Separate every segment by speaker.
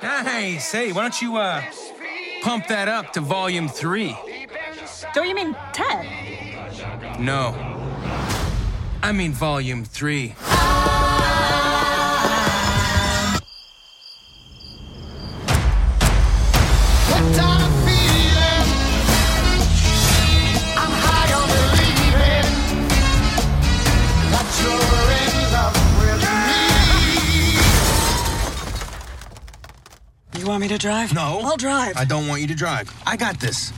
Speaker 1: Hey, say, why don't you uh pump that up to volume three?
Speaker 2: Don't you mean Ted?
Speaker 1: No. I mean volume three.
Speaker 3: You want me to drive?
Speaker 4: No.
Speaker 3: I'll drive.
Speaker 4: I don't want you to drive. I got this.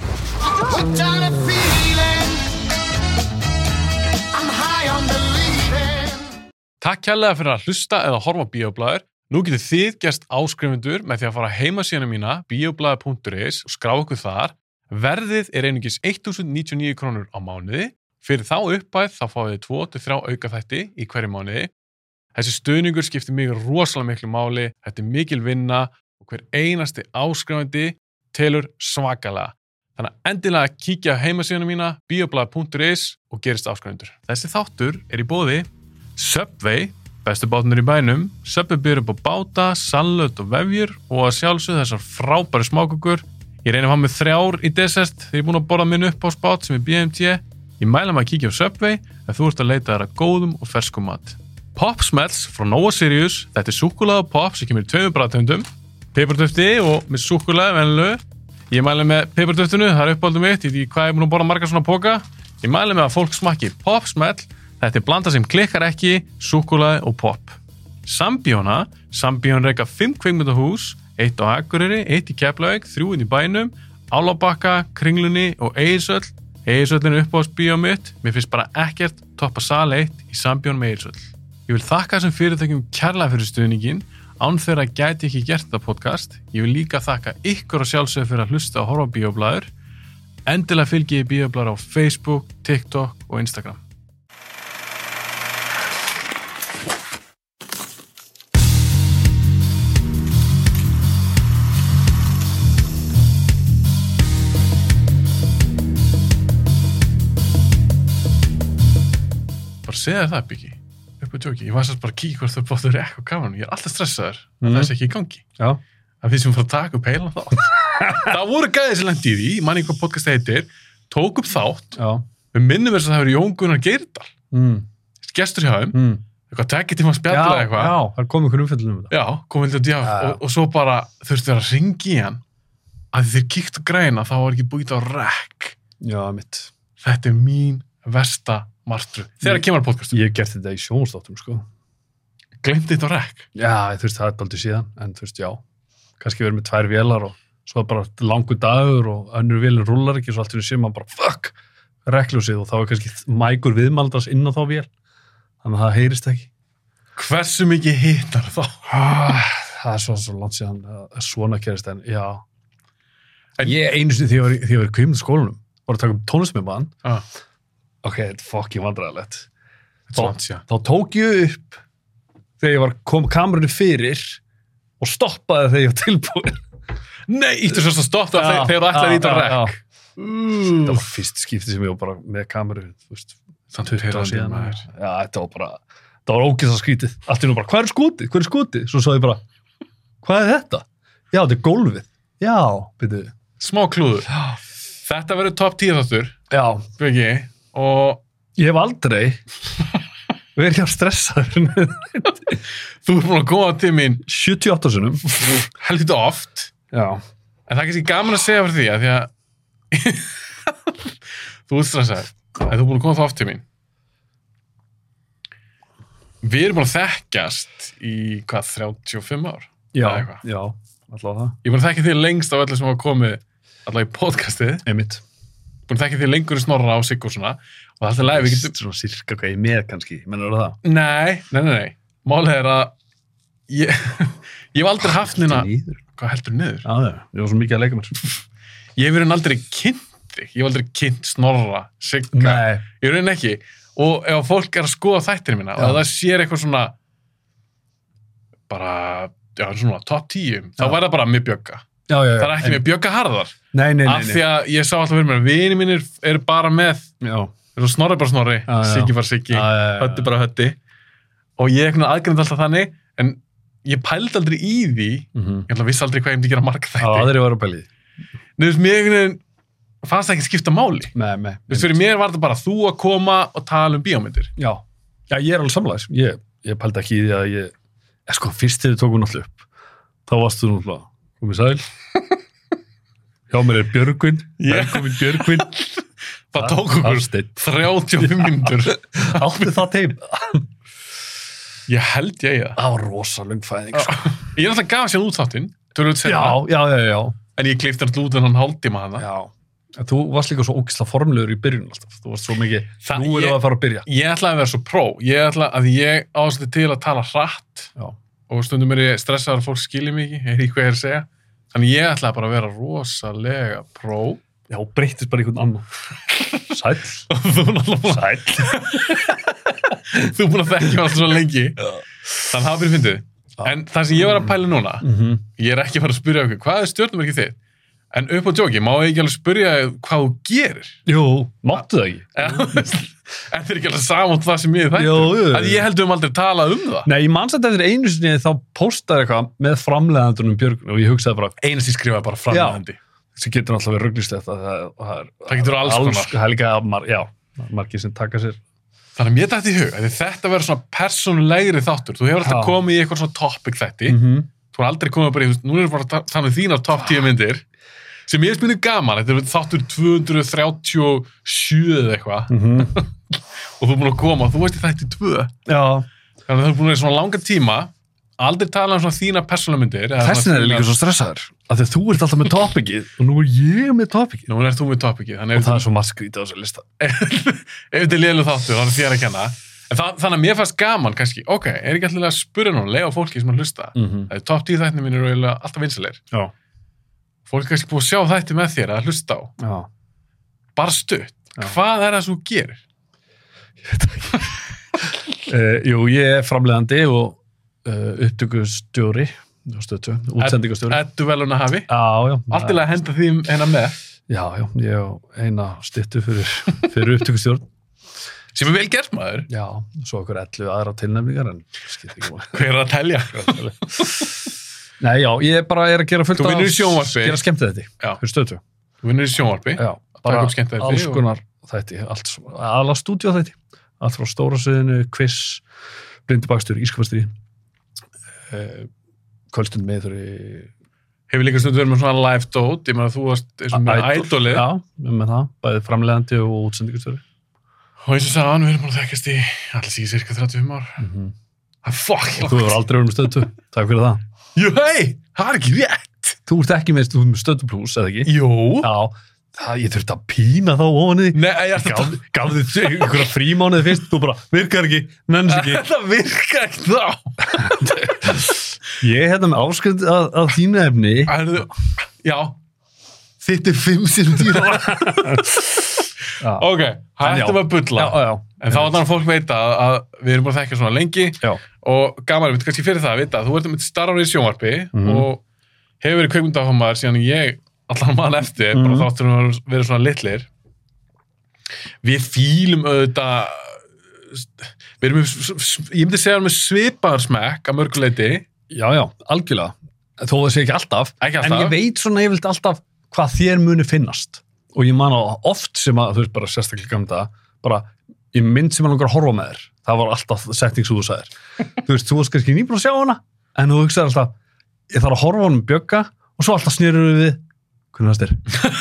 Speaker 5: Takk kærlega fyrir að hlusta eða horfa á Bíoblæður. Nú getur þið gerst áskrifundur með því að fara á heimasíðana mína bioblæður.is og skrá okkur þar. Verðið er einungis 1099 krónur á mánuði. Fyrir þá uppæð þá fáið þið 2-3 aukaþætti í hverju mánuði. Þessi stuðningur skiptir mig rosalega miklu máli, þetta er mikil vinna og hver einasti áskrifandi telur svakalega. Þannig að endilega kíkja á heimasíðuna mína bioblæður.is og gerist áskrifundur. Þessi þáttur er í bóði Subway, bestu bátunir í bænum Subway byrjur upp á báta, sallöt og vefjur og að sjálfsögðu þessar frábæri smákukur Ég reyna að fá með þrjár í desert þegar ég er búin að borða minn upp á spát sem er BMT Ég mæla maður að kíkja á Subway ef þú ert að leita þær að góðum og ferskum mat Pop Smells frá Nova Sirius Þetta er súkkulaða pop sem kemur í tveimur bræðtöndum Peppartöfti og með súkkulaði venlu Ég mæli með peipartöftinu, það er uppáldum mitt, ég veit ekki hvað ég er búin að borða margar svona póka. Ég mæli með að fólk smakki popsmell, þetta er blanda sem klikkar ekki, súkkulaði og pop. Sambjóna, Sambjón reyka 5 kveikmyndahús, 1 á Akureyri, 1 í Keflavík, 3 inn í bænum, Álabakka, Kringlunni og Eirsöll. Eirsöllin er uppáhaldsbíó mitt, mér finnst bara ekkert toppa sal 1 í Sambjón með Eirsöll. Ég vil þakka þessum fyrirtækjum kærlega fyrir stuðningin, án þeirra gæti ég ekki gert þetta podcast. Ég vil líka þakka ykkur og sjálfsögur fyrir að hlusta og horfa á bíoblæður. Endilega fylgi ég bíoblæður á Facebook, TikTok og Instagram. bara segja þér það byggi upp á tjóki, ég var sérst bara að kíkja hvort þau bóttur ekko kameran, ég er alltaf stressaður að það sé ekki í gangi,
Speaker 6: Já.
Speaker 5: af því sem fór að taka upp heilan þátt það voru gæðið sem lendi í því, manni hvað podcast heitir tók upp þátt,
Speaker 6: Já.
Speaker 5: við minnum þess að það eru Jón Gunnar Geirdal
Speaker 6: Mm.
Speaker 5: gestur hjá þeim,
Speaker 6: Mm.
Speaker 5: eitthvað tekið tíma að spjalla eða
Speaker 6: Já,
Speaker 5: eitthvað,
Speaker 6: já, það er komið einhver umfjöldin um þetta.
Speaker 5: já, komið til að djá
Speaker 6: Já, já.
Speaker 5: og, og svo bara þurftu þeir að ringi í hann að þeir kíktu græna þá var ekki búið á rek
Speaker 6: Já, mitt.
Speaker 5: þetta er mín versta martru þegar
Speaker 6: Ég-
Speaker 5: kemur að podcastum,
Speaker 6: Ég hef gert þetta í sjónstáttum, sko.
Speaker 5: ég glemdi þetta á rek
Speaker 6: Já, þú veist, það er baldið síðan, en þú veist, já. Kannski verið með tvær vélar og svo bara langur dagur og önnur vélinn rúlar ekki, svo allt í einu sér maður bara, fuck, reklusið og þá er kannski mækur viðmaldars inn á þá vél. Þannig að það heyrist ekki.
Speaker 5: hversu mikið hittar þá
Speaker 6: Ah, það er svo, svo langt síðan að svona gerist en já
Speaker 5: En-
Speaker 6: ég einu sinni því að ég var í- þegar ég var í kvimundskólanum var að taka upp tónlist með mann
Speaker 5: Ah.
Speaker 6: ok, þetta er fucking vandræðalegt
Speaker 5: Þetta er langt síðan.
Speaker 6: þá tók ég upp þegar ég var kom kamerunni fyrir og stoppaði þegar ég var tilbúin
Speaker 5: Nei, íttu sérst að
Speaker 6: Já,
Speaker 5: stoppa þegar þegar þú ætlar að
Speaker 6: já,
Speaker 5: íta
Speaker 6: já,
Speaker 5: rekk.
Speaker 6: já. það var fyrst skipti sem ég var bara með kameru þú veist, 20 ára síðan
Speaker 5: maður.
Speaker 6: já, þetta var bara, það var ógeðslega skrítið allt í nú bara, hvað er skotið, hvað er skotið svo sagði ég bara, hvað er þetta já, þetta er gólfið, já, byrju
Speaker 5: Smá klúður. Þetta verður topp 10 þáttur,
Speaker 6: já,
Speaker 5: Björgi, og
Speaker 6: ég hef aldrei verið að stressa
Speaker 5: þú er búin að góða til mín
Speaker 6: 78 sinum
Speaker 5: helvita oft,
Speaker 6: já,
Speaker 5: en það er kannski gaman að segja fyrir því að því að þú ert stressaður, að þú er búin að góða það oft til mín. Við erum búin að þekkjast í hvað, 35 ár?
Speaker 6: já,
Speaker 5: Eða eitthvað.
Speaker 6: já allavega það,
Speaker 5: Ég er búin að þekkja þig lengst af öllu sem hafa komið allavega í podcastið,
Speaker 6: einmitt
Speaker 5: búin að þekkja þig lengur í snorra á sig og svona, og það er alltaf læg, við getum,
Speaker 6: svona sirka hvað ég er með kannski, mennur það
Speaker 5: Nei, nei, nei, nei. Málið er að ég, ég hef aldrei haft neina...
Speaker 6: nýður,
Speaker 5: Hvað heldur niður?
Speaker 6: já, já, ég var svo mikið að leika mér
Speaker 5: Ég hef verið aldrei kynnt þig. Ég hef aldrei kynnt snorra, sigga.
Speaker 6: nei,
Speaker 5: Ég raunin ekki. Og ef fólk er að skoða þættir mína og
Speaker 6: Já.
Speaker 5: það sér eitthvað svona bara, já, svona top 10, þá
Speaker 6: Já.
Speaker 5: væri það bara með bjögga.
Speaker 6: já, já, já
Speaker 5: Það er ekki
Speaker 6: en-
Speaker 5: með bjögga harðar.
Speaker 6: nei, nei,
Speaker 5: Af
Speaker 6: nei,
Speaker 5: því að ég sá alltaf fyrir mér að vini mínir eru bara með
Speaker 6: nei. já,
Speaker 5: er svo snorri bara snorri,
Speaker 6: Já, já.
Speaker 5: siggi bara siggi
Speaker 6: Já, já, já, já.
Speaker 5: hötti bara hötti og ég er eitthvað aðgjönd alltaf þannig en ég pældi aldrei í því
Speaker 6: mm
Speaker 5: ég ætla að vissi aldrei hvað ég myndi gera margþætti
Speaker 6: Það aðri var að pæli því.
Speaker 5: Nei, þú veist, mér einhvern veginn fannst það ekki skipta máli.
Speaker 6: Nei, nei.
Speaker 5: Þú veist, fyrir mér var þetta bara þú að koma og tala um bíómyndir.
Speaker 6: Já. Já, ég er alveg samlæðis. Ég, ég pældi ekki í því að ég, ég sko, fyrst þegar þið tókum náttúrulega upp, þá varstu þú náttúrulega, komið sæl. Hjá mér er Björgvin,
Speaker 5: Já.
Speaker 6: velkomin Björgvin.
Speaker 5: Það tók okkur
Speaker 6: Hafsteinn.
Speaker 5: 35 mínútur.
Speaker 6: Áttu það teim.
Speaker 5: Ég held ég eigi það.
Speaker 6: Það var rosalung fæðing. sko.
Speaker 5: Ég er alltaf gaf sér út þáttinn, tölvöld
Speaker 6: Já,
Speaker 5: senna,
Speaker 6: já, já, já.
Speaker 5: en ég kleifti alltaf út en hann hálftíma hana.
Speaker 6: já. En Þú varst líka svo ógisla formlegur í byrjun alltaf. Þú varst svo mikið,
Speaker 5: Það-
Speaker 6: nú erum við
Speaker 5: ég-
Speaker 6: að fara að byrja.
Speaker 5: Ég ætlaði að vera svo pró. Ég ætla að ég ástætti til að tala hratt
Speaker 6: Já.
Speaker 5: og stundum er ég stressaður að fólk skilja mikið, er í hvað ég er að segja. Þannig ég ætlaði bara að vera rosalega pró.
Speaker 6: Já, breytist bara í einhvern annan. Sæll.
Speaker 5: þú er náttúrulega
Speaker 6: Sæll.
Speaker 5: þú er búin að þekkja mig alltaf svo lengi. Þannig hafa verið fyndið.
Speaker 6: Já.
Speaker 5: En það sem ég var að pæla núna,
Speaker 6: Mm -hmm.
Speaker 5: ég er ekki að fara að spyrja okkur, hvað er stjórnumerkið þitt? En upp á djóki, má ég ekki alveg spyrja hvað þú gerir?
Speaker 6: Jú, máttu það ekki?
Speaker 5: En þetta er ekki alveg saman það sem ég er
Speaker 6: Jú, jú, jú.
Speaker 5: þættur. Að ég heldum aldrei talað um það.
Speaker 6: Nei, ég manns að þetta er einu sinni þá postaði eitthvað með framleiðandunum Björgun og ég hugsaði bara,
Speaker 5: Einast ég skrifaði bara framhændi.
Speaker 6: þessi getur náttúrulega verið rugglislegt að það, það er
Speaker 5: Það getur alls konar.
Speaker 6: Það er líka að mar, já, það er margir sem taka sér.
Speaker 5: Þannig að mér dætti í hug að þetta verður svona persónulegri þáttur. Þú hefur alltaf
Speaker 6: Já.
Speaker 5: komið í eitthvað svona topic þætti.
Speaker 6: -hmm.
Speaker 5: Þú er aldrei komið bara í, þú veist, nú er bara þannig um þínar top 10 myndir. Sem ég er spynu gaman, þetta er þáttur 237 eða eitthvað.
Speaker 6: Mm. Mhm.
Speaker 5: Og þú er búin að koma, þú veist í þætti 2.
Speaker 6: Já,
Speaker 5: Þannig að það er búin að vera svona langa tíma aldrei tala um svona þína persónumyndir
Speaker 6: þessin er ég líka svo stressaður, af því að þú ert alltaf með topikið og nú er ég með topikið.
Speaker 5: Nú er þú með topikið, þannig
Speaker 6: Og
Speaker 5: ef
Speaker 6: það er svo margt skrítið á þessu lista.
Speaker 5: ef þetta er liðlu þáttu þá er þér að kenna en það, þannig að mér fannst gaman kannski ok, er ekki alltaf að spura nú lega fólki sem að hlusta
Speaker 6: Mm -hmm.
Speaker 5: það er topp 10 þættinni mín eru eiginlega alltaf vinsilegir
Speaker 6: Já.
Speaker 5: fólk er kannski búið að sjá þætti með þér að hlusta á
Speaker 6: Já.
Speaker 5: bara stutt,
Speaker 6: Já.
Speaker 5: hvað er það sem þú gerir?
Speaker 6: Uh, jú, ég er framleiðandi og uh, upptökustjóri, stötu, útsendingastjóri.
Speaker 5: Eddu velun að hafi
Speaker 6: Já, já.
Speaker 5: allt til að henda því hennar með
Speaker 6: Já, já, ég á eina stittu fyrir, fyrir upptökustjórn.
Speaker 5: sem er vel gert maður,
Speaker 6: Já, svo okkur 11 aðra tilnefningar en skipt ekki máli.
Speaker 5: hver er að telja?
Speaker 6: Nei, já, ég bara er að gera fullt
Speaker 5: Þú vinnur í sjónvarpi.
Speaker 6: Gera skemmt þetta,
Speaker 5: Já.
Speaker 6: fyrir stötu.
Speaker 5: Þú vinnur í sjónvarpi
Speaker 6: Já,
Speaker 5: Taka
Speaker 6: bara
Speaker 5: upp skemmtiþætti
Speaker 6: alls
Speaker 5: og-
Speaker 6: konar þætti, allt, alla stúdíu þætti. Allt frá stóra sviðinu, quiz, blindubakstur, ískapastri, eh, kvöldstund meður í...
Speaker 5: hefur líka stundum verið með svona live dót ég meina þú varst eins og með ædolið
Speaker 6: Já, með það, bæði framlegandi og útsendingustjóri.
Speaker 5: og eins og sagðan við erum búin að þekkast í allir síðan cirka 35 ár
Speaker 6: Mm -hmm.
Speaker 5: það er fuck
Speaker 6: Þú hefur aldrei verið með stötu, takk fyrir það.
Speaker 5: jú hei, það er ekki rétt
Speaker 6: Þú ert ekki með, þú ert með stötu pluss, eða ekki?
Speaker 5: jú
Speaker 6: Já, það, ég þurfti að pína þá ofan í því.
Speaker 5: nei, ég ætla
Speaker 6: Gaf, gaf þið einhverja frímánuði fyrst, þú bara, virkar ekki, nenns
Speaker 5: að
Speaker 6: ekki.
Speaker 5: þetta virka ekki þá
Speaker 6: Ég er hérna með áskrift að, að þínu efni.
Speaker 5: Æðu, já þitt er 5 sinum 10 ára
Speaker 6: Já,
Speaker 5: ok,
Speaker 6: En já.
Speaker 5: hættum að
Speaker 6: já,
Speaker 5: bulla
Speaker 6: já.
Speaker 5: en þá þannig að fólk veita að, að við erum búin að þekkja svona lengi
Speaker 6: Já,
Speaker 5: og gaman, við kannski fyrir það að vita að þú ert með starfari í sjónvarpi
Speaker 6: Mhm.
Speaker 5: og hefur verið kveikmyndahámaður síðan ég allan mann eftir, mm -hmm.
Speaker 6: Mhm.
Speaker 5: bara þáttur við að vera svona litlir við fílum auðvitað við erum með, s- s- ég myndi segja við erum með svipaðar smekk að mörguleiti
Speaker 6: já, já, algjörlega. Þó það sé ekki alltaf.
Speaker 5: Ekki
Speaker 6: En
Speaker 5: alltaf.
Speaker 6: ég veit svona yfirleitt alltaf hvað þér muni finnast. Og ég man á oft sem að, þú veist bara sérstaklega um þetta, bara í mynd sem er langar að horfa með þér. Það var alltaf setning sem þú sagðir. þú veist, þú varst kannski nýbúin að sjá hana, en þú hugsaðir alltaf, ég þarf að horfa á honum bjögga og svo alltaf snýrur við, hvernig fannst þér?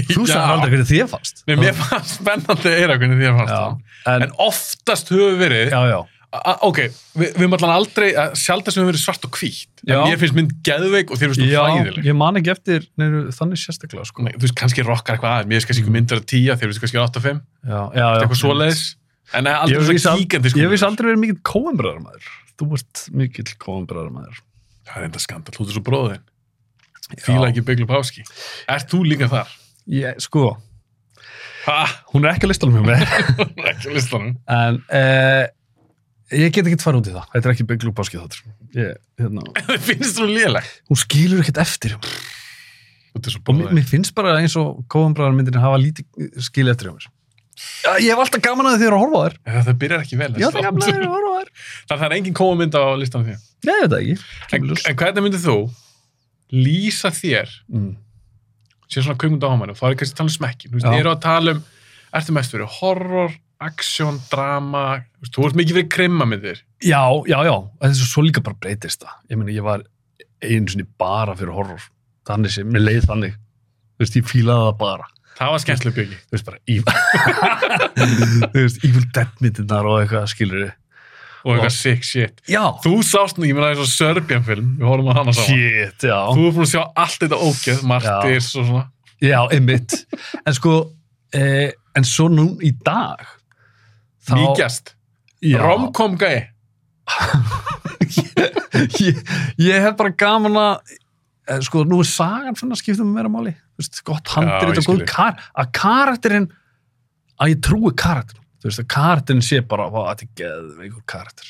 Speaker 6: Þú
Speaker 5: Já.
Speaker 6: sagðir aldrei hvernig þér fannst.
Speaker 5: Nei, mér fannst spennandi að eira hvernig þér fannst
Speaker 6: Já,
Speaker 5: það
Speaker 6: en,
Speaker 5: en oftast höfum við verið
Speaker 6: já, já.
Speaker 5: a- ok, við, við erum allan aldrei að sjaldast höfum við verið svart og hvítt
Speaker 6: Já.
Speaker 5: en mér finnst mynd geðveik og þér finnst hún
Speaker 6: Já,
Speaker 5: fræðileg
Speaker 6: ég man ekki eftir neyru, þannig sérstaklega, sko.
Speaker 5: Nei, þú veist, kannski rokkar eitthvað aðeins, mér finnst kannski einhver myndir að tíja, þér finnst kannski átta og fimm,
Speaker 6: Mm. Já, já, já.
Speaker 5: eitthvað svoleiðis en það er
Speaker 6: Ég
Speaker 5: aldrei
Speaker 6: hef
Speaker 5: svona
Speaker 6: víst
Speaker 5: kíkandi
Speaker 6: al-
Speaker 5: sko
Speaker 6: ég hef víst aldrei verið mikill kóumbröðarmæður. Þú ert mikill kóumbröðarmæður.
Speaker 5: það er enda skandal, þú ert svo bróðin fíla ekki bygglu páski er þú líka þar?
Speaker 6: Ég, sko,
Speaker 5: ha,
Speaker 6: hún er ekki að listanum hjá mig,
Speaker 5: ekki á listanum
Speaker 6: en eh, ég get ekki farið út í það. Þetta er ekki bygglu báskið þáttur. Ég, hérna,
Speaker 5: það finnst þú léleg
Speaker 6: hún skilur ekkert eftir. Og
Speaker 5: þú ert svo
Speaker 6: mér,
Speaker 5: bróðin
Speaker 6: mér finnst bara eins og kóumbröðarmyndinni hafa lítið skil eftir hjá mér. Já, Ég hef alltaf gaman að því að horfa á þér.
Speaker 5: En þetta byrjar ekki vel.
Speaker 6: Ég hef alltaf gaman að því að horfa á þér.
Speaker 5: Það er engin koma mynd á listan því.
Speaker 6: Nei, ég veit það ekki.
Speaker 5: En,
Speaker 6: Kemur ljós.
Speaker 5: en hvernig myndir þú lýsa þér
Speaker 6: Mm.
Speaker 5: sér svona kvikmynda ámæri og þá er ég kannski að tala um smekkin. Þú veist,
Speaker 6: Já.
Speaker 5: ég er að tala um, ertu mest fyrir horror, action, drama, þú veist, þú ert mikið fyrir krimma með þér.
Speaker 6: Já, já, já. Þess að svo líka bara breytist það. Ég meina, ég var einu sinni bara fyrir horror. Þannig sem, mér leið þannig. Þú veist, ég fílaði það bara.
Speaker 5: Það var skemmtileg byggi.
Speaker 6: Þú veist, bara evil. þú veist, evil dead myndirnar og eitthvað, skilur þið.
Speaker 5: Og eitthvað sick shit.
Speaker 6: Já.
Speaker 5: Þú sást nú, ég meina það er svo Serbian film, við horfum að hana saman.
Speaker 6: Shit, já.
Speaker 5: Þú ert búin að sjá allt þetta ógeð, martyrs og svona.
Speaker 6: Já, einmitt. en sko, eh, en svo nú í dag. þá-
Speaker 5: Mýgjast.
Speaker 6: Já.
Speaker 5: Romcom gæi.
Speaker 6: ég, ég hef bara gaman að eh, sko, nú er sagan fann að skipta með meira máli Þú veist, gott
Speaker 5: Já, ég
Speaker 6: handrið og góð
Speaker 5: skil.
Speaker 6: kar að karakterinn að ég trúi karakterinn þú veist að karakterinn sé bara "Vá, þetta er geðveikur karakter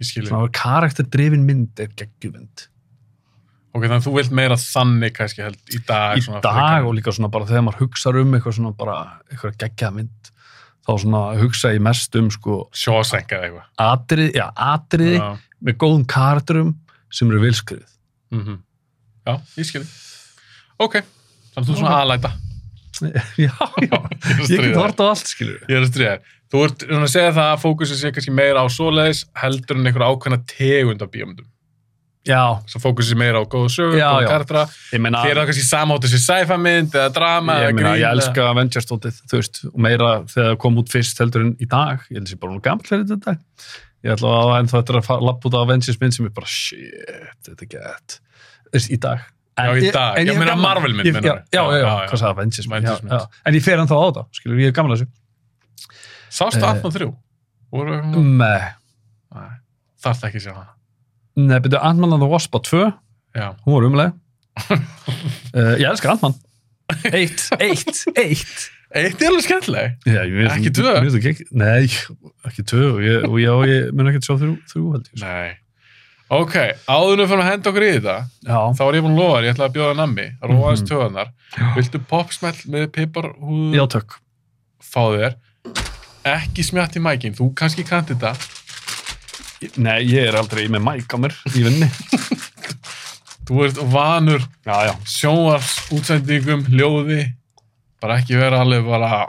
Speaker 5: Ég skilur.
Speaker 6: svona að karakter drefin mynd er geggjumynd
Speaker 5: Ok, þannig að þú vilt meira þannig kannski held í dag.
Speaker 6: í
Speaker 5: svona,
Speaker 6: dag
Speaker 5: frekar.
Speaker 6: og líka svona bara þegar maður hugsar um eitthvað svona bara eitthvað geggjað mynd þá svona hugsa ég mest um sko
Speaker 5: Shawshank eða eitthvað.
Speaker 6: atrið, já atriði
Speaker 5: Já.
Speaker 6: með góðum karakterum sem eru vilskrið
Speaker 5: -hmm. Já, ég skilji. Ok, þannig að þú er svona aðlæta.
Speaker 6: já, já, ég get hort á allt skilur
Speaker 5: Ég er að stríða þér. Þú ert svona að segja það að fókusið sé kannski meira á svoleiðis heldur en einhver ákveðna tegund af bíómyndum.
Speaker 6: já,
Speaker 5: Svo fókusið sé meira á góða sögur,
Speaker 6: Já, já.
Speaker 5: góða kartra.
Speaker 6: Ég meina,
Speaker 5: Þér er það kannski samáttu sér sci-fi mynd eða drama
Speaker 6: ég,
Speaker 5: eða
Speaker 6: meina,
Speaker 5: grín.
Speaker 6: ég
Speaker 5: eða-
Speaker 6: elska Avengers-dótið, þú veist, og meira þegar það kom út fyrst heldur en í dag, ég held að ég sé bara nú gammal fyrir þetta í dag. Ég ætla að ennþá þetta er að fara- labba út á Avengers mynd sem er bara, shit, þetta er gett, þú veist, í dag. En
Speaker 5: Já, í
Speaker 6: ég-
Speaker 5: dag.
Speaker 6: en
Speaker 5: Já,
Speaker 6: hef
Speaker 5: meina
Speaker 6: gaman-
Speaker 5: Marvel mynd,
Speaker 6: ég- Já,
Speaker 5: meinarðu?
Speaker 6: já, já,
Speaker 5: Já,
Speaker 6: já,
Speaker 5: já, já.
Speaker 6: hvað sagði Avengers mynd,
Speaker 5: Avengers
Speaker 6: já,
Speaker 5: mynd.
Speaker 6: já. En ég fer ennþá á þetta, skilur, ég er gammal þessu.
Speaker 5: Sástu
Speaker 6: Eh.
Speaker 5: 18.3? Voru...
Speaker 6: Nei,
Speaker 5: Nei, Þarf það ekki að sjá hana.
Speaker 6: nei, byrju, Ant-Man and the Wasp á 2,
Speaker 5: Já.
Speaker 6: hún var umlega. uh, ég elska Ant-Man. Eitt, eitt, eitt.
Speaker 5: Eitt er alveg skemmtileg.
Speaker 6: Já, ég veist,
Speaker 5: Ekki tvö?
Speaker 6: Mér finnst það gegn- nei, ekki tvö og ég, og já, ég mun ekki að sjá þrjú, þrjú held ég. sko.
Speaker 5: Nei. Ok, áðunum fyrir að henda okkur í þetta.
Speaker 6: Já,
Speaker 5: þá var ég búin að lofa þér, ég ætlaði að bjóða nammi róa aðeins töðanar, viltu popsmell með piparhúð
Speaker 6: Mhm. já tök.
Speaker 5: fá þér ekki smjátt í mækin, þú kannski kannt þetta
Speaker 6: Nei, ég er aldrei með mæk á mér í vinni.
Speaker 5: þú ert vanur
Speaker 6: Já, já.
Speaker 5: sjónvars útsendingum, ljóði bara ekki vera alveg bara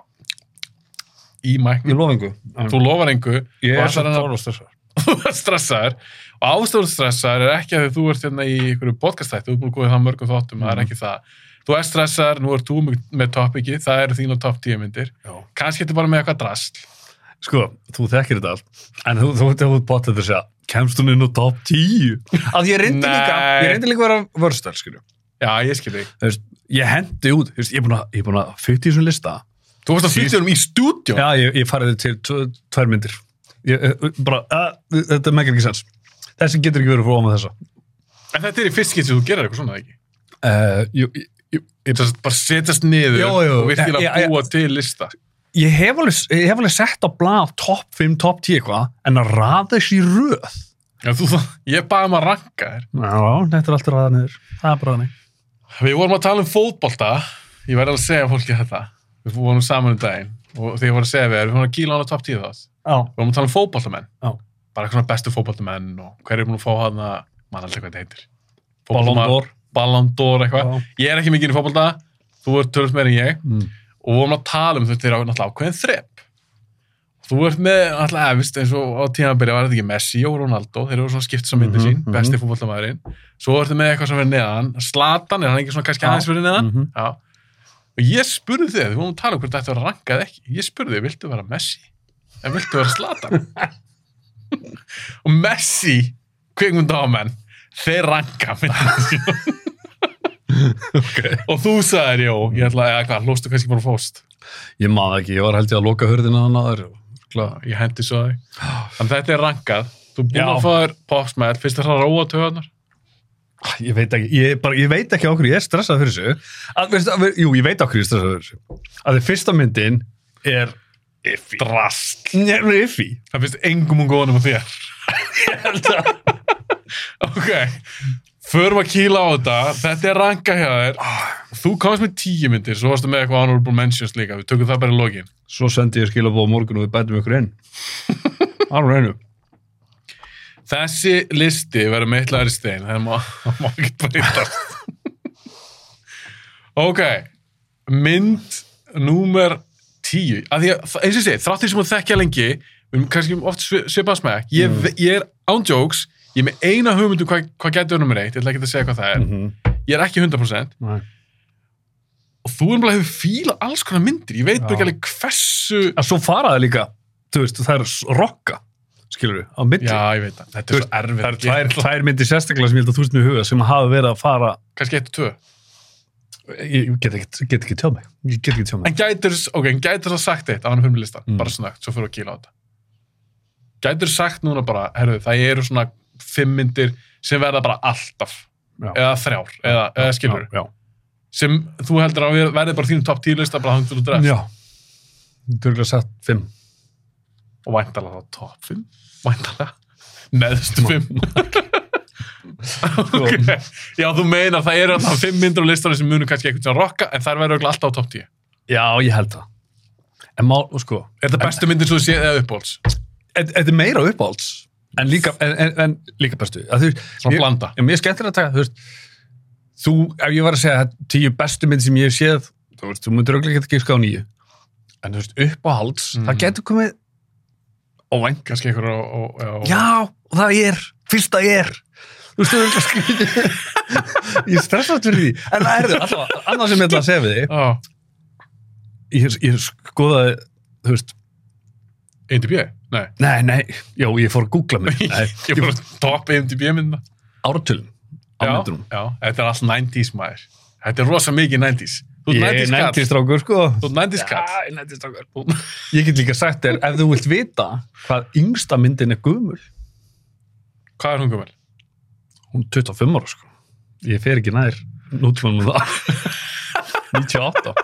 Speaker 5: í mæknum
Speaker 6: lofa engu.
Speaker 5: þú lofar engu
Speaker 6: Ég
Speaker 5: og
Speaker 6: er svo
Speaker 5: ætlar hennar-
Speaker 6: tóra og stressar.
Speaker 5: þú ert stressaður og ástofur stressaður er ekki að því þú ert hérna í einhverju podcastætti, þú er búin að góða það mörgum þáttum
Speaker 6: Mhm.
Speaker 5: það er ekki það. Þú ert stressaður, nú ert þú með- með topiki, það eru þín og top 10 myndir.
Speaker 6: Já.
Speaker 5: Kannski þetta bara með eitthvað drast.
Speaker 6: Sko, þú þekkir þetta allt, en þú, þú ert að þú bótt þetta að segja, kemst hún inn á top 10? Að ég reyndi líka,
Speaker 5: Nei.
Speaker 6: ég reyndi líka að vera vörstar, skilju.
Speaker 5: Já, ég skil þig.
Speaker 6: Þú veist, ég hendi út, þú veist, ég er búin að, ég er búin að 50 svona lista.
Speaker 5: Þú varst að fylgja um í stúdjó.
Speaker 6: Já, ég, ég farið til tv- tvær myndir. Ég, eh, bara, uh, þetta megar ekki sens. Þessi getur ekki verið frá með þessa.
Speaker 5: En þetta er í fyrst skil sem þú gerir eitthvað svona, ekki?
Speaker 6: Uh, jú, jú, jú,
Speaker 5: Þetta er bara setjast niður
Speaker 6: Jú, jú.
Speaker 5: og virkilega
Speaker 6: Já, já, já.
Speaker 5: búa til lista.
Speaker 6: ég, hef alveg, ég hef alveg sett á blað top 5, top 10 eitthvað, en að raða þessu í röð.
Speaker 5: Já, þú, ég baði um að ranka þér.
Speaker 6: Já, þetta er alltaf raða niður. Það er bara þannig.
Speaker 5: Við vorum að tala um fótbolta. Ég væri alveg að segja fólki þetta. Við vorum saman um daginn og þegar ég var að segja við þér, við vorum að kýla hana top 10 þátt.
Speaker 6: Já,
Speaker 5: Við vorum að tala um fótboltamenn.
Speaker 6: já.
Speaker 5: Bara eitthvað svona bestu fótboltamenn og hverju er búin að fá hana, mann alltaf hvað þetta heitir.
Speaker 6: Ballon
Speaker 5: Fótboltamaður-
Speaker 6: d'Or.
Speaker 5: Ballon d'Or eitthvað.
Speaker 6: Já.
Speaker 5: Ég er ekki mikið í fótbolta, þú ert tölvöld meir en ég.
Speaker 6: Mm.
Speaker 5: og við vorum að tala um þetta er á náttúrulega ákveðin þrepp þú ert með náttúrulega efist eins og á tímabili var þetta ekki Messi og Ronaldo þeir eru svona skipt sem myndin
Speaker 6: Mhm,
Speaker 5: sín,
Speaker 6: mhm.
Speaker 5: besti fútbollamæðurinn svo ertu með eitthvað sem verið neðan Slatan, er hann ekki svona kannski
Speaker 6: Já.
Speaker 5: aðeins verið neðan
Speaker 6: Mhm.
Speaker 5: já og ég spurði þig, við vorum að tala um hvort þetta var að ranka eða ekki ég spurði þig, viltu vera Messi? en viltu vera Slatan? og Messi kvikmundámenn, þeir ranka myndina sín
Speaker 6: Okay.
Speaker 5: og þú sagðir, jó, ég ætla að hvað, hlóstu kannski bara fóst
Speaker 6: Ég maður ekki, ég var held ég að loka hörðina hann aður.
Speaker 5: Örugglega, ég hendi svo þig Þannig þetta er rankað, þú er búinn
Speaker 6: Já.
Speaker 5: að fá þér popsmell, finnst þér það að róa töðunar?
Speaker 6: Ég veit ekki, ég, bara, ég veit ekki á hverju ég er stressað fyrir þessu. Að, veist, að, jú, ég veit á hverju ég er stressað fyrir þessu. Að því fyrsta myndin er
Speaker 5: Iffi Drast
Speaker 6: nefnir iffi.
Speaker 5: Það finnst engum um góðanum á þér Ok, förum að kýla á þetta Þetta er rankað hjá þér Þú komst með tíu myndir, svo varstu með eitthvað honorable mentions líka, við tökum það bara í lokin.
Speaker 6: Svo sendi ég skilabóð á morgun og við bætum ykkur inn. Árum reynu.
Speaker 5: Þessi listi verður meitlaður í stein, það má, það má ekki breytast. ok, mynd númer tíu. Að því að, þa- eins og ég segi, þrátt því sem hún þekkja lengi, við erum kannski um oft svi- svipað smæk, ég, mm. ég er ándjóks, ég er með eina hugmyndu hvað, hvað getur nummer eitt, ég ætla ekki að segja hvað það er. Ég er ekki 100%.
Speaker 6: Mhm. Nei.
Speaker 5: og þú erum bara hefur fílað alls konar myndir ég veit bara
Speaker 6: Já.
Speaker 5: ekki alveg hversu
Speaker 6: Að svo faraði líka, þú veist, það er s- rokka, skilur við, á milli.
Speaker 5: já ég veit það, þetta
Speaker 6: Þú veist,
Speaker 5: er svo erfitt
Speaker 6: það er
Speaker 5: að
Speaker 6: tvær,
Speaker 5: gera.
Speaker 6: tvær myndir sérstaklega sem ég held að þú veist mér huga sem hafa verið að fara
Speaker 5: kannski eitt og tvö
Speaker 6: ég get ekki, get ekki tjóð mig ég get ekki tjóð mig
Speaker 5: en gætur, ok, en gætur það sagt eitt á hann fyrir mig listan,
Speaker 6: Mm.
Speaker 5: bara snögt, svo fyrir að kýla á þetta gætur sagt núna bara herðu, það eru svona fimm myndir sem verða bara alltaf
Speaker 6: Já.
Speaker 5: eða þrjár, eða, eða skilur
Speaker 6: já,
Speaker 5: sem þú heldur að ver- verði bara þínum top 10 lista bara þannig til þú
Speaker 6: já.
Speaker 5: drefst
Speaker 6: já. Dörglega sagt fimm
Speaker 5: og væntalega þá top 5 væntalega, neðstu 5 ok já þú meinar það eru alltaf 5 myndir á listanum sem munum kannski eitthvað sem rocka en þær verður örugglega alltaf á top 10
Speaker 6: já, ég held það en mál, og sko
Speaker 5: er það bestu myndir sem þú séð eða uppbóls
Speaker 6: þetta þetta er meira uppáhalds en líka, en, en, en líka bestu að þú,
Speaker 5: Svona
Speaker 6: mér-
Speaker 5: blanda.
Speaker 6: já, mér er skemmtilega að taka, þú veist þú, ef ég var að segja það tíu bestu mynd sem ég hef séð þú veist, þú myndir auðvitað ekki giska á nýju en þú veist, uppáhalds,
Speaker 5: Mm.
Speaker 6: það getur komið óvænt
Speaker 5: kannski eitthvað á, á, á
Speaker 6: Já, og það er, fyrst að ég er Þú veist, þú veist, skrítið Ég stressast fyrir því En það er þau, alltaf, annað sem ég ætla að segja við þig
Speaker 5: á
Speaker 6: Ég, ég skoðaði, þú veist
Speaker 5: IMDb, nei
Speaker 6: Nei, nei, já, ég fór að googla mig Nei,
Speaker 5: ég bara top IMDb mynda
Speaker 6: ártölum á
Speaker 5: já,
Speaker 6: myndunum
Speaker 5: já, þetta er allt 90s maður þetta er rosa mikið 90s þú
Speaker 6: Ég
Speaker 5: ert
Speaker 6: er
Speaker 5: 90s kall
Speaker 6: 90 strákur, sko
Speaker 5: þú ert 90s kall
Speaker 6: ég er 90 strákur Ég get líka sagt þér, ef þú vilt vita hvað yngsta myndin er gumul
Speaker 5: hvað er hún gömul?
Speaker 6: Hún er 25 ára, sko Ég fer ekki nær nútímanum það 98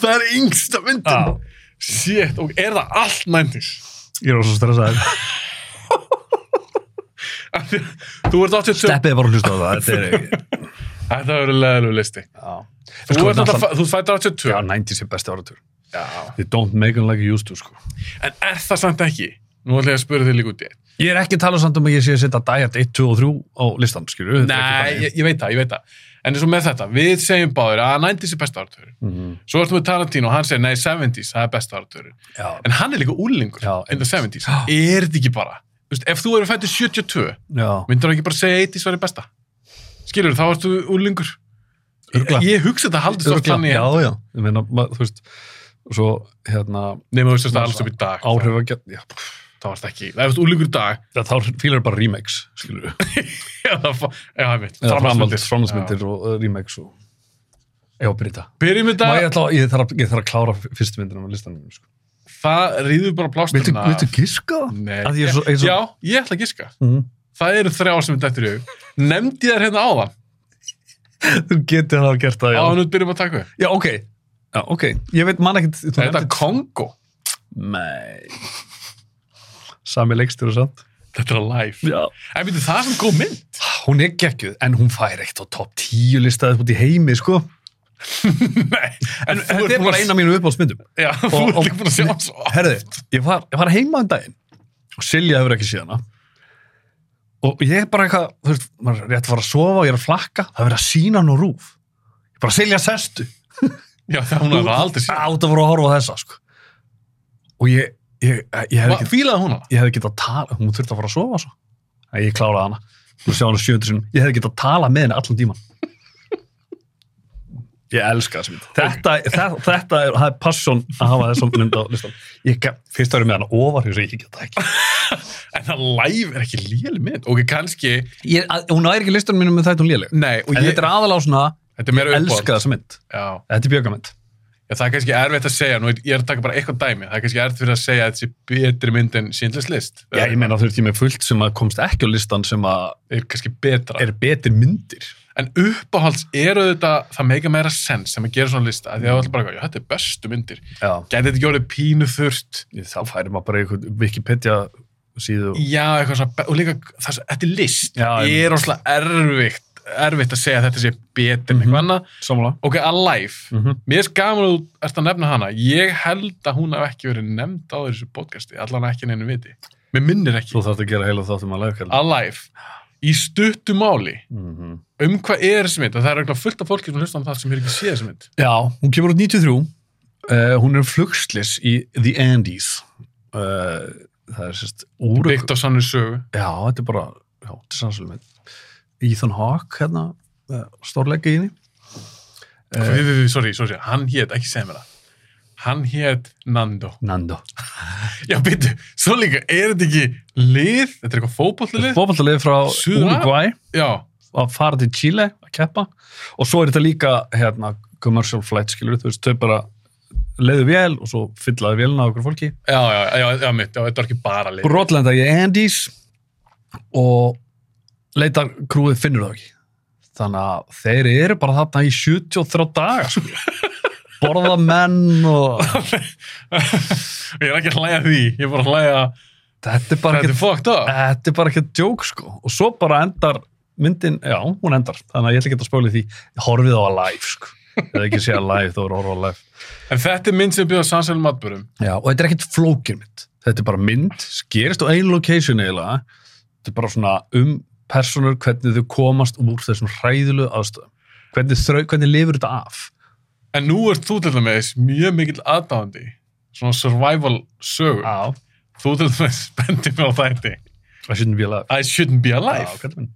Speaker 5: það er yngsta myndin
Speaker 6: Já.
Speaker 5: shit, og er það allt 90s?
Speaker 6: Ég er á svo stressaður
Speaker 5: Af því að Þú ert 82
Speaker 6: Steppið var að hlusta á það, þetta er
Speaker 5: Þetta verður leðilegu listi Þú,
Speaker 6: Sko,
Speaker 5: ert
Speaker 6: náttúrulega-
Speaker 5: náttúrulega- þú fættir 82
Speaker 6: Já, 90s er besti áratur
Speaker 5: Já.
Speaker 6: They don't make them like you used to, sko
Speaker 5: En er það samt ekki? Nú ætla ég að spura þig líka út í eitt.
Speaker 6: Ég er ekki að tala samt um að ég sé að setja Diet 1, 2 og 3 á listan, skilju
Speaker 5: Nei, ég, ég veit það, ég veit það En eins og með þetta, við segjum báður að 90s er besta áratöður
Speaker 6: Mhm.
Speaker 5: Svo ertum við Tarantino og hann segir nei, 70s, það er besta áratöður
Speaker 6: Já,
Speaker 5: En hann er líka úlingur
Speaker 6: Já,
Speaker 5: in the 70s Er þetta ekki bara? Þú Veist, ef þú eru fættur 72
Speaker 6: já
Speaker 5: myndir hann ekki bara segja 80s væri besta Skilur, þá ertu úlingur
Speaker 6: Örugglega.
Speaker 5: Ég hugsa þetta haldist oft
Speaker 6: Örugglega,
Speaker 5: þannig
Speaker 6: Já, já, ég meina, maður, þú veist Svo, hérna
Speaker 5: Nefnum þú sérst að alls upp í dag sko.
Speaker 6: Áhrif að geta, já
Speaker 5: Þá varst ekki, það varst úlingur í dag
Speaker 6: Það þá fílar bara remakes, skilju
Speaker 5: Já, það fá- já, ég veit,
Speaker 6: Framhaldsmyndir
Speaker 5: Já.
Speaker 6: Framhaldsmyndir og uh, remakes og Já, Brita
Speaker 5: Byrjum þetta,
Speaker 6: Má ég ætla, ég þarf, að- ég þarf að klára fyrstu myndina á listanum, sko
Speaker 5: það rýður bara plásturna.
Speaker 6: Viltu, viltu giska?
Speaker 5: Nei.
Speaker 6: Að ég er svo, ég er svo
Speaker 5: Já, ég ætla að giska.
Speaker 6: Mhm.
Speaker 5: Það eru þrjá sem þetta eftir í hug. Nefndi ég þær hérna áðan,
Speaker 6: Þú getur það gert það, já.
Speaker 5: áðan við byrjum að taka upp.
Speaker 6: Já, ok. Já, ok. Ég veit mann ekkert... þú
Speaker 5: Það er
Speaker 6: nefndir-
Speaker 5: þetta Kongo.
Speaker 6: Nei. Sami leikstur og samt.
Speaker 5: Þetta er live. En veitu, það er svona góð mynd.
Speaker 6: Hún er geggjuð, en hún fær ekkert á topp 10 listaðið út í heimi, sko.
Speaker 5: Nei, en þú
Speaker 6: Þetta
Speaker 5: ert
Speaker 6: er
Speaker 5: búin
Speaker 6: bara
Speaker 5: að-
Speaker 6: eina af mínu uppáhaldsmyndum.
Speaker 5: Já, þú
Speaker 6: Og-
Speaker 5: ert
Speaker 6: og-
Speaker 5: líka búin að sjá hann svo. oft.
Speaker 6: Herði, ég var, ég var heima um daginn og Silja hefur ekki síðan að. Og ég er bara eitthvað, þú veist, maður er rétt að fara að sofa og ég er að flakka, það er verið að sína hann og rúf. Ég bara Silja sestu.
Speaker 5: Já, það hún er bara aldrei síðan.
Speaker 6: Átt að fara að horfa á þessa, sko. Og ég, ég, ég, ég hef ekki
Speaker 5: Hvað fílaði hún hana?
Speaker 6: ég hefði getað að tala, hún þurfti að fara að sofa svo. Nei, ég kláraði hana. Þú sjá hana sjöndur sinum. Ég hefði getað að tala með henni allan tíman. Ég elska þessi mynd. Þetta, það, þetta er, það er passion að hafa þessum mynd á listan. Ég gaf, fyrst árið með hana ofar, ég segi, ég get það ekki.
Speaker 5: En það live er ekki lél mynd. Ok, kannski,
Speaker 6: Ég, að, hún er ekki listanum mínum með þetta hún lélega.
Speaker 5: nei, og
Speaker 6: En
Speaker 5: ég,
Speaker 6: þetta er aðalá svona,
Speaker 5: þetta er meira uppbóð.
Speaker 6: elska þessa mynd.
Speaker 5: Já.
Speaker 6: Þetta er bjögamynd.
Speaker 5: Já, það er kannski erfitt að segja, nú er- ég er að taka bara eitthvað dæmi, það er kannski erfitt fyrir að segja að þetta sé betri mynd en Schindler's List.
Speaker 6: Já, ég meina þurfti ég með fullt sem að komst ekki á listan sem að
Speaker 5: Er kannski betra.
Speaker 6: er betur myndir.
Speaker 5: En uppáhalds eru þetta, það meika meira sens sem að gera svona lista, af því að það er alltaf bara, eitthvað, já, þetta er bestu myndir.
Speaker 6: Já.
Speaker 5: Gæti þetta ekki orðið pínu þurft?
Speaker 6: Þá færi maður bara í einhvern Wikipedia síðu og
Speaker 5: Já, eitthvað svona, be- og líka, það, er svo- þetta er list.
Speaker 6: Já,
Speaker 5: ég er óslega erfitt erfitt að segja að þetta sé betur en
Speaker 6: Mhm.
Speaker 5: eitthvað annað.
Speaker 6: Sammála.
Speaker 5: Ok, Alive.
Speaker 6: Mm -hmm.
Speaker 5: Mér er gaman að þú ert að nefna hana. Ég held að hún hef ekki verið nefnd á þessu podcasti, allan ekki neinu viti. Mér minnir
Speaker 6: Þú
Speaker 5: ekki.
Speaker 6: þarf að gera heila þáttum að leiðkalla.
Speaker 5: Alive. Í stuttu máli,
Speaker 6: Mm -hmm.
Speaker 5: um hvað er þessi mynd? Og Það er eitthvað fullt af fólki sem hlustar um það sem hefur ekki séð þessi mynd.
Speaker 6: Já, hún kemur út 93 uh, hún er flugslis í The Andes uh, það er sérst úr
Speaker 5: Byggt á sannur sögu.
Speaker 6: Já, þetta er bara já, þetta er sannsölu mynd Ethan Hawke hérna, uh, stórleika í henni
Speaker 5: Við, við, við, sorry, sorry, hann hét, ekki segja mér það. Hann hét Nando.
Speaker 6: Nando
Speaker 5: Já, byrju, svo líka, er þetta ekki lið? Þetta er eitthvað fótbollilið?
Speaker 6: Bófaldalegi frá
Speaker 5: Suður-
Speaker 6: Uruguay
Speaker 5: Já,
Speaker 6: að fara til Chile að keppa og svo er þetta líka hérna, commercial flight skilur þú veist, þau bara leiðu vél og svo fyllaðu vélina á okkur fólki
Speaker 5: já, já, já, já, mitt, já, þetta var ekki bara lið.
Speaker 6: brotlenda í Andes og leitar krúið finnur það ekki þannig að þeir eru bara þarna í 73 daga sko. borða menn og
Speaker 5: Ég er ekki að hlæja að því, ég er bara að hlæja að
Speaker 6: þetta er bara
Speaker 5: þetta er
Speaker 6: ekki
Speaker 5: fucked up.
Speaker 6: þetta er bara ekki að djók sko og svo bara endar myndin, já hún endar þannig að ég ætla ekki að spóla því, horfið á að live sko, eða ekki sé að live þá er horfið á að live
Speaker 5: En þetta er mynd sem byrjaði á sannsælum matbörum.
Speaker 6: já, og þetta er ekkit flókir mynd þetta er bara mynd, skerist á einu location eiginlega, þetta er bara svona um personur, hvernig þau komast úr þessum hræðilegu aðstöðum hvernig, þrau, hvernig lifur þetta af
Speaker 5: En nú ert þú til dæmis mjög mikill aðdáðandi, svona survival sögu.
Speaker 6: á,
Speaker 5: Þú til dæmis bendir mér á þætti.
Speaker 6: það shouldn't be alive
Speaker 5: I shouldn't be alive.
Speaker 6: á, kallinn minn.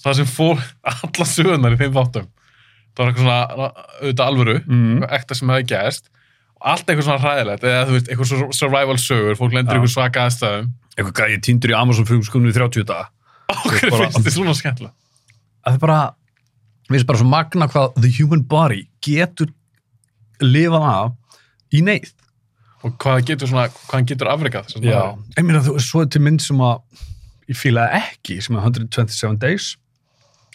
Speaker 5: Það sem fór alla sögunar í þeim þáttum. Það var eitthvað svona, auðvitað alvöru,
Speaker 6: Mm.
Speaker 5: eitthvað ekta sem hefði gerst. Og Allt eitthvað svona hræðilegt, eða þú veist, eitthvað sur- survival sögur, fólk lendur
Speaker 6: Já.
Speaker 5: ykkur svaka aðstæðum.
Speaker 6: eitthvað gæði týndur í Amazon frumskunni í 30 daga
Speaker 5: Okkur
Speaker 6: bara-
Speaker 5: finnst þið svona skemmtilega.
Speaker 6: að það er bara við erum bara svo magna hvað the human body getur lifað af í neyð
Speaker 5: Og hvað getur svona, hvað hann getur afrekað þess að
Speaker 6: ég meina þú svo er til mynd sem að ég fílaði ekki sem er 127 days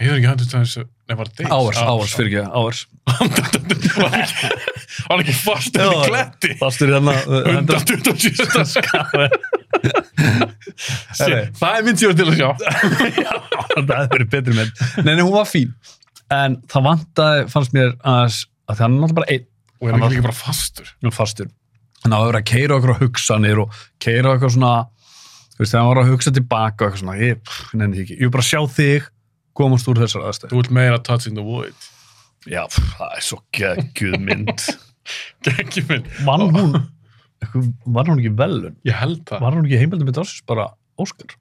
Speaker 5: Ég hefur ekki höndið til þessu, nei bara days.
Speaker 6: hours, hours fyrir ekki, hours
Speaker 5: var ekki- var ekki fast en
Speaker 6: Já.
Speaker 5: kletti
Speaker 6: fastur í þarna uh, 100
Speaker 5: 127 skafi það er minn tíma til að sjá
Speaker 6: það hefði verið betri mynd nei, nei, hún var fín en það vantaði, fannst mér að, að það er náttúrulega bara einn
Speaker 5: og er hann ekki líka bara fastur
Speaker 6: og fastur en það var að vera að keira okkur á hugsanir og keira okkur svona þú veist, þegar maður var að hugsa tilbaka og eitthvað svona, ég pff, nenni því ekki, ég vil bara sjá þig komast úr þessar aðstæður
Speaker 5: þú ert meira touching the wood
Speaker 6: já, pff, það er svo geggjuð mynd
Speaker 5: ekki minn,
Speaker 6: vann hún eitthvað- vann hún ekki velun,
Speaker 5: ég held það
Speaker 6: vann hún ekki heimildin með dásins bara Óskar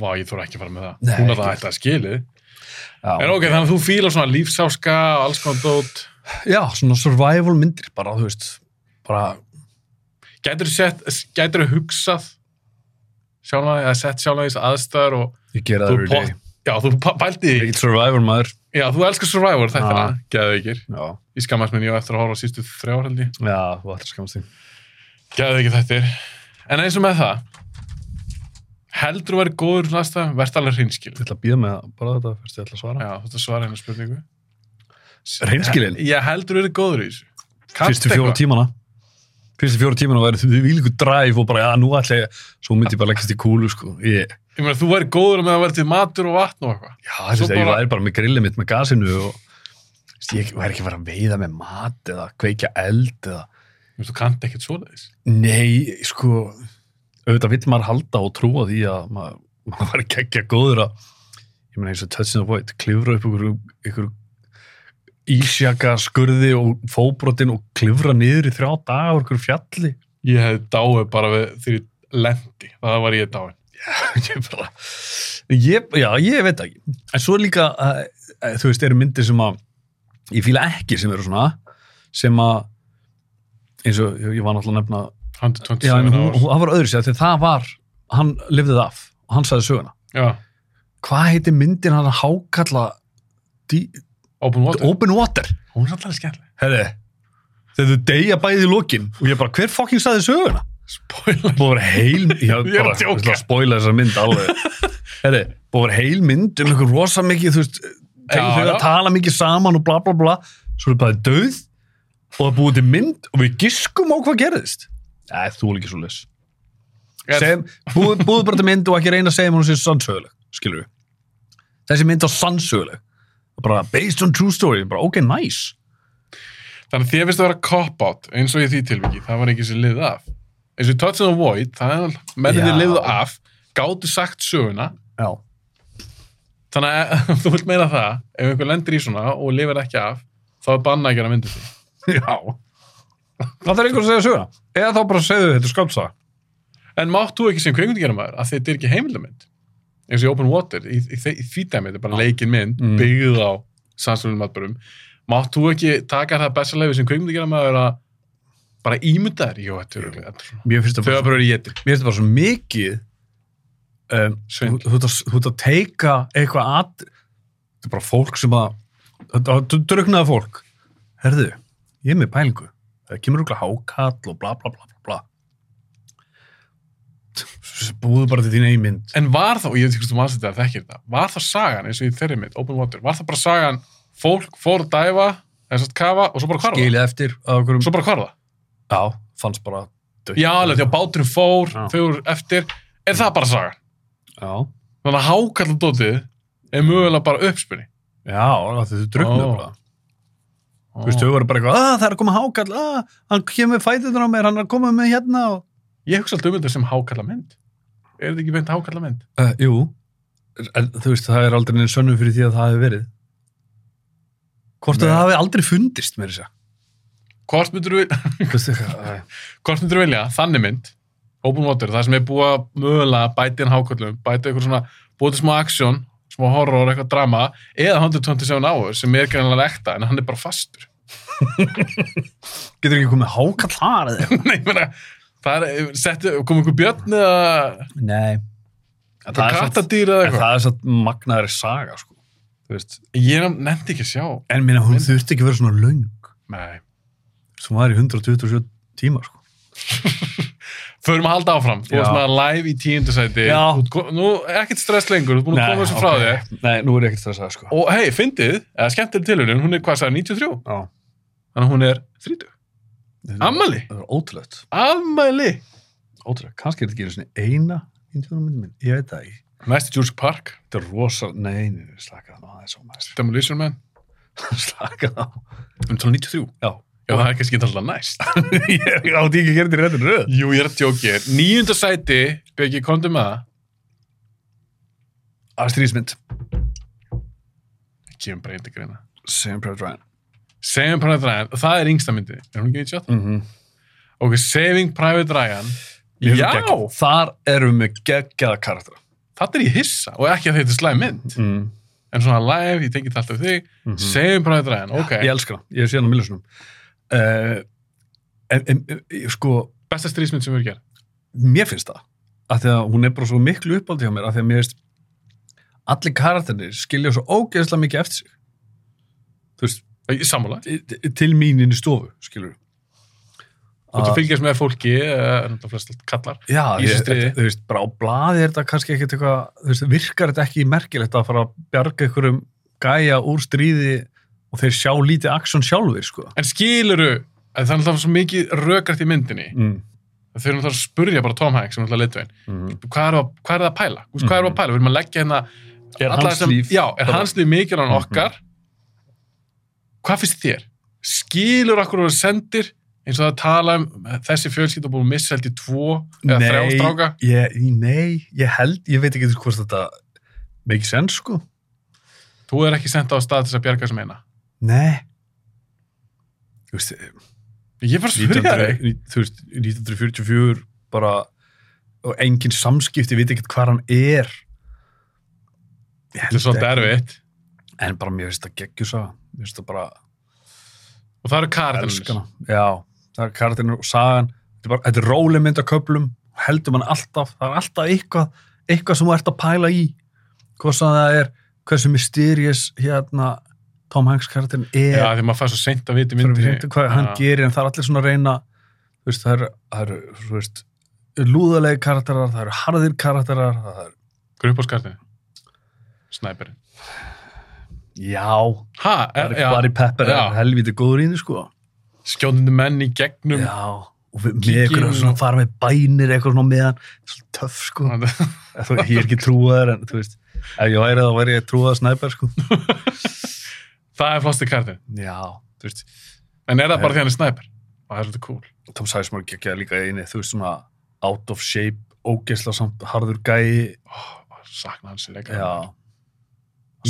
Speaker 5: vá, ég þurfa ekki að fara með það
Speaker 6: Nei,
Speaker 5: hún
Speaker 6: ekki.
Speaker 5: er það ætti að skilið
Speaker 6: já,
Speaker 5: en ok, þannig að þú fílar svona lífsáska og alls konar dót
Speaker 6: já, svona survival myndir bara, þú veist bara,
Speaker 5: gætur þú gætur þú hugsað sjálf að sett sjálf að þess aðstæður og
Speaker 6: ég gera það
Speaker 5: þú
Speaker 6: every day
Speaker 5: pott já, þú pa- pældi í-
Speaker 6: ekkert survival maður
Speaker 5: já, þú elskar Survivor þetta
Speaker 6: Ah.
Speaker 5: er geðveikir
Speaker 6: já,
Speaker 5: ég skammast mér ég eftir að horfa á sístu þrjár held ég
Speaker 6: já, þú ætlar að skamast þig
Speaker 5: Gæði ekki þættir. En eins og með það, heldur þú verið góður úr næsta, verðt alveg hreinskil.
Speaker 6: ég ætla að býða með bara þetta, fyrst ég ætla að svara
Speaker 5: Já, þú ert að svara hennar spurningu.
Speaker 6: reynskilin
Speaker 5: Já, heldur þú verið góður í þessu.
Speaker 6: fyrstu fjóra tímana fyrstu fjóra tímana væri því vilku dræf og bara, já, nú ætla ég svo myndi ég bara leggast í kúlu, sko ég,
Speaker 5: Ég meina, þú verið góður með að verið til matur og vatn og eitthvað.
Speaker 6: já, þess
Speaker 5: Svo
Speaker 6: að ég
Speaker 5: bara-
Speaker 6: væri bara með grillið mitt með gasinu og þess, ég væri ekki að fara að veiða með mat eða kveikja eld eða,
Speaker 5: Ég meina, þú kannt ekkert svoleiðis.
Speaker 6: nei, sko auðvitað vill maður halda og trúa því að maður, maður væri geggja góður að ég meina eins og touching the void, klifra upp ykkur, ykkur ísjaka skurði og fóbrotin og klifra niður í þrjá daga og ykkur fjalli
Speaker 5: Ég hefði dáið bara við því lendi. Það var ég dáin.
Speaker 6: ég bara ég, já, ég veit það ekki en svo er líka, uh, uh, þú veist, eru myndir sem að ég fíla ekki sem eru svona sem að eins og ég ég var náttúrulega að nefna já, en
Speaker 5: 127
Speaker 6: hún,
Speaker 5: ára.
Speaker 6: hún, það var öðru sér, þegar það var hann lifði það af og hann sagði söguna
Speaker 5: Já,
Speaker 6: hvað heitir myndin hann að hákalla dí,
Speaker 5: Open Water.
Speaker 6: Open Water
Speaker 5: Hún er alltaf skemmtileg.
Speaker 6: herri, þegar þau deyja bæði í lokin og ég bara, hver fucking sagði söguna
Speaker 5: Spoiler.
Speaker 6: búið að vera heil ég hef
Speaker 5: Ég er að
Speaker 6: bara
Speaker 5: djóka.
Speaker 6: ég ætla að spoila þessa mynd alveg Heri, búið að vera heil mynd um einhver rosa mikið þú veist,
Speaker 5: Já,
Speaker 6: þegar
Speaker 5: já.
Speaker 6: það tala mikið saman og bla bla bla svo er bara döð og það er búið til mynd og við giskum á hvað gerðist Nei, þú er ekki svo les
Speaker 5: Ég-
Speaker 6: um búið, búið bara til mynd og ekki reyna að segja mér hún sé sannsöguleg, skilur við þessi mynd á sannsöguleg Og bara based on true story, bara ok, nice
Speaker 5: Þannig að þér finnst það að vera cop-out eins og í því tilviki, það var ekki sem liðið af. Eins og í Touch and Void, það er mennir
Speaker 6: Já.
Speaker 5: liðið af, gáttu sagt söguna,
Speaker 6: Já,
Speaker 5: þannig að ef þú vilt meina það, ef einhver lendir í svona og lifir ekki af, þá er banna ekki að mynda því.
Speaker 6: já Það þarf einhvern að segja söguna Eða þá bara segðu þetta skálsa
Speaker 5: En mátt þú ekki sem kveikmyndagerðamæður að þetta er ekki heimildamynd, eins og í Open Water, í, í, í, í því dæmi, þetta er bara leikin mynd,
Speaker 6: Mm.
Speaker 5: byggð á sannsvöldum matbörum, mátt þú ekki taka það bestalegi sem kveikmyndagerðamæður að bara ímynda þér, jú, þetta er örugglega-
Speaker 6: Mér finnst það
Speaker 5: Þau
Speaker 6: bara
Speaker 5: að bara í jeti.
Speaker 6: mér finnst það bara svo mikið um, þú
Speaker 5: Svindl.
Speaker 6: þú ert að, þú ert að teika eitthvað að þetta er bara fólk sem að þetta þetta er druknaða fólk herðu, ég er með pælingu það kemur okkur hákall og bla bla bla bla, bla. búðu bara til þín eigin mynd
Speaker 5: En var það, og ég veit ekki hvort þú manst þetta að þekkir þetta, var það sagan eins og í þeirri mitt, Open Water, var það bara sagan fólk fór að dæfa, eða svo að kafa og svo bara hvarfa?
Speaker 6: skilja eftir að okkur um-
Speaker 5: Svo bara hvarfa?
Speaker 6: já, fannst bara dautt.
Speaker 5: Já, alveg, því að báturinn fór,
Speaker 6: Já.
Speaker 5: þau voru eftir, er það bara sagan?
Speaker 6: já,
Speaker 5: Þannig að hákalladótið er mögulega bara uppspunni.
Speaker 6: já, af því þau druknaðu
Speaker 5: Ó.
Speaker 6: bara Þú veist, þau voru bara eitthvað, að það er að koma hákall, að hann kemur fætutur á mér, hann er að koma með hérna og
Speaker 5: Ég hugsa alltaf um þetta sem hákallamynd. Er þetta ekki beint hákallamynd?
Speaker 6: Uh, jú, en þú veist, það er aldrei neins sönnum fyrir því að það hefði verið. Hvort að
Speaker 5: Nei.
Speaker 6: það hefði aldrei fundist, mér þess að.
Speaker 5: Hvort myndur við...
Speaker 6: segja.
Speaker 5: hvort myndur vilja, þannig mynd open water, það sem er búið að mögulega bæti inn hákvöldum, bæti eitthvað svona búið til smá aksjón, smá horror, eitthvað drama eða 127 hours sem er greinlega ekta en hann er bara fastur
Speaker 6: Getur ekki komið hákall þar eða?
Speaker 5: Nei, ég meina, það er, setti, kom einhver björn eða
Speaker 6: Nei. En það, er satt,
Speaker 5: kattadýr eða
Speaker 6: en
Speaker 5: eitthvað
Speaker 6: það er satt magnaðri saga, sko. Þú veist.
Speaker 5: ég nefndi ekki að sjá
Speaker 6: En minna, hún þurfti ekki að vera svona löng.
Speaker 5: Nei.
Speaker 6: Svo var í 127 tíma, sko.
Speaker 5: förum að halda áfram, þú
Speaker 6: Já.
Speaker 5: varst með live í tíundasæti
Speaker 6: Já.
Speaker 5: nú, ekkert stress lengur, þú ert búin að koma þessu frá þér
Speaker 6: þig. Nei, nú er ég ekkert stressað, sko.
Speaker 5: og hei, fyndið, eða skemmtileg tilhörun hún er hvað sagði, 93,
Speaker 6: Já.
Speaker 5: þannig að hún er 30, ammali
Speaker 6: Það er ótrúlegt.
Speaker 5: afmæli
Speaker 6: Ótrúlegt. Kannski er þetta ekki einu sinni eina índjónum myndi minn. Ég veit það ekki.
Speaker 5: næst í Jurassic Park,
Speaker 6: Þetta er rosa... Nei, nei, nei, slaka það nú aðeins á maður.
Speaker 5: Demolition Man
Speaker 6: slaka á
Speaker 5: um 1993,
Speaker 6: já,
Speaker 5: já það er kannski ekki alltaf næst
Speaker 6: ég átti ekki að gera þetta í réttin röð
Speaker 5: jú ég er að tjóki þér, níunda sæti Beggi, komdu með það,
Speaker 6: Astrísmynd
Speaker 5: það kemur bara einn til greina
Speaker 6: Sam Pride Ryan
Speaker 5: Saving Private Ryan, það er yngsta myndi er hún ekki 98?
Speaker 6: mm -hmm.
Speaker 5: ok, Saving Private Ryan já,
Speaker 6: þar erum við með geggjaða karakter
Speaker 5: þetta er í hissa og ekki að þetta er slæm mynd
Speaker 6: mm.
Speaker 5: en svona live, ég tengi þetta alltaf við þig
Speaker 6: Mhm.
Speaker 5: Saving Private Ryan, ok,
Speaker 6: ég elska hana, ég sé hana á millusunum uh, en, en en, sko,
Speaker 5: besta strísmynd sem við erum gerð
Speaker 6: mér finnst það að því að hún er bara svo miklu uppáldi hjá mér að því að mér finnst allir karakternir skilja svo ógeðslega mikið eftir sig þú veist,
Speaker 5: Ég- sammála,
Speaker 6: til- til mín inn í stofu skilur
Speaker 5: og þú fylgjast með fólki eh, en það flest kallar
Speaker 6: Ah, Já,
Speaker 5: í þessu
Speaker 6: ég-
Speaker 5: stríði.
Speaker 6: þetta- þú veist, bara á blaði er þetta kannski ekkert eitthvað, þú veist, virkar þetta ekki merkilegt að fara að bjarga einhverjum gæja úr stríði og þeir sjá lítið aksjón sjálfur, sko.
Speaker 5: en skiluru, að það er alltaf svo mikið rökrætt í myndinni
Speaker 6: Mm.
Speaker 5: þau eru náttúrulega að spurja bara Tom Hanks sem er náttúrulega litvegin,
Speaker 6: Mm.
Speaker 5: hvað er að, hvað er að pæla Þú veist, hvað er að pæla, við erum að leggja hérna
Speaker 6: Mhm. Er
Speaker 5: alla
Speaker 6: hans
Speaker 5: þessam-
Speaker 6: líf- Mhm.
Speaker 5: já, er hans líf mikilvæg en okkar hvað finnst þér skilur okkur og sendir eins og það að tala um þessi fjölskyld og búið að missa held í tvo eða þrjá stráka
Speaker 6: Nei, ég, nei, ég held, ég veit ekki hvort þetta make sense, sko.
Speaker 5: þú er ekki sendt á stað til þess að bjarga sem eina
Speaker 6: Nei. Þú veist,
Speaker 5: ég var að spurja þig
Speaker 6: 1900, þú veist, 1944 bara, og engin samskipti, ég veit ekki hvað hann er.
Speaker 5: þetta er svolítið erfitt
Speaker 6: En bara mér finnst það geggjusaga, mér finnst það bara...
Speaker 5: og það eru kardinnir
Speaker 6: Elskana. Já, það er karatinn og sagan. Þetta er, bara, þetta er róleg mynd að köplum, heldur mann alltaf, það er alltaf eitthvað, eitthvað sem þú ert að pæla í. Hvað sem það er, hversu mysterious hérna Tom Hanks karatinn er,
Speaker 5: já því maður fær svo seint að vita í
Speaker 6: þurfum við
Speaker 5: myndinni
Speaker 6: reynda um hvað hann
Speaker 5: Já.
Speaker 6: gerir, en það er allir svona að reyna, þú veist, það eru, það eru, þú veist, lúðalegi karakterar, það eru harðir karakterar, það eru,
Speaker 5: hver er upp á skartinni snæperinn
Speaker 6: já,
Speaker 5: ha,
Speaker 6: það
Speaker 5: er,
Speaker 6: eru
Speaker 5: já,
Speaker 6: Barry Pepper,
Speaker 5: Já.
Speaker 6: er helviti góður í því, sko.
Speaker 5: skjóndandi menn í gegnum
Speaker 6: Já, Um og við, með
Speaker 5: Kíkjum
Speaker 6: eitthvað svona
Speaker 5: og-
Speaker 6: fara með bænir eitthvað svona á meðan, svolítið töff, sko.
Speaker 5: Þetta-
Speaker 6: Þú- ég er ekki trúaður en þú veist Ef ég væri þá væri ég trúða snæper, sko.
Speaker 5: Það er flósti kartin.
Speaker 6: Já, þú veist,
Speaker 5: En er það bara
Speaker 6: Nei.
Speaker 5: því hann er snæper? Og það er svolítið cool.
Speaker 6: Tom Sizemore gekkjaði líka eini, þú veist, svona out of shape, ógeðsla samt, harður gæi.
Speaker 5: Oh, sakna hans í leika.
Speaker 6: Já.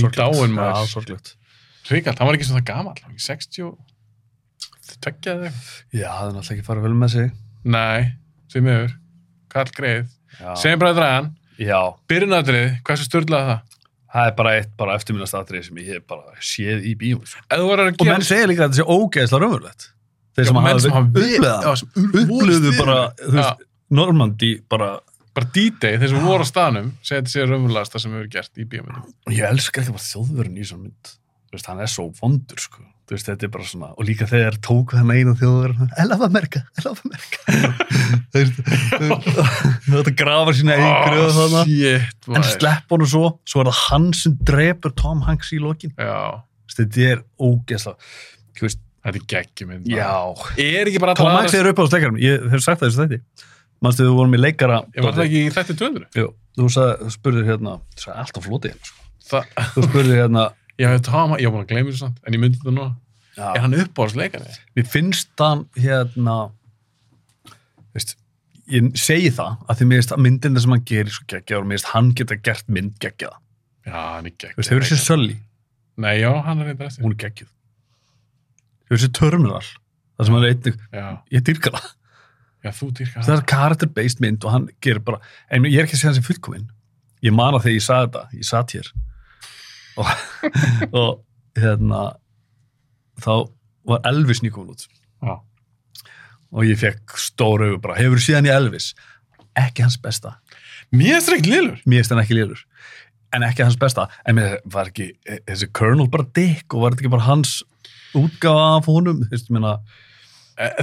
Speaker 5: Sorglegt. Dáin
Speaker 6: Já,
Speaker 5: maður.
Speaker 6: sorglegt.
Speaker 5: Ríkald, hann var ekki svona gamall. Hann var ekki 60 og... Tveggjaði eitthvað.
Speaker 6: Já, það er náttúrulega ekki farið vel með sig.
Speaker 5: Nei, því miður. Karl Greið.
Speaker 6: Já.
Speaker 5: Segjum bara að dragan.
Speaker 6: Já,
Speaker 5: Byrjunadrið, hversu störlaði það?
Speaker 6: það er bara eitt bara eftirminnast atrið sem ég hef bara séð í sko. bíum.
Speaker 5: Ef þú verður að
Speaker 6: Og
Speaker 5: gera...
Speaker 6: menn segja líka að þetta sé ógeðsla raunverulegt. Þeir
Speaker 5: Já,
Speaker 6: sem
Speaker 5: menn sem
Speaker 6: hafa
Speaker 5: hafa verið-
Speaker 6: upplöða,
Speaker 5: Já, sem voru
Speaker 6: upplöðu
Speaker 5: stiðir.
Speaker 6: bara, þú
Speaker 5: Já.
Speaker 6: veist, Normandi bara,
Speaker 5: bara D-Day, þeir sem voru á staðnum segja þetta sé raunverulegast það sem hefur verið gert í bíómyndum
Speaker 6: og ég elska ekki bara þjóðverðin í svona mynd. Þú veist, hann er svo vondur, sko. Þú veist, þetta er bara svona, og líka þegar tók hann einu þjóðverðin, elaf að merka, elaf að merka. þú veist, þú veist, þetta grafar sína einu gröðu þarna.
Speaker 5: Oh, shit,
Speaker 6: En
Speaker 5: maður.
Speaker 6: slepp honum svo, svo er það hann sem drepur Tom Hanks í lokin.
Speaker 5: já,
Speaker 6: Þú veist, Þetta er ógeðsla. Þú veist,
Speaker 5: þetta er geggjumynd maður.
Speaker 6: já,
Speaker 5: er ekki bara
Speaker 6: Tom Hanks er upp á sleikarum, ég hef sagt það þessu þætti Manstu við vorum í leikara
Speaker 5: ég var það ekki í þetta 200
Speaker 6: Jú, þú, sagði, þú spurðir hérna, þú sagði allt á floti hérna, sko.
Speaker 5: það,
Speaker 6: Þú spurðir hérna
Speaker 5: ég hef Tom, ég var búin að gleyma þessu samt en ég myndi þetta nú, er
Speaker 6: já,
Speaker 5: hann uppbóðsleikari
Speaker 6: Mér finnst hann hérna veist, Ég segi það að því mér finnst að myndina sem hann gerir svo geggja og mér finnst hann geta gert mynd geggja
Speaker 5: já, hann er
Speaker 6: Þú veist, hefur þessi
Speaker 5: geggjumynd
Speaker 6: Sölli,
Speaker 5: nei, já, hann er reyndar eftir
Speaker 6: hún er geggjuð Hefur þessi Terminal það sem hann er einnig,
Speaker 5: já,
Speaker 6: ég dýrka það
Speaker 5: já, þú dýrka
Speaker 6: það er character-based mynd og hann gerir bara en ég er ekki að segja hans í fullkominn ég man að þegar ég sagði þetta, ég satt hér og, og hérna þá var Elvis nýkomin út
Speaker 5: Já.
Speaker 6: og ég fekk stóra augu bara, hefur síðan í Elvis ekki hans besta,
Speaker 5: mér er strengt liður
Speaker 6: mér finnst hann ekki lýður en ekki hans besta, en mér var ekki e- þessi Colonel bara dick og var þetta ekki bara hans útgáfa af honum, þú veist, ég meina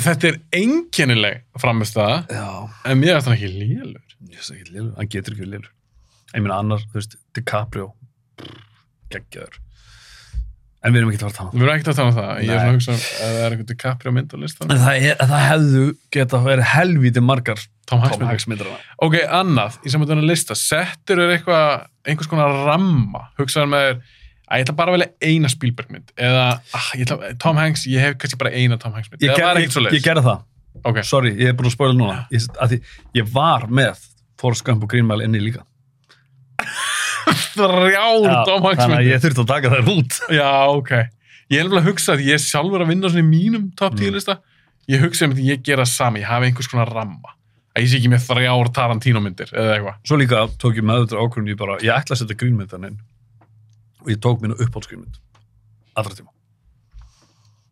Speaker 5: þetta er einkennileg framist það
Speaker 6: já,
Speaker 5: en mér er þetta ekki liður
Speaker 6: Ég veist ekki lélur, hann getur ekki lélur. Ég meina annar, þú veist, DiCaprio, geggjaður. En við erum ekki til að fara að tala.
Speaker 5: við erum ekkert að tala um það, ég er
Speaker 6: Nei.
Speaker 5: svona að hugsa um ef það er einhvern DiCaprio mynd á listan
Speaker 6: En það, er, það hefðu geta verið helvítið margar
Speaker 5: Tom Hanks
Speaker 6: Tom
Speaker 5: myndir.
Speaker 6: Hanks myndir hana.
Speaker 5: Ok, annað, í samvættunum lista, settur er eitthvað, einhvers konar ramma, hugsaður með þér, að ég ætla bara að velja eina Spielbergmynd, eða ah, ég ætla, Tom Hanks, ég hef kannski bara eina Tom Hanksmynd,
Speaker 6: Ég,
Speaker 5: eða
Speaker 6: ger,
Speaker 5: var
Speaker 6: ég,
Speaker 5: ekkert svo
Speaker 6: ég gerði það.
Speaker 5: Ok,
Speaker 6: Sorry, ég er búin að spóla núna. Ég, að því, ég var með Forrest Gump og Green Mile inni líka.
Speaker 5: þrjár Tom
Speaker 6: þannig að
Speaker 5: Hanksmyndir.
Speaker 6: ég þurfti að taka þær út.
Speaker 5: Já, ok. Ég er nefnilega að hugsa að ég er sjálfur að vinna svona í mínum top 10 lista, ég hugsa um að ég gera það sami, ég hafi einhvers konar ramma, að ég sé ekki með þrjár Tarantino myndir, eða eitthvað.
Speaker 6: Svo líka tók ég meðutur ákvörðun, ég bara, ég ætla að setja Green Mile þannig inn. Og ég tók mínu uppáhaldsgrínmynd. Allra tíma.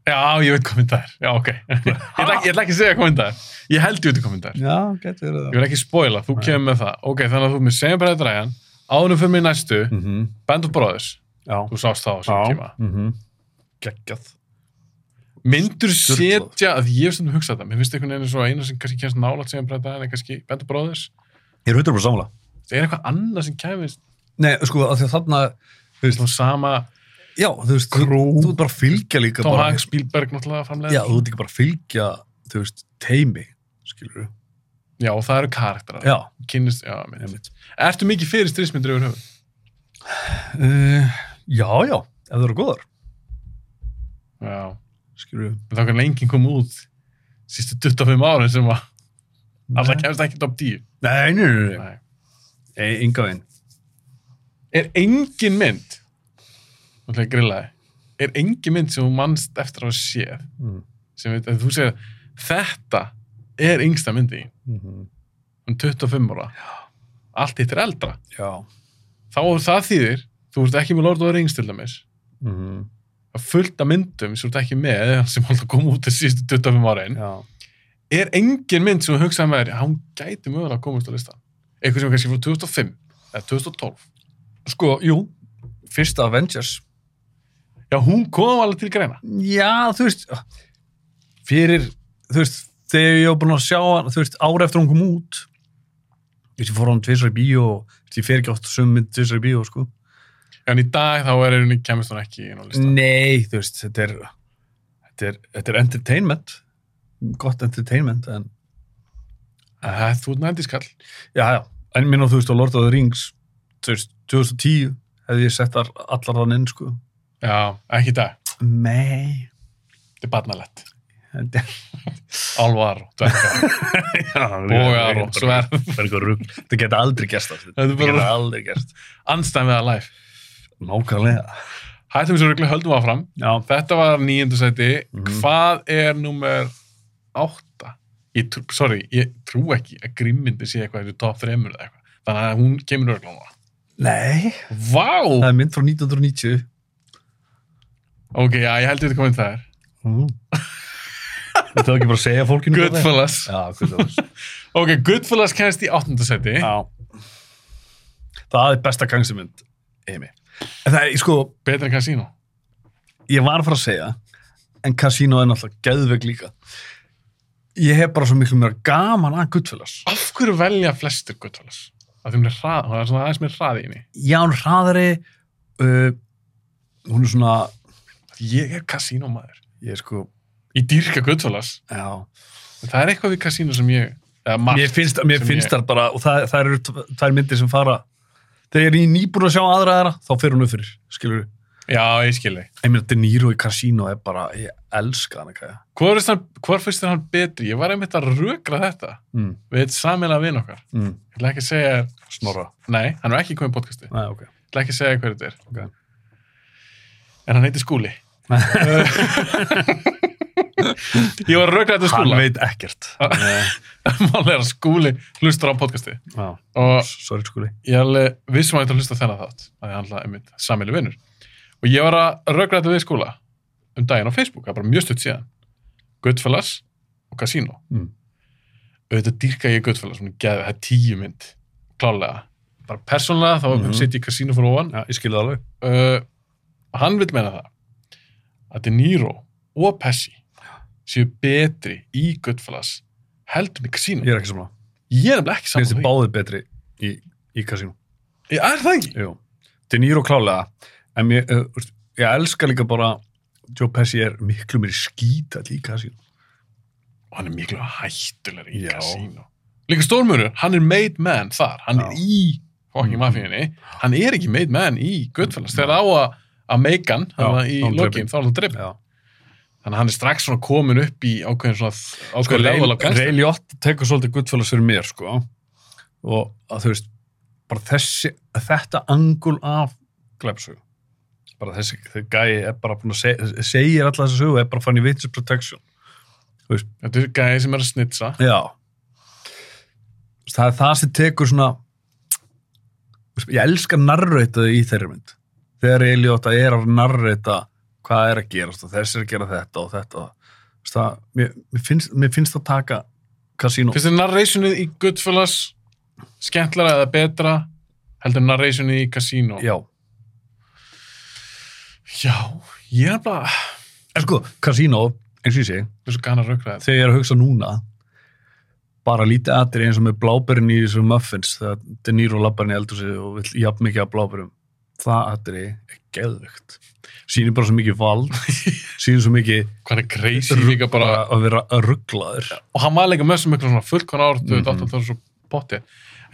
Speaker 5: Já, ég veit hvað mynd það er. Já, ok. ég, ætla, ekki- ég ætla ekki að segja hvað mynd það er. Ég held ég veit hvað mynd það er.
Speaker 6: Já, getur verið
Speaker 5: Ég vil ekki spoila, þú kemur með það. Ok, þannig að þú ert með segjum bara þetta ræðan, áðunum fyrir mig í næstu,
Speaker 6: Mhm.
Speaker 5: Band of Brothers,
Speaker 6: Já.
Speaker 5: þú sást það á sem tíma.
Speaker 6: -hmm. geggjað
Speaker 5: Myndur
Speaker 6: Sturlað.
Speaker 5: setja, að ég hef stundum hugsað það, mér finnst einhvern veginn svo að eina sem kannski kemst nálat segjum bara þetta ræðan er kannski Band of Brothers.
Speaker 6: ég er hundra bara samla
Speaker 5: Það er eitthvað annað sem kemist,
Speaker 6: nei, sko, af því að þarna þú veist,
Speaker 5: svona sama
Speaker 6: já, þú veist, þú, þú ert bara að fylgja líka
Speaker 5: Tom
Speaker 6: bara,
Speaker 5: Hanks, Spielberg náttúrulega framlega.
Speaker 6: já, þú ert ekki bara að fylgja þú veist, teimi, skilur við
Speaker 5: Já, og það eru karakterar.
Speaker 6: já,
Speaker 5: Kynnist, já, mynd.
Speaker 6: einmitt
Speaker 5: Ertu mikið fyrir strísmyndir yfir höfuð?
Speaker 6: uh, já, já, ef þú eru góðar
Speaker 5: Já.
Speaker 6: skilur við
Speaker 5: En þá kannar enginn kom út sístu 25 árin sem að alltaf kemst ekki top 10.
Speaker 6: nei, nei, nei, nei.
Speaker 5: Nei.
Speaker 6: nei enga veginn
Speaker 5: er engin mynd og það grillaði er engin mynd sem þú manst eftir að hafa séð
Speaker 6: Mm.
Speaker 5: sem við, að þú segir þetta er yngsta myndi
Speaker 6: Mhm.
Speaker 5: um 25 ára allt hitt er eldra
Speaker 6: já
Speaker 5: þá það þýðir, þú ert ekki með Lord of the Rings til dæmis
Speaker 6: Mhm.
Speaker 5: að fullta myndum sem þú ert ekki með sem alltaf kom út þessi síðustu 25 árin
Speaker 6: já,
Speaker 5: er engin mynd sem þú um hugsaði með þér hún gæti mögulega að komast á listan eitthvað sem er kannski frá 2005 eða 2012
Speaker 6: sko, jú fyrsta Avengers
Speaker 5: já, hún kom alveg til greina
Speaker 6: Já, þú veist fyrir, þú veist þegar ég var búin að sjá hann, þú veist, ára eftir hún kom út þú veist, ég fór á hann tvisar í bíó og, þú veist, ég fer ekki oft sömu mynd tvisar í bíó, sko
Speaker 5: en í dag þá er henni kemist hún ekki inn á listan
Speaker 6: Nei, þú veist, þetta er þetta er, þetta er entertainment gott entertainment, en Mm.
Speaker 5: Það, Eh, þú ert nændískall.
Speaker 6: já, já, en minn og þú veist, og Lord of the Rings þú veist, 2010 hefði ég sett þar allar þann inn, sko.
Speaker 5: Já, ekki í dag.
Speaker 6: Nei.
Speaker 5: Þetta er barnalett.
Speaker 6: Þetta
Speaker 5: Álvar og dvergar. Bogar og sverð.
Speaker 6: Það er eitthvað rugg. Þetta geta aldrei gerst það.
Speaker 5: Þetta er bara-
Speaker 6: geta aldrei gerst.
Speaker 5: Anstæðan við að life.
Speaker 6: Nákvæmlega.
Speaker 5: Hættum við svo röglega höldum áfram.
Speaker 6: Já. Mhm.
Speaker 5: Þetta var nýjendu sæti. Hvað er nummer átta? Ég trú, sorry, ég trú ekki að grimmindi sé eitthvað í top 3 eða eitthvað. Þannig að hún kemur röglega núna.
Speaker 6: Nei. Það
Speaker 5: Vá!
Speaker 6: er mynd frá 1990.
Speaker 5: Ok, já, ég held ég þetta komin þær.
Speaker 6: Mm. Þetta var ekki bara að segja fólkinu. frá þeim?
Speaker 5: Goodfellas.
Speaker 6: Já, Goodfellas.
Speaker 5: Ok, Goodfellas kennst í áttundu sæti.
Speaker 6: Já. Það er besta gangsimynd, Amy. En það er, sko,
Speaker 5: Betra en Casino.
Speaker 6: ég var að fara að segja en Casino er náttúrulega geðveg líka ég hef bara svo miklu mér gaman að Goodfellas
Speaker 5: Af hverju velja flestir Goodfellas? Af því hún er hrað, hún er svona aðeins mér hraði í henni.
Speaker 6: já, hún er hraðari uh, hún er svona
Speaker 5: Ég er kasínómaður.
Speaker 6: ég er sko,
Speaker 5: Ég dýrka Goodfellas.
Speaker 6: já
Speaker 5: En Það er eitthvað við kasínu sem ég... Eða margt.
Speaker 6: mér finnst, mér
Speaker 5: sem
Speaker 6: finnst
Speaker 5: ég-
Speaker 6: þar bara og það, það eru tv- tvær myndir sem fara þegar ég er í nýbúin að sjá aðra aðra þá fer hún upp fyrir, skilur við
Speaker 5: Já, ég skil þig.
Speaker 6: ég meina De Niro í Casino er bara, ég elska hann ekki
Speaker 5: Hvor, finnst hann- hvor finnst þér hann betri? Ég var einmitt að rökra þetta.
Speaker 6: mm,
Speaker 5: Við eitt samilega vin okkar.
Speaker 6: mm,
Speaker 5: Ég ætla ekki að segja...
Speaker 6: snorra,
Speaker 5: Nei, hann er ekki komið í podcasti. Ég
Speaker 6: Nei, ok
Speaker 5: ætla ekki að segja hverju þetta er.
Speaker 6: Ok.
Speaker 5: En hann heitir Skúli. ég var að rökra þetta
Speaker 6: hann
Speaker 5: Skúla.
Speaker 6: veit ekkert
Speaker 5: Mál er að Skúli hlustur á podcasti.
Speaker 6: já,
Speaker 5: Og
Speaker 6: sorry skuli
Speaker 5: ég er alveg vissum að þetta hlusta á þennan þátt að ég handla einmitt samilu vinnur og ég var að rögra þetta við skóla um daginn á Facebook, það er bara mjög stutt síðan Goodfellas og Casino
Speaker 6: Mm.
Speaker 5: auðvitað dýrka ég Goodfellas hún er geð, það er tíu mynd klálega, bara persónlega þá mm
Speaker 6: Mhm.
Speaker 5: sitt ég Casino fyrir ofan
Speaker 6: já, ég skilði alveg
Speaker 5: uh, og hann vil meina það að De Niro og Pesci séu betri í Goodfellas heldur með Casino
Speaker 6: Ég er ekki samla.
Speaker 5: ég er nefnilega
Speaker 6: Mér
Speaker 5: ekki
Speaker 6: finnst
Speaker 5: saman
Speaker 6: þið báðið betri í, í kasínu.
Speaker 5: ég er það ekki
Speaker 6: Jú. De Niro klálega. En mér, uh, úrst, ég elska líka bara Joe Pesci er miklu mér skítall í kasínu.
Speaker 5: og hann er miklu hættulegri í
Speaker 6: Já.
Speaker 5: kasínu líka stórmurur, hann er made man þar hann
Speaker 6: Já. Mm.
Speaker 5: er í fokking mafíunni hann er ekki made man í Guttfellast þegar á að að make hann
Speaker 6: Já,
Speaker 5: þarna í
Speaker 6: þá er hann
Speaker 5: lokin, þá er hann dreip
Speaker 6: Já.
Speaker 5: þannig að hann er strax svona komin upp í ákveðin svona
Speaker 6: Sko,
Speaker 5: ákveðin
Speaker 6: Ray,
Speaker 5: level af
Speaker 6: Ray
Speaker 5: gangsta
Speaker 6: Liotta tekur svolítið guttfælas fyrir mér, sko. Og að þú veist, bara þessi, þetta angul af glæpsögu. Bara þessi, þessi gæi er bara búin að segja, segir alla þessi sögu, er bara fann í witness protection.
Speaker 5: þetta er gæði sem er að snitsa
Speaker 6: Já Það er það sem tekur svona ég elska narrataði í þeirri mynd þegar Eliott er að narrata hvað er að gerast og þessi er að gera þetta og þetta Þú veist, það, mér, mér, finnst, mér finnst það taka kasínó
Speaker 5: finnst þér narrationið í Guttfellas skemmtlara eða betra heldur en narrationið í kasínu
Speaker 6: Já,
Speaker 5: já, ég er bara
Speaker 6: en sko, kasínó eins og ég sé,
Speaker 5: þessu gana rökraðið
Speaker 6: þegar ég er að hugsa núna bara lítið aðri eins og með blábærin í þessum muffins þegar De Niro labbarinn í eldhúsi og vill jafn mikið af blábærum það aðri er geðvögt sýnir bara svo mikið vald sýnir svo mikið
Speaker 5: hvað er crazy líka bara
Speaker 6: að vera rugglaður
Speaker 5: og hann var líka með sem eitthvað svona fullkona ára
Speaker 6: Mhm.
Speaker 5: 2018 þá er svo potti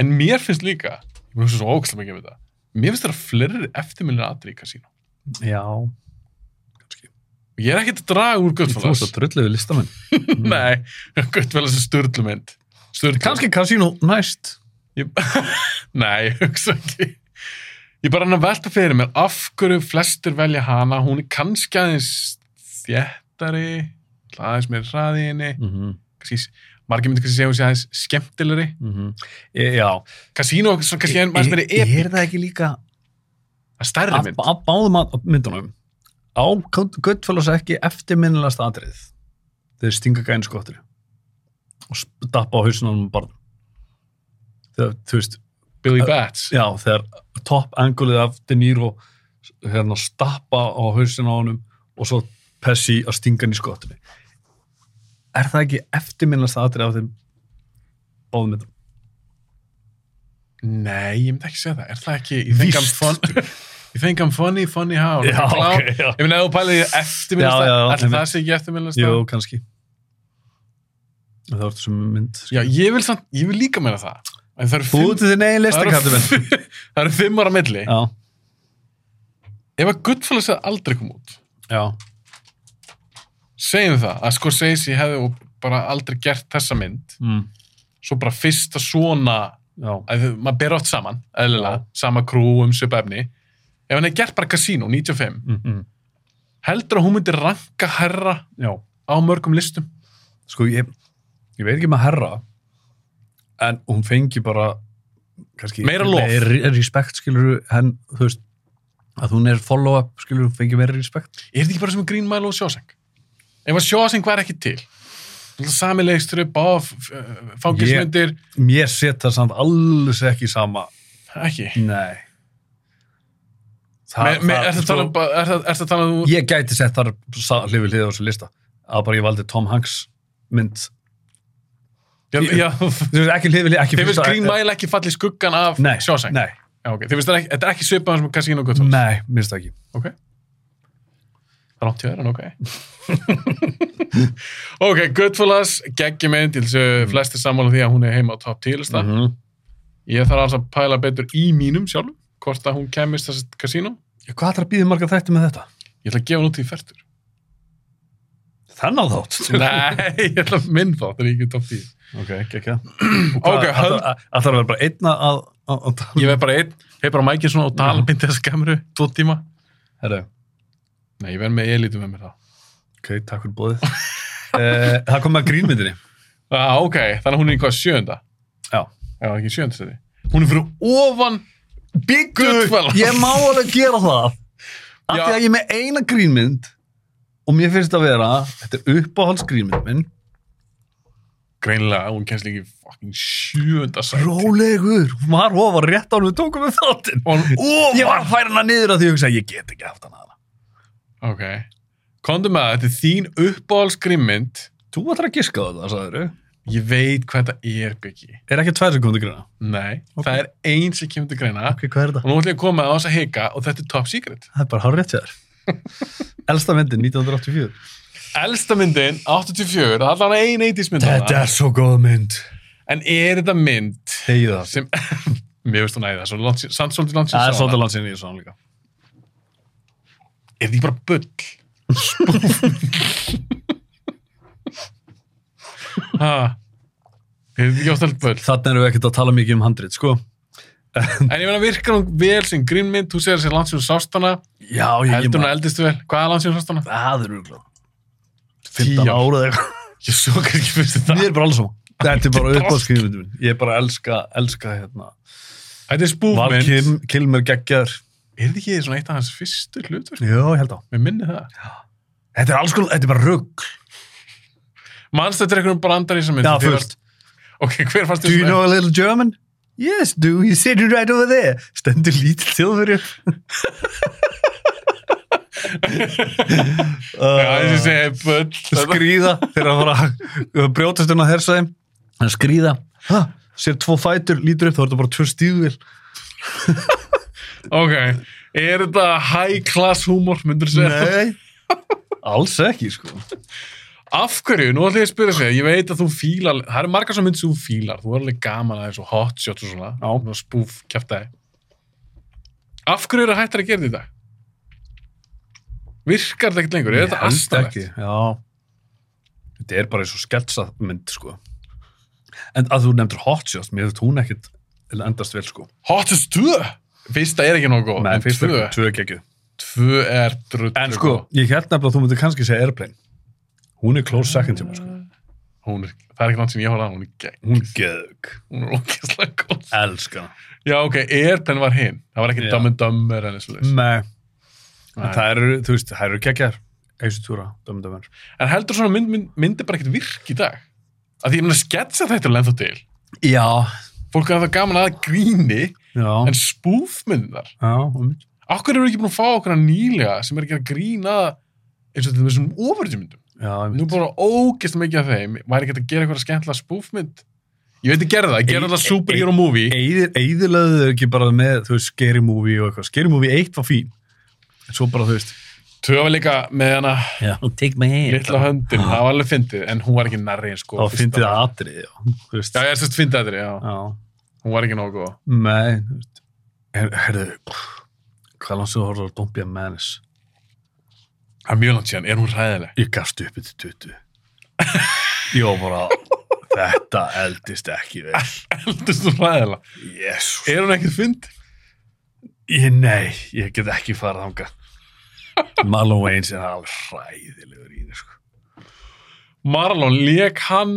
Speaker 5: en mér finnst líka, ég mér finnst svo ógæslega mikið við það mér finnst þetta fleiri eftirminnir aðri í kasínu
Speaker 6: já,
Speaker 5: og ég er ekkert að draga úr
Speaker 6: þú veist
Speaker 5: Guttfellas
Speaker 6: að drullið við listamenn
Speaker 5: nei, Guttfellas er störtlumynd Störtlum.
Speaker 6: kannski kasínó næst
Speaker 5: ég, nei, ég hugsa ekki ég bara hann að velta fyrir mér af hverju flestir velja hana hún er kannski aðeins þjættari aðeins meira hraði í henni
Speaker 6: mm -hmm.
Speaker 5: kannski, margir myndi kannski segja hún sé aðeins skemmtilegri
Speaker 6: mhm. E, já E,
Speaker 5: kasínu er svona kannski aðeins meira
Speaker 6: er,
Speaker 5: epi
Speaker 6: er það ekki líka
Speaker 5: stærri
Speaker 6: af
Speaker 5: mynd
Speaker 6: af báðum að- af myndunum á Guttfellas ekki eftirminnilegast atrið þegar stinga gæn skottir og sp- dappa á hausunum bara þegar, þú veist,
Speaker 5: Billy Bats
Speaker 6: já, þegar topp angulið af De Niro hérna stappa á hausinu á honum og svo Pessi að stinga hann í skottinu er það ekki eftirminnilegast atrið af þeim báðum myndunum?
Speaker 5: Nei, ég myndi ekki segja það. Er það ekki... You think I'm
Speaker 6: Víst.
Speaker 5: fun- You think I'm funny, funny how?
Speaker 6: Já,
Speaker 5: Klá-
Speaker 6: ok, já.
Speaker 5: Ég meina, ef þú pælið í eftirminnast
Speaker 6: Já, já, já,
Speaker 5: það, allir
Speaker 6: einmitt.
Speaker 5: það sé ekki eftirminnast
Speaker 6: Jú,
Speaker 5: það.
Speaker 6: kannski það var þetta sem mynd
Speaker 5: Já, ég vil, samt, ég vil líka meina það. En það eru
Speaker 6: Búðu þinn eigin
Speaker 5: það
Speaker 6: listra,
Speaker 5: eru
Speaker 6: kallar minn.
Speaker 5: f- það eru fimm ára milli.
Speaker 6: Já,
Speaker 5: Ef að Goodfellas hefði aldrei kom út,
Speaker 6: já,
Speaker 5: segjum það að Scorsese hefði bara aldrei gert þessa mynd,
Speaker 6: mm.
Speaker 5: svo bara fyrsta svona,
Speaker 6: já,
Speaker 5: að þau- maður ber oft saman, eðlilega, sama krú um svipa efni. Ef hann hefði gert bara Casino 95,
Speaker 6: mm -mm.
Speaker 5: heldur að hún myndi ranka herra
Speaker 6: já.
Speaker 5: á mörgum listum?
Speaker 6: Sko, ég, ég veit ekki með herra, en hún fengi bara, kannski...
Speaker 5: Meira lof.
Speaker 6: Meira respekt, skilur henn, þú veist, að hún er follow-up, skilur hún fengi meira respekt.
Speaker 5: Er þetta ekki bara sem Green Mile og Sjóseng? Ef að Sjóseng var ekki til, samilegstru, báf, fangismyndir,
Speaker 6: Mér set það samt alls ekki í sama.
Speaker 5: ekki.
Speaker 6: Nei.
Speaker 5: Me, me, er það talað um, bara- er það- er það talað um,
Speaker 6: sko, Ég gæti sett þar sa- hlið við hlið á þessu lista. Að bara ég valdi Tom Hanks mynd.
Speaker 5: já,
Speaker 6: ég-
Speaker 5: já,
Speaker 6: Þú veist, ekki hlið við hlið, ekki
Speaker 5: þið finnst
Speaker 6: fyrsta-
Speaker 5: Green Mile ekki fallið skuggan af
Speaker 6: Nei,
Speaker 5: Sjóseng?
Speaker 6: nei,
Speaker 5: Já, ok, þið finnst það ekki, þetta er ekki svipaðan sem Casino Guttons?
Speaker 6: nei, mér finnst það ekki.
Speaker 5: Ok. Rátt hjá þér, en ok. ok, Goodfellas, geggjumynd, ég þessu mm. flesti sammála því að hún er heima á top 10 lista.
Speaker 6: -hmm.
Speaker 5: Ég þarf alveg að pæla betur í mínum sjálfum, hvort að hún kemist þessi Casino.
Speaker 6: Hvað ætlar að býða marga þætti með þetta?
Speaker 5: Ég ætla að gefa hún út í færtur.
Speaker 6: Þannig þátt.
Speaker 5: Nei, ég ætla að minn þá, það er ekki top 10.
Speaker 6: Ok, ekki ekki.
Speaker 5: Ok,
Speaker 6: Það
Speaker 5: höld,
Speaker 6: þarf að vera bara einna að... að, að
Speaker 5: ég verð bara einn, hef bara mækið svona og tala beint þess kameru, tvo tíma.
Speaker 6: Herru,
Speaker 5: Nei, ég verð með elitum með mér þá.
Speaker 6: ok, takk fyrir bóðið. uh, það kom með grínmyndinni.
Speaker 5: Ah, ok, þannig að hún er í hvað sjönda?
Speaker 6: Já.
Speaker 5: Já, ekki sjönda stedi. Hún er fyrir ofan Goodfellas.
Speaker 6: Ég má alveg gera það. Af
Speaker 5: Já.
Speaker 6: því að ég er með eina grínmynd og mér finnst að vera, þetta er uppáhaldsgrínmynd minn,
Speaker 5: Greinilega, hún kemst líka í fucking sjönda sæti.
Speaker 6: rólegur, hún var ofar rétt ánum við tókum við þáttinn.
Speaker 5: Og hún
Speaker 6: Ég var að færa hana niður að því að ég hugsa, ég get ekki haft hana hana.
Speaker 5: Ok. Kondum með það, þetta er þín uppáhaldsgrimmynd.
Speaker 6: Þú ætlar að giska á þetta, sagður
Speaker 5: Ég veit hvað þetta er, Byggi.
Speaker 6: Er ekki tvær sem kom til grina?
Speaker 5: Nei,
Speaker 6: Ok.
Speaker 5: það er eins sem kemur til greina.
Speaker 6: Ok, hvað er
Speaker 5: Og nú ætlum ég að koma með á þess að hika og þetta er top secret.
Speaker 6: Það er bara hár rétt hjá þér. Elsta myndin, 1984.
Speaker 5: Elsta myndin, 84, það er allan ein 80s mynd. þarna.
Speaker 6: er svo góð mynd.
Speaker 5: En er þetta mynd
Speaker 6: Þegið það.
Speaker 5: sem... Mér veist hún æði það, svo langt síðan- samt svolítið langt síðan
Speaker 6: Það er
Speaker 5: sá hana.
Speaker 6: svolítið langt sinni í svona líka.
Speaker 5: Er þetta ekki bara bull? Spúf. ha. Er þetta ekki ástæðilegt bull?
Speaker 6: Þannig erum við ekkert að tala mikið um handrit, sko.
Speaker 5: En ég meina virkar hún vel sem grínmynd, þú segir þessi landsjónu sástana,
Speaker 6: Já,
Speaker 5: heldur hún að eldist vel. Hvað er landsjónu sástana?
Speaker 6: Það er umglað.
Speaker 5: 15
Speaker 6: 15 ára eða eitthvað.
Speaker 5: Ég svo kannski fyrst
Speaker 6: Mér
Speaker 5: þetta.
Speaker 6: er bara alls saman. Þetta er bara
Speaker 5: Ekki
Speaker 6: upp á skrifundum minn. Ég er bara að elska, elska hérna.
Speaker 5: Þetta er
Speaker 6: Val
Speaker 5: spúfmynd. Er
Speaker 6: Kilm- Kilmer geggjar.
Speaker 5: þetta ekki svona eitt af hans fyrstu hlutverk?
Speaker 6: Jó, ég held á.
Speaker 5: Mér minni það.
Speaker 6: Þetta er alls konar, þetta er bara rugg.
Speaker 5: Manst þetta er einhverjum brandar í þessum mynd?
Speaker 6: Já,
Speaker 5: Þið
Speaker 6: fullt.
Speaker 5: varst- Ok, hver fannst
Speaker 6: Do you
Speaker 5: þetta?
Speaker 6: know a little German? Yes, do. He's sitting right over there. Stendur lítill tilverju.
Speaker 5: Já, þessi
Speaker 6: uh,
Speaker 5: segi, bull.
Speaker 6: skrýða þegar að fara að brjótast inn á hersæðin en skrýða ha, sér tvo fætur, lítur upp, þá er þetta bara tvö stíðvil
Speaker 5: Ok, er þetta high class humor, myndur þú segja?
Speaker 6: nei, alls ekki sko
Speaker 5: Af hverju? Nú ætlum ég að spyrja sig, ég veit að þú fílar, það eru margar sem myndir sem þú fílar, þú er alveg gaman aðeins og hot shots og svona, og spúf, kjæftæði. Af hverju eru hættar að gera þetta í dag? Virkar þetta ekkert lengur? Er þetta
Speaker 6: ekki,
Speaker 5: astanlegt?
Speaker 6: já þetta er bara eins og sketsamynd sko en að þú nefndir hotshots, mér þetta hún ekkit endast vel sko
Speaker 5: Hot is 2! Fyrsta er ekki nógu góð,
Speaker 6: nei,
Speaker 5: en
Speaker 6: fyrst
Speaker 5: tvö,
Speaker 6: er tvö geggju
Speaker 5: tvö er drull.
Speaker 6: en sko, ég held nefnilega að þú myndir kannski segja Airplane hún er close second hjá mér sko
Speaker 5: Hún er, það er ekki langt sem ég horfði að hún er gegn.
Speaker 6: hún gegg,
Speaker 5: Hún er ógeðslega góð.
Speaker 6: elska hana.
Speaker 5: Já, ok, Airplane var hinn. Það var ekki
Speaker 6: Já. Mm.
Speaker 5: Dumb and Dumber en eins og þess.
Speaker 6: nei En
Speaker 5: Nei.
Speaker 6: það eru, þú veist, það eru geggjar Eisutúra, dömendömer
Speaker 5: En heldur svona mynd, mynd, myndi bara ekkert virk í dag? Að því ég meina sketsa þetta er lenþá til.
Speaker 6: Já
Speaker 5: Fólk er það gaman að gríni,
Speaker 6: Já,
Speaker 5: en spúfmyndunar.
Speaker 6: já um,
Speaker 5: Akkur eru ekki búin að fá okkur að nýlega sem er ekki að grína eins og þetta með svona ofurðjumyndum.
Speaker 6: já
Speaker 5: Nú
Speaker 6: um.
Speaker 5: er bara ógist mikið af þeim. Væri ekki hægt að gera eitthvað skemmtilega spúfmynd? Ég veit ekki gerða það. Ég gerði alltaf superhero movie.
Speaker 6: Eðir, Eðirlaðu þau ekki bara með, þú veist, Scary Movie og eitthvað Scary Movie 1 var fín En svo bara, þú veist
Speaker 5: Töfa líka með hana
Speaker 6: Já, take my hand
Speaker 5: litla höndin. Það var alveg fyndið, en hún var ekki nærri eins sko.
Speaker 6: Þá fyndið það atrið, já Þú veist
Speaker 5: Já, ég er sérst fyndið að þetta, já.
Speaker 6: Já
Speaker 5: Hún var ekki nógu góð.
Speaker 6: Nei, þú veist. Her, herðu, hvað langt sem þú horfður að dompja mennis?
Speaker 5: Það er mjög langt síðan, er hún ræðileg?
Speaker 6: Ég gafst upp þetta tuttu. Ég var bara, þetta eldist ekki vel.
Speaker 5: Heldist hún ræðileg?
Speaker 6: Jésús.
Speaker 5: Er hún ekkert fynd?
Speaker 6: Ég, nei, ég get ekki farað þangað. Marlon Wayans er alveg hræðilegur í þessu, sko.
Speaker 5: Marlon, leik hann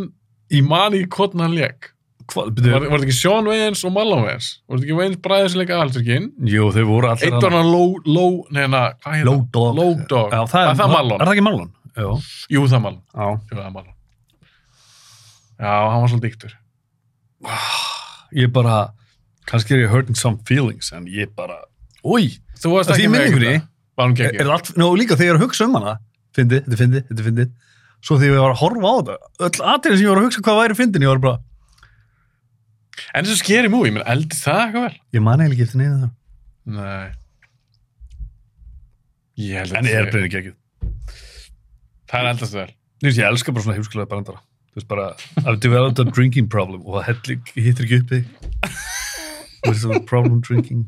Speaker 5: í mani í kotna hann leik?
Speaker 6: Hvað,
Speaker 5: Var,
Speaker 6: byrju,
Speaker 5: var þetta ekki Sean Wayans og Marlon Wayans? Var þetta ekki Wayans bræðið sem leika aðhaldsverkinn?
Speaker 6: jú, þau voru allir
Speaker 5: Eitt var hann Low, Low, neina, hvað hérna?
Speaker 6: Low Dog.
Speaker 5: Low Dog. Ah,
Speaker 6: Já, það er,
Speaker 5: það Marlon? Hm.
Speaker 6: Er það ekki Marlon? Jú.
Speaker 5: Jú, það er Marlon.
Speaker 6: Já.
Speaker 5: Jú, það er Marlon. Já, hann var svolítið yktur.
Speaker 6: Ég bara, kannski er ég hurting some feelings, en ég bara, úi,
Speaker 5: Þú varst
Speaker 6: Það
Speaker 5: ekki
Speaker 6: er í
Speaker 5: með
Speaker 6: minningunni.
Speaker 5: ykkur það? Var hún
Speaker 6: er, er
Speaker 5: geggið?
Speaker 6: allt, ná, líka þegar ég er að hugsa um hana, fyndi, þetta fyndi, þetta fyndi, svo þegar ég var að horfa á þetta, öll aðeins sem ég var að hugsa hvað væri fyndin, ég var bara,
Speaker 5: En þessu skeri múi, menn eldist það eitthvað vel?
Speaker 6: ég man eiginlega ekki eftir neina það.
Speaker 5: Nei. Ég held
Speaker 6: En
Speaker 5: að
Speaker 6: ég er
Speaker 5: það
Speaker 6: breyðin ekki ekki.
Speaker 5: það er eldast vel.
Speaker 6: Þú veist, ég elska bara svona heimskulega brandara. Þú veist, bara, I've developed a drinking problem og það hellir- hittir ekki upp þig. Þú veist, svona problem drinking.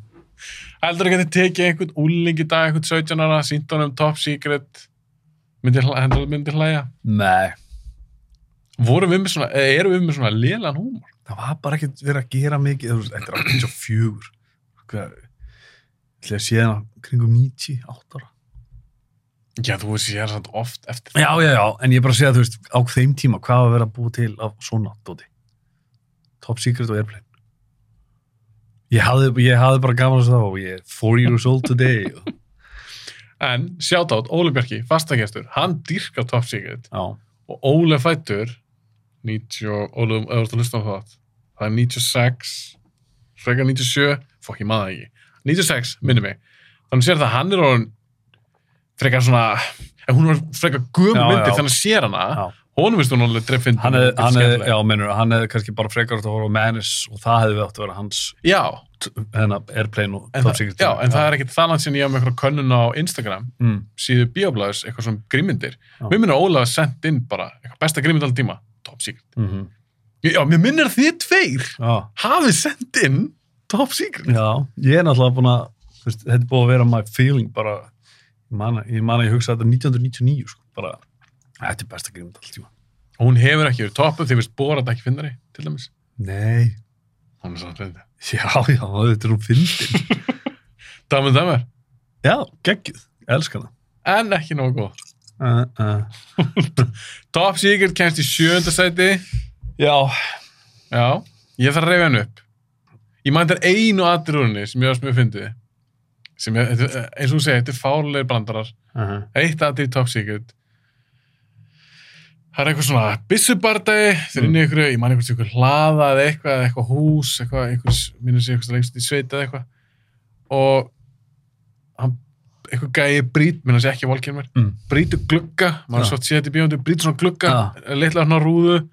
Speaker 5: Heldur ekki að þið tekið einhvern úling í dag, einhvern 17 ára, sínt honum Top Secret, myndi, hla- hendur myndi hlæja.
Speaker 6: Nei.
Speaker 5: Vorum við með svona, eða erum við með svona lélan húmor?
Speaker 6: það var bara ekkert verið að gera mikið þú veist, þetta er 84 hvað ætli að sé hana kringum 90, 8 ára
Speaker 5: Já, þú veist, ég er svona oft eftir
Speaker 6: já, já, já, en ég er bara að segja, þú veist, á þeim tíma hvað var að vera að búa til af svona dóti Top Secret og Airplane ég hafði, ég hafði bara gaman að það og ég er 4 years old today og,
Speaker 5: En, sjátátt, Óli Bjarki, fastagestur, hann dýrkar Top Secret
Speaker 6: já,
Speaker 5: og Óli er fættur 90, og- Óli, ef þú ert að hlusta á það það er 96 frekar 97, fokk ég maður það ekki 96, minni mig þannig sér það að hann er orðin frekar svona, ef hún var frekar
Speaker 6: Já,
Speaker 5: gömur myndi
Speaker 6: já.
Speaker 5: þannig sér hana
Speaker 6: já.
Speaker 5: honum veist hún alveg dreffinn
Speaker 6: hann hefði, hann hefði, já, menur, hann hefði kannski bara frekar átt að horfa á Menis og það hefði átt að vera hans
Speaker 5: já,
Speaker 6: hennar Airplane og
Speaker 5: en,
Speaker 6: Top
Speaker 5: það,
Speaker 6: Secret
Speaker 5: já, en það er ekkit þannig sem ég hef með eitthvað könnun á Instagram
Speaker 6: mm,
Speaker 5: síðu bioblæðis, eitthvað svona grímyndir
Speaker 6: Já.
Speaker 5: mér minnir að Óla sendt inn bara eitthvað besta grímynd allir tíma, top secret
Speaker 6: mm -hmm.
Speaker 5: já, mér minnir að þið tveir
Speaker 6: já
Speaker 5: hafið sendt inn Top Secret.
Speaker 6: Já, ég er náttúrulega búin að þú veist, þetta er búin að vera my feeling bara, ég man, að- ég man að ég hugsa þetta 1999, sko, bara um þetta er besta grímynd alltaf tíma.
Speaker 5: Hún hefur ekki verið toppuð því veist Borat ekki finnari, til dæmis.
Speaker 6: Nei,
Speaker 5: Hún er svona hluti.
Speaker 6: já, já, þetta er hún fyndin.
Speaker 5: Damin Dæmer,
Speaker 6: já, geggjuð, elska hana.
Speaker 5: en ekki nógu góð.
Speaker 6: Uh, uh.
Speaker 5: Top Secret kemst í sjönda sæti.
Speaker 6: Já,
Speaker 5: Já, ég þarf að reyfa henn upp. Ég man þetta er einu aðrir úr henni sem ég varst mjög fyndið. Sem ég, þetta er- eins og hún segir, þetta er fárlegir brandarar.
Speaker 6: uh -huh.
Speaker 5: Eitt aðrir Top Secret. Það er eitthvað svona byssubardagi, þeir eru inn í
Speaker 6: Mm.
Speaker 5: ykkur, ég man einhvers ykkur hlaða eða eitthvað, eða eitthvað hús, eitthvað, einhvers, minnur sér einhvers lengst í sveita eða eitthvað. Og hann, eitthvað gæi brýt, minnur sér ekki volkinn mér,
Speaker 6: Mm.
Speaker 5: brýtu glugga,
Speaker 6: Já.
Speaker 5: maður ja. svo séð þetta í bíóndu, brýtu svona glugga,
Speaker 6: Já.
Speaker 5: litla svona rúðu.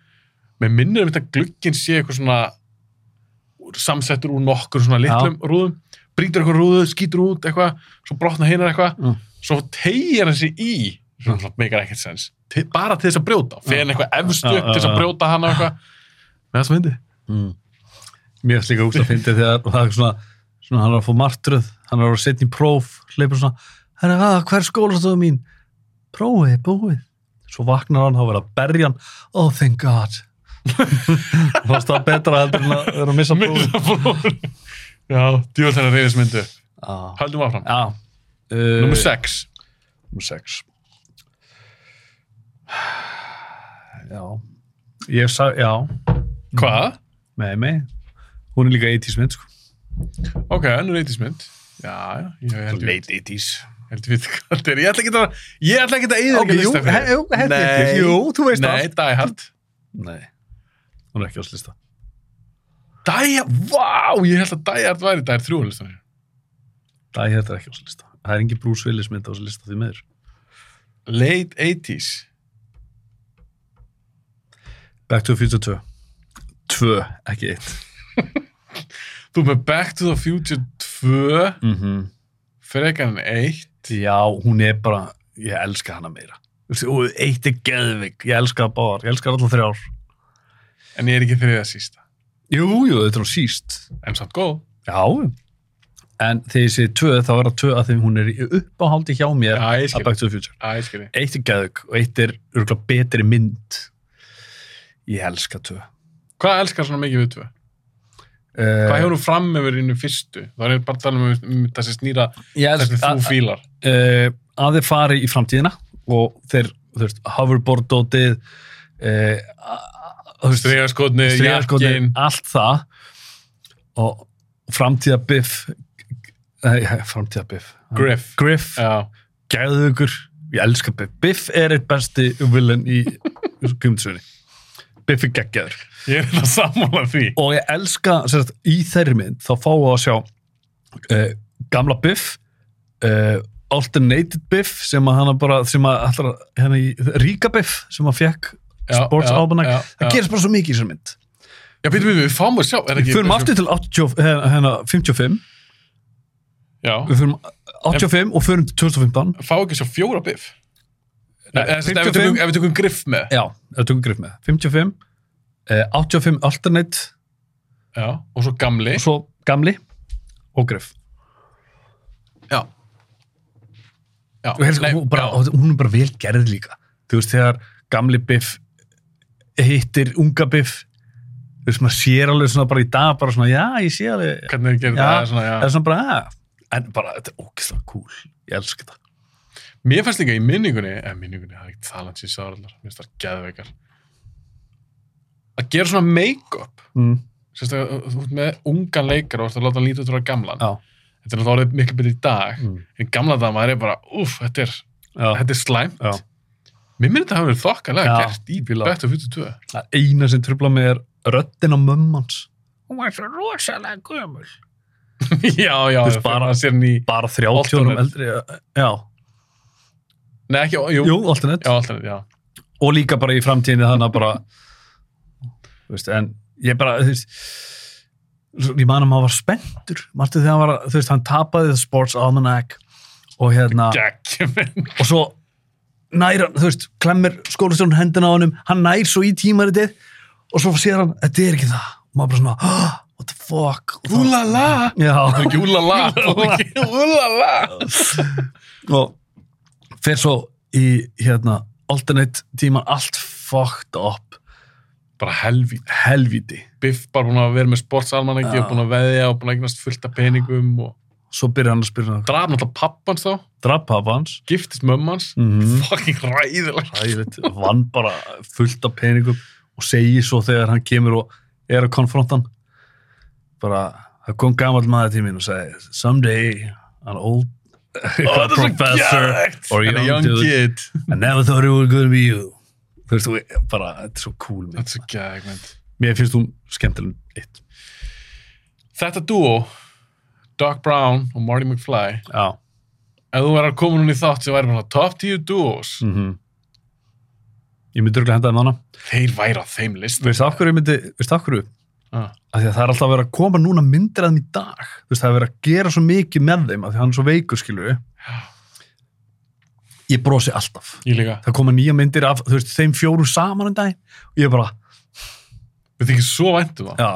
Speaker 5: Mér minnir um þetta glugginn sé eitthvað svona úr- samsettur úr nokkur svona litlum rúðum, brýtur eitthvað rúðu, skýtur út eitthvað, svo brotna hinar eitthvað svo tegir hann sig í sem svona meikar ekkert sens til, bara til þess að brjóta, fyrir hann eitthvað efstu
Speaker 6: Já,
Speaker 5: upp til þess
Speaker 6: já,
Speaker 5: að
Speaker 6: já.
Speaker 5: brjóta hann og eitthvað með það sem hindi
Speaker 6: Mm. Mér finnst líka úrst að fyndi þegar og það er svona, svona hann er að fá martröð, hann er að vera setja í próf, hleypur svona, herra, að, hver er skólastöðu mín? Prófið, er búið. Svo vaknar hann, þá verður að berja hann, oh thank god. Fannst það betra heldur en að vera að missa prófið?
Speaker 5: já, djúvel þennan reyðis myndu
Speaker 6: Já.
Speaker 5: höldum áfram,
Speaker 6: Já. Uh,
Speaker 5: nummer 6
Speaker 6: Númer 6. Já. Ég sa, já, Mm.
Speaker 5: hvað?
Speaker 6: með mig. Hún er líka 80s mynd, sko.
Speaker 5: ok, önnur reyðis mynd já, já, ég held ég-
Speaker 6: 80s.
Speaker 5: held ég veit hvað þetta er ég ætla ekki að ég ætla ekki að eyða
Speaker 6: Ok, jú, he- jú, held ég ekki. Jú, þú veist
Speaker 5: nei,
Speaker 6: allt.
Speaker 5: Die Hard
Speaker 6: Nei, hún er ekki á slista.
Speaker 5: Die Hard, vá, ég held að Die Hard væri Die Hard 3 listanum.
Speaker 6: Die Hard er ekki á þessu lista. Það er engin Bruce Willis mynd á þessu lista því meður.
Speaker 5: late 80s
Speaker 6: Back to the Future 2. 2, ekki 1.
Speaker 5: þú með Back to the Future 2
Speaker 6: Mm -hmm.
Speaker 5: frekar en eitt
Speaker 6: Já, hún er bara, ég elska hana meira. Þú veist, Og eitt er geðvig, ég elska það báðar, ég elska allar þrjár.
Speaker 5: en ég er ekki þriða sísta
Speaker 6: Jú, jú, þetta er hún síst.
Speaker 5: en samt góð.
Speaker 6: Já. En þegar ég segi tvö, þá er það tvö að þeim hún er í uppáhaldi hjá mér
Speaker 5: Já, ég skil.
Speaker 6: að Back to the Future.
Speaker 5: Æ, ég skilji.
Speaker 6: Eitt er gæðug og eitt er örgulega betri mynd. Ég elska tvö.
Speaker 5: Hvað elskar svona mikið við tvö? Hvað
Speaker 6: Uh,
Speaker 5: hefur þú fram yfir innu fyrstu? Það er bara að tala um, um þessi snýra,
Speaker 6: ég
Speaker 5: þessi
Speaker 6: elska
Speaker 5: þú fílar.
Speaker 6: uh, að þeir fari í framtíðina og þeir, þú veist, hoverboard-dótið, uh, þú veist,
Speaker 5: Stregaskotni,
Speaker 6: stríðarskotnir,
Speaker 5: jakkin.
Speaker 6: allt það og framtíðabiff eh, framtíðabiff
Speaker 5: Griff.
Speaker 6: Griff,
Speaker 5: Já,
Speaker 6: gæðugur ég elska Biff, Biff er eitt besti villain í kjumtsunni Biff er geggjaður
Speaker 5: ég er þetta sammála því.
Speaker 6: og ég elska, sem sagt, í þeirri mynd þá fáum við að sjá uh, gamla Biff uh, alternated Biff sem að hana bara, sem að allra, hérna í ríka Biff sem að fekk
Speaker 5: Já,
Speaker 6: Sports
Speaker 5: já,
Speaker 6: Almanac,
Speaker 5: já, já.
Speaker 6: það gerist bara svo mikið í þessari mynd
Speaker 5: Já, býtum við, við fáum að sjá. er ekki-
Speaker 6: Við förum aftur til 80, hérna, hérna, 55
Speaker 5: Já,
Speaker 6: Við förum 85 og förum til 2015
Speaker 5: fá ekki svo fjóra biff. Nei, eða sem sagt, ef
Speaker 6: 55
Speaker 5: við tökum- ef við tökum griff með.
Speaker 6: Já, það tökum grif með 55, eh, 85 alternate
Speaker 5: Já, og svo gamli.
Speaker 6: og svo gamli og grif
Speaker 5: Já. Já,
Speaker 6: og helst,
Speaker 5: nei,
Speaker 6: hún, bara,
Speaker 5: já.
Speaker 6: hún er bara vel gerð líka þú veist þegar gamli biff hittir unga biff þú veist maður sér alveg svona bara í dag bara svona já ég sé alveg já,
Speaker 5: Hvernig gerir það? Svona, já.
Speaker 6: það er svona bara "Ah." að en bara þetta er ógeðslega cool ég elska það
Speaker 5: Mér fannst líka í minningunni, eða minningunni, það er ekki talan síðan sárallar, mér finnst það geðveikar. Að gera svona make-up,
Speaker 6: mm.
Speaker 5: sérstaklega þú ert með ungan leikar og ert að láta hann líta út frá gamlan.
Speaker 6: já,
Speaker 5: Þetta er náttúrulega orðið miklu betur í dag,
Speaker 6: Mm.
Speaker 5: en gamla dag maður er bara, úff, þetta er,
Speaker 6: já.
Speaker 5: þetta er slæmt.
Speaker 6: Já.
Speaker 5: Mér myndi þetta hafa verið þokkalega
Speaker 6: Já,
Speaker 5: gert í
Speaker 6: fíla.
Speaker 5: Back to 42.
Speaker 6: Það eina sem tröfla mig er röddin á mömmans
Speaker 5: Hún var svo rosalega gömul. já, já,
Speaker 6: Þú veist,
Speaker 5: það
Speaker 6: bara-
Speaker 5: bara að sér hann í,
Speaker 6: bara 30 árum
Speaker 5: Alternate.
Speaker 6: eldri já,
Speaker 5: nei ekki, jú,
Speaker 6: jú,
Speaker 5: já,
Speaker 6: alternate
Speaker 5: alltaf, já.
Speaker 6: og líka bara í framtíðinni þannig að bara þú veist, en ég bara þú veist svo- ég man að maður var spenntur marstu þegar hann var, að- þú veist, hann tapaði Sports Almanac og hérna
Speaker 5: Gekk, menn.
Speaker 6: og svo nær hann, þú veist, klemmir skólastjórn hendina á honum, hann nær svo í tímaritið og svo sér hann, þetta er ekki það og maður bara svona, "Ah, what the fuck Og þá-
Speaker 5: Úlala!
Speaker 6: já,
Speaker 5: Ekki úlala, úlala!
Speaker 6: og fer svo í hérna alternate tíman allt fucked up
Speaker 5: Bara helvíti.
Speaker 6: helviti,
Speaker 5: Biff bara búin að vera með sportsalmanengi
Speaker 6: Já.
Speaker 5: og búin að veðja og búin að eignast fullt af peningum og
Speaker 6: svo byrja hann að spyrja hann
Speaker 5: draf náttúrulega pappans þá,
Speaker 6: drap hafa hans
Speaker 5: giftist mömmans
Speaker 6: Mhm.
Speaker 5: fucking ræðilegt
Speaker 6: Ægilegt, vann bara fullt af peningum og segir svo þegar hann kemur og er að konfronta hann bara, það kom gamall maður til mín og sagði, someday an old professor or
Speaker 5: and a
Speaker 6: young,
Speaker 5: young
Speaker 6: dude
Speaker 5: kid
Speaker 6: I never thought it was gonna be you þú veist, þú- bara, þetta er svo cool mynd.
Speaker 5: þetta er svo gegn
Speaker 6: mér finnst hún skemmtileg eitt
Speaker 5: þetta dúo, Doc Brown og Marty McFly
Speaker 6: já
Speaker 5: ef þú verður að koma núna í þátt sem væri bara top 10 duos
Speaker 6: mm Ég myndi örgulega henda þeim hana.
Speaker 5: þeir væri á þeim list
Speaker 6: Veistu af hverju ég myndi, veistu af hverju?
Speaker 5: ah.
Speaker 6: Af því að það er alltaf verið að koma núna myndir að þeim í dag. Þú veist, það er verið að gera svo mikið með þeim af því að hann er svo veikur, skilur við. Ég brosi alltaf.
Speaker 5: ég líka,
Speaker 6: Það koma nýja myndir af, þú veist, þeim fjóru saman en dag. Og ég bara,
Speaker 5: við þykir svo væntum það
Speaker 6: já.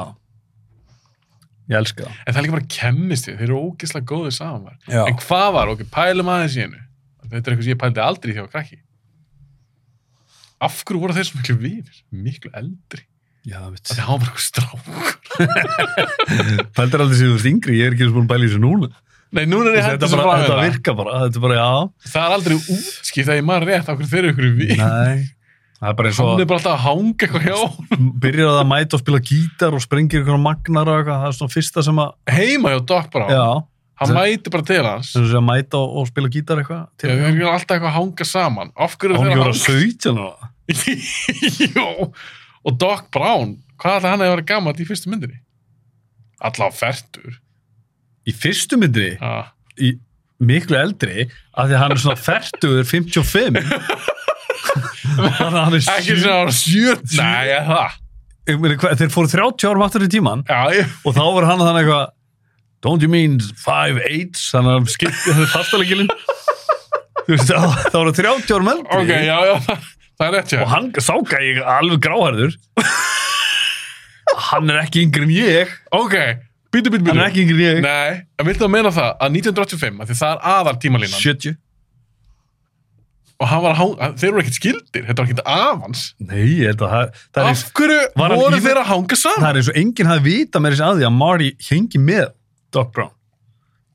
Speaker 6: Ég elska það.
Speaker 5: en það er líka bara kemmist við, þeir eru ógeðslega góðið saman
Speaker 6: Já.
Speaker 5: en hvað var, ok, pælum aðeins í hennu þetta er eitthvað sem ég pældi aldrei þegar ég var krakki af hverju voru þeir svo miklu vinir miklu eldri,
Speaker 6: Já, það veit.
Speaker 5: það hafa bara eitthvað strákur
Speaker 6: Pældir aldrei séu þú veist yngri, ég er ekki eins og búin að bæla í þessu núna.
Speaker 5: nei, núna er ég
Speaker 6: Þetta,
Speaker 5: hægt
Speaker 6: bara, þetta
Speaker 5: það
Speaker 6: virka bara, þetta er bara, já.
Speaker 5: það er aldrei útskipt að ég maður rétt af hverju þeir eru ykkur vinir
Speaker 6: Nei. Það er bara eins og...
Speaker 5: hann er bara alltaf að hanga eitthvað hjá
Speaker 6: byrjar að mæta og spila gítar og sprengir ykkur magnar og eitthvað, það er svona fyrsta sem að
Speaker 5: heima hjá Doc bara,
Speaker 6: já, Mm.
Speaker 5: hann mæti bara til hans
Speaker 6: sem sem að mæta og, og spila gítar eitthvað
Speaker 5: þeir
Speaker 6: til
Speaker 5: eru alltaf eitthvað að hanga saman af hverju
Speaker 6: hún
Speaker 5: þeir
Speaker 6: gjóra
Speaker 5: eru þeir
Speaker 6: 17 og
Speaker 5: að hanga Jó. og Doc Brown hvað ætla hann að vera gammalt í fyrstu myndinni allá færtur
Speaker 6: í fyrstu myndri,
Speaker 5: ah.
Speaker 6: í miklu eldri af því að hann er svona 40 55 þannig að hann er
Speaker 5: ekki
Speaker 6: sjö,
Speaker 5: sem ára 70 Nei, ja, það
Speaker 6: ég meina, hvað, þeir fóru 30 árum aftur í tíman
Speaker 5: Já, ég,
Speaker 6: og þá var hann þannig eitthvað don't you mean 5-8 þannig að hann skipti fastalegilin þú veist, þá, þá var hann 30 árum eldri
Speaker 5: ok, já, já, það, það er rétt hjá
Speaker 6: og hann sáka ég alveg gráhærður Hann er ekki yngri en ég.
Speaker 5: Ok, býtu, býtu,
Speaker 6: Hann
Speaker 5: býtu.
Speaker 6: er ekki yngri en ég.
Speaker 5: Nei, en viltu að meina það að 1985, af því það er aðal tímalínan
Speaker 6: 70.
Speaker 5: og hann var, há, þeir eru ekkert skildir, þetta var ekkert afans.
Speaker 6: Nei, ég held að það, það,
Speaker 5: Af
Speaker 6: er,
Speaker 5: hverju
Speaker 6: Var hann
Speaker 5: voru
Speaker 6: í-
Speaker 5: þeir að hanga
Speaker 6: það
Speaker 5: saman?
Speaker 6: er eins og enginn hafði vita með þessi að því að Marty hengi með Doc Brown.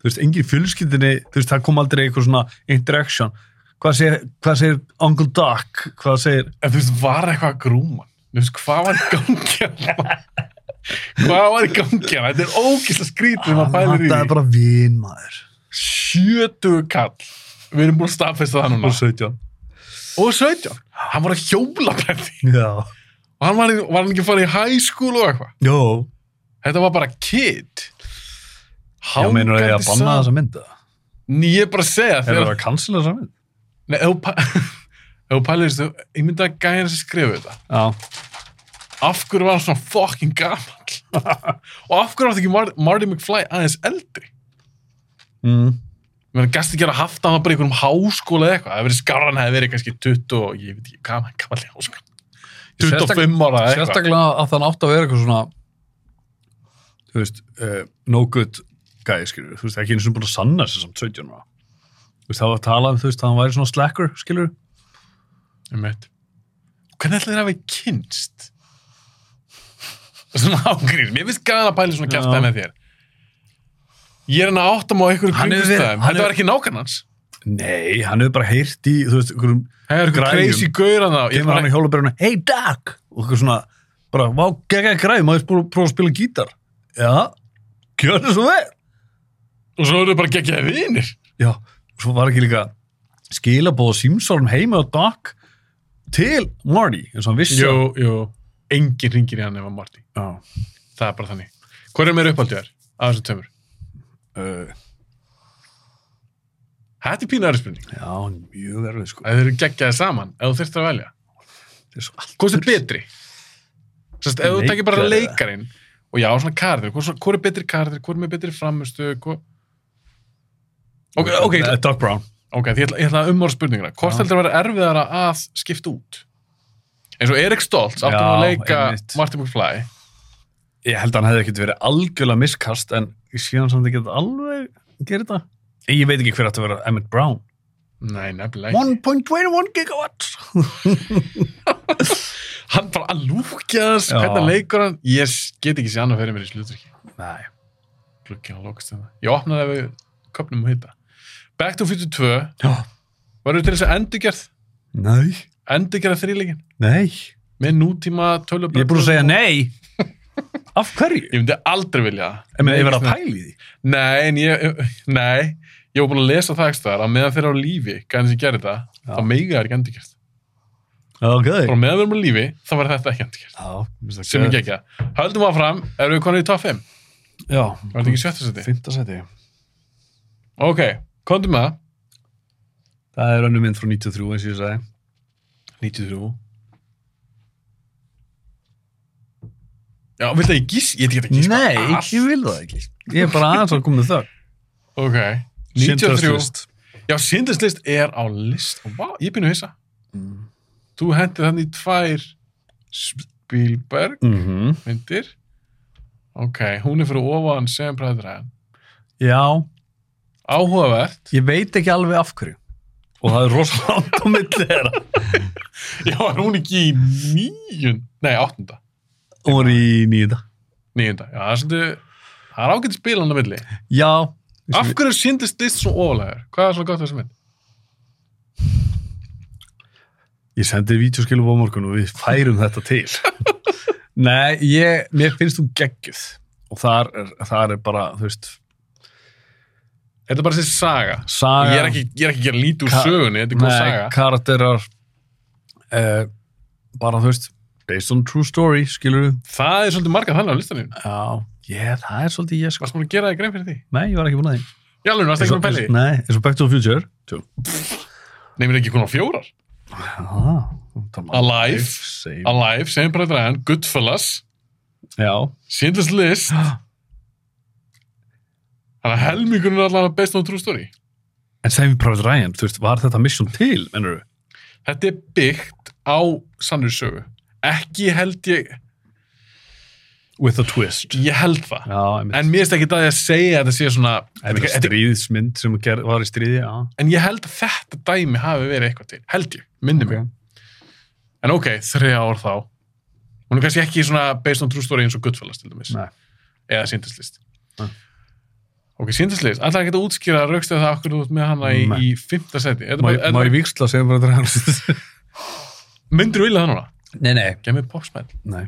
Speaker 6: Þú veist, enginn í fjölskyldinni, þú veist, það kom aldrei eitthvað svona interaction. Hvað segir, hvað segir Uncle Doc? Hvað segir,
Speaker 5: En þú veist, var eitthvað að grúma hann? Þú veist, hvað var í gangi hann? hvað var í gangi hann? Þetta er ógislega skrítið þegar maður pælir í
Speaker 6: það
Speaker 5: því.
Speaker 6: er bara vin maður.
Speaker 5: Sjötu kall. Við erum búin að staðfesta það núna.
Speaker 6: Og 17.
Speaker 5: Og 17. Hann var að hjóla bretti.
Speaker 6: Já.
Speaker 5: Og hann var, í- var hann ekki að fara í high school og eitthvað.
Speaker 6: Jó.
Speaker 5: Þetta var bara kid.
Speaker 6: Já, meinur að ég að
Speaker 5: Hangandi
Speaker 6: banna
Speaker 5: saman.
Speaker 6: þessa mynda?
Speaker 5: Ný, ég er bara að segja
Speaker 6: Er
Speaker 5: þegar...
Speaker 6: það að cancela þessa mynd?
Speaker 5: Nei, ef þú pæ- ef þú pælir þessu, ég myndi að gæja hans að skrifa þetta.
Speaker 6: Já.
Speaker 5: Af hverju var hann svona fucking gamall? og af hverju var þetta ekki Mar Marty McFly aðeins eldri?
Speaker 6: Mm.
Speaker 5: Ég meina, gæst ekki að haft hann bara í einhverjum háskóla eða eitthvað. Það hefði verið skarra hann hefði verið kannski 20 og ég veit ekki hvað hann gamall í háskóla. 25 ára eða eitthvað.
Speaker 6: Sérstaklega að þann átt að vera eitthvað svona þú veist uh, no good guy, skilur þú veist, ekki eins og búin að sanna sér samt 17 ára þú veist, það var að tala um þú veist, að hann væri svona slacker, skilur
Speaker 5: Einmitt. Hvernig ætla þeir að hafa kynst? Svona ágrýr. Mér finnst gana að pæla í svona kæftæði
Speaker 6: Já.
Speaker 5: með þér. Ég er hann að áttam á einhverjum
Speaker 6: Hann hefur verið-
Speaker 5: kringustæðum.
Speaker 6: hann
Speaker 5: Þetta
Speaker 6: hefur-
Speaker 5: var ekki nákan hans.
Speaker 6: Nei, hann hefur bara heyrt í, þú veist, einhverjum
Speaker 5: Það er eitthvað
Speaker 6: græjum.
Speaker 5: crazy gaur hann á. Ég
Speaker 6: kemur
Speaker 5: bara,
Speaker 6: hann í hjólaberðinu, hey Doc og eitthvað svona, bara, vá, gegga græði maður spúr, prófa að spila gítar Já, gjörðu svo vel
Speaker 5: og svo eru þau bara geggjaði vinir.
Speaker 6: Já, og svo var ekki líka skilabóð símsórum heima á Doc til Marty, eins og hann vissi
Speaker 5: Jú, jú. Engin ringir í hann ef hann Marty.
Speaker 6: Já.
Speaker 5: Það er bara þannig. Hver er meira upphaldið þér? Af þessum tömur.
Speaker 6: Uh,
Speaker 5: Þetta er pínu aðri spurning.
Speaker 6: já, hann er mjög verður sko.
Speaker 5: Að þau eru geggjaði saman, ef þú þurftir að velja.
Speaker 6: Þetta er svo allt.
Speaker 5: Hvort er betri? Sest, ef þú tekir bara
Speaker 6: Leikari, eða?
Speaker 5: leikarin og já, svona karðir, hvort, svona- hvort er betri karðir, hvort er með betri framustu, hvort... Ok, ok,
Speaker 6: Eh, Doc Brown.
Speaker 5: ok, því ég ætla, ég ætla að umorða spurninguna. Hvort
Speaker 6: Já.
Speaker 5: heldur að vera erfiðara að skipta út? Eins og Erik Stoltz átti
Speaker 6: Já,
Speaker 5: nú að leika
Speaker 6: einmitt.
Speaker 5: Martin McFly.
Speaker 6: Ég held að hann hefði ekkert verið algjörlega miskast en síðan samt ekki alveg gerir þetta. Ég veit ekki hver átti að vera Emmett Brown.
Speaker 5: Nei, nefnilega. ekki.
Speaker 6: 1.21 gigawatt.
Speaker 5: Hann bara að lúkja þess,
Speaker 6: Já.
Speaker 5: hvernig leikur hann? Ég get ekki sé annað fyrir mér í slutriki.
Speaker 6: Nei.
Speaker 5: Glukkin að lókast þetta. Ég opnaði ef við köpnum að hitta. Back to 52,
Speaker 6: Já.
Speaker 5: varum til þess að endurgerð,
Speaker 6: Nei.
Speaker 5: endurgerða þrýleikin.
Speaker 6: Nei.
Speaker 5: með nútíma tölubönd
Speaker 6: Ég er búin að segja nei. Af hverju?
Speaker 5: ég myndi aldrei vilja það.
Speaker 6: Ég meina, ég verði að
Speaker 5: Nei,
Speaker 6: pæla í því.
Speaker 5: nei, en ég, nei, ég var búin að lesa það ekki þar að meðan þeir eru á lífi gæðin sem gerir það,
Speaker 6: Já.
Speaker 5: þá meiga það ekki endurkjast
Speaker 6: Ok.
Speaker 5: og meðan við erum á lífi, þá verður þetta ekki endurkjast
Speaker 6: Já.
Speaker 5: sem ekki ekki, höldum áfram erum við konið í top 5,
Speaker 6: Já.
Speaker 5: var þetta ekki sjötta seti
Speaker 6: Fymta seti.
Speaker 5: ok, komdu með það
Speaker 6: Það er önnu mynd frá 93 eins og ég sagði.
Speaker 5: 93 já, vilt það ég gís ég get ekki að gíska allt.
Speaker 6: ég vil það ekki. Ég er bara aðeins að koma með þögn.
Speaker 5: ok, 93
Speaker 6: Schindler's List.
Speaker 5: já, síndarslist er á list og vá, ég býnum að hissa
Speaker 6: Mm.
Speaker 5: þú hendið þannig í tvær Spielberg
Speaker 6: Mhm.
Speaker 5: myndir ok, hún er fyrir ofan sem bræðræðan
Speaker 6: Já,
Speaker 5: áhugavert
Speaker 6: ég veit ekki alveg af hverju og það er rosalega langt á milli þeirra
Speaker 5: já, er hún ekki í nýjun nei, áttunda,
Speaker 6: og er í nýða
Speaker 5: nýjunda já, það er svolítið, það er ágætt spil hann á milli
Speaker 6: Já,
Speaker 5: af hverju síndist list svo ofalægur hvað er svona gott við þessa mynd?
Speaker 6: ég sendi vítjóskilu á morgun og við færum þetta til Nei, ég, mér finnst þú geggjuð og þar er, þar er bara, þú veist
Speaker 5: þetta er bara þessi saga
Speaker 6: saga,
Speaker 5: ég er ekki, ég er ekki að gera lítið úr
Speaker 6: Ka-
Speaker 5: sögunni þetta er góð
Speaker 6: nei,
Speaker 5: saga
Speaker 6: karakterar eh, bara, þú veist based on true story, skilur við
Speaker 5: það er svolítið marga þannig á listanum
Speaker 6: Já, ég, það er svolítið ég sko
Speaker 5: varst búin að gera það grein fyrir því?
Speaker 6: Nei, ég var ekki búin að því
Speaker 5: já, alveg, varst ekki búin að pæli því?
Speaker 6: Nei, eins og Back to the Future Tjú.
Speaker 5: Nei, mér er ekki konar fjórar
Speaker 6: Ah, það var-
Speaker 5: Alive.
Speaker 6: Save.
Speaker 5: Alive, sem bræðræðan, Goodfellas
Speaker 6: Já,
Speaker 5: Schindler's List Þannig að helmingurinn er allavega best on true story
Speaker 6: en Saving Private Ryan, þú veist, var þetta mission til, mennur þú?
Speaker 5: Þetta er byggt á sannur sögu Ekki held ég
Speaker 6: with a twist.
Speaker 5: Ég held það.
Speaker 6: Já, einmitt.
Speaker 5: En mér finnst ekki það að segja að þetta sé svona...
Speaker 6: En
Speaker 5: Þetta- þetta-
Speaker 6: stríðsmynd sem ger, var í stríði, já.
Speaker 5: En ég held að þetta dæmi hafi verið eitthvað til. Held ég, minni mig. En ok, þriða ár þá. Hún er kannski ekki svona based on true story eins og Goodfellas til dæmis.
Speaker 6: Nei.
Speaker 5: Eða síndislist.
Speaker 6: Nei.
Speaker 5: Ok, síndislist. Alltaf ekki að útskýra raukstöð það okkur út með hana í,
Speaker 6: Nei.
Speaker 5: í fymta seti.
Speaker 6: Má, má ég viksla að segja bara þetta er hann?
Speaker 5: Myndur vilja það núna?
Speaker 6: Nei, nei.
Speaker 5: Gef mér popsmell.
Speaker 6: Nei,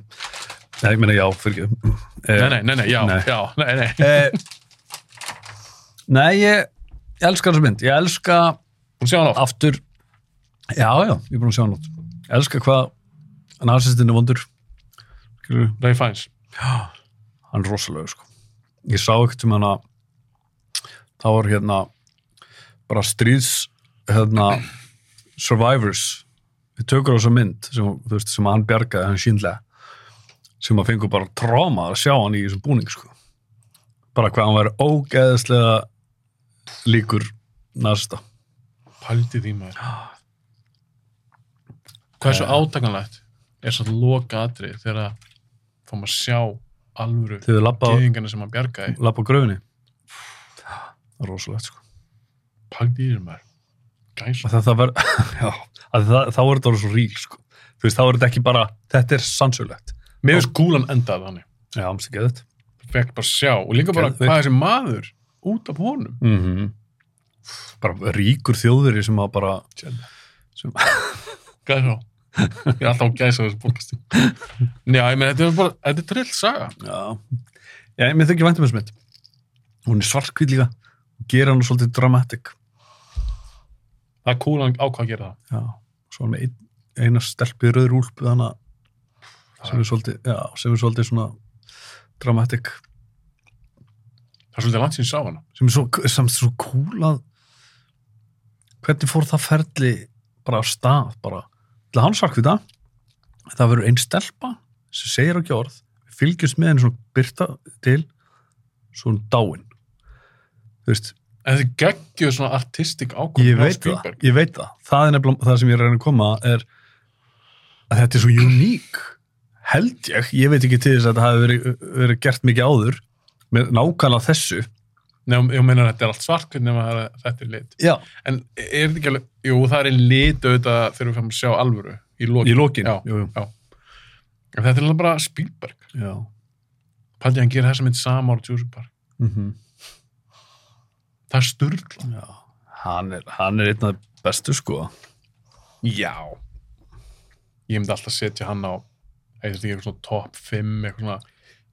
Speaker 6: nei ég meina já, fyrir ekki.
Speaker 5: Nei, nei, nei, nei, já,
Speaker 6: Eh, Nei.
Speaker 5: já, nei, nei.
Speaker 6: nei. Nei, ég, ég elska þessa mynd. Ég elska
Speaker 5: Hún sé hann á.
Speaker 6: aftur, já, já, ég er búin að sjá hann átt. Ég elska hvað narsistinn er vondur. Skilur,
Speaker 5: Ray Fiennes.
Speaker 6: hann er rosalegu sko ég sá ekkert um hana það var hérna bara stríðs hérna, survivors við tökur á þessa mynd sem, þú veist, sem hann bjargaði hann sínlega sem að fengu bara tráma að sjá hann í þessum búning sko bara hvað hann væri ógeðslega líkur næsta
Speaker 5: Pældi því maður.
Speaker 6: Ah.
Speaker 5: Hvað
Speaker 6: Eh.
Speaker 5: er svo átakanlegt? Er svo loka atrið þegar að fór maður að sjá alvöru
Speaker 6: þegar þið labba,
Speaker 5: geðingarna sem hann bjargaði.
Speaker 6: labba á gröfinni það er rosalegt sko
Speaker 5: Pældi því maður. Gæs.
Speaker 6: að það, það var, já, að það, þá er þetta orðið svo ríl sko. þú veist, þá er þetta ekki bara þetta er sannsögulegt
Speaker 5: Mér finnst gúlan endað þannig.
Speaker 6: já, ámstu ekki þetta
Speaker 5: Fekk bara að sjá og líka bara
Speaker 6: Geðveikt.
Speaker 5: hvað þessi maður út af honum.
Speaker 6: mm -hmm. bara ríkur þjóðveri sem að bara sem,
Speaker 5: Gæs á. Ég er alltaf á gæs á þessu podcasti. Já, ég meina, þetta er bara, þetta er trill saga.
Speaker 6: já, já mér þykir væntum þessum mynd hún er svartkvít líka og gera hann svolítið dramatic
Speaker 5: Það er kúlan ákvað að gera það.
Speaker 6: já, svo er með ein, eina stelpið rauður úlpu þannig að- sem er svolítið, já, sem er svolítið svona dramatic
Speaker 5: Það er svolítið langt sín sá hana.
Speaker 6: sem er svo, sem er svo kúlað hvernig fór það ferli bara af stað bara, til hann sagt við það það verður einn stelpa sem segir ekki orð, við fylgjumst með henni svona byrta til svo hún dáin þú veist,
Speaker 5: En þetta geggjur svona artistik ákvörðun
Speaker 6: ég
Speaker 5: hjá
Speaker 6: veit það,
Speaker 5: Spielberg.
Speaker 6: ég veit það það er nefnilega það sem ég er að reyna að koma að er að þetta er svo uník held ég, ég veit ekki til þess að þetta hafi verið, verið gert mikið áður með nákvæmlega þessu
Speaker 5: Nei, ég meina þetta er allt svart nema það er- þetta er lit.
Speaker 6: já,
Speaker 5: En er þetta ekki alveg, jú það er einn lit auðvitað þegar við fæmum að sjá alvöru í lokin.
Speaker 6: í lokin
Speaker 5: Já,
Speaker 6: jú, jú.
Speaker 5: en þetta er alveg bara Spielberg.
Speaker 6: já.
Speaker 5: Paldi hann gera þessa mynd sama ára Jurassic Park.
Speaker 6: Mm
Speaker 5: Það er sturgla.
Speaker 6: Já, hann er, hann er einn af þeim bestu sko.
Speaker 5: Já. Ég myndi alltaf setja hann á, eitthvað ekki eitthvað svona top 5, eitthvað svona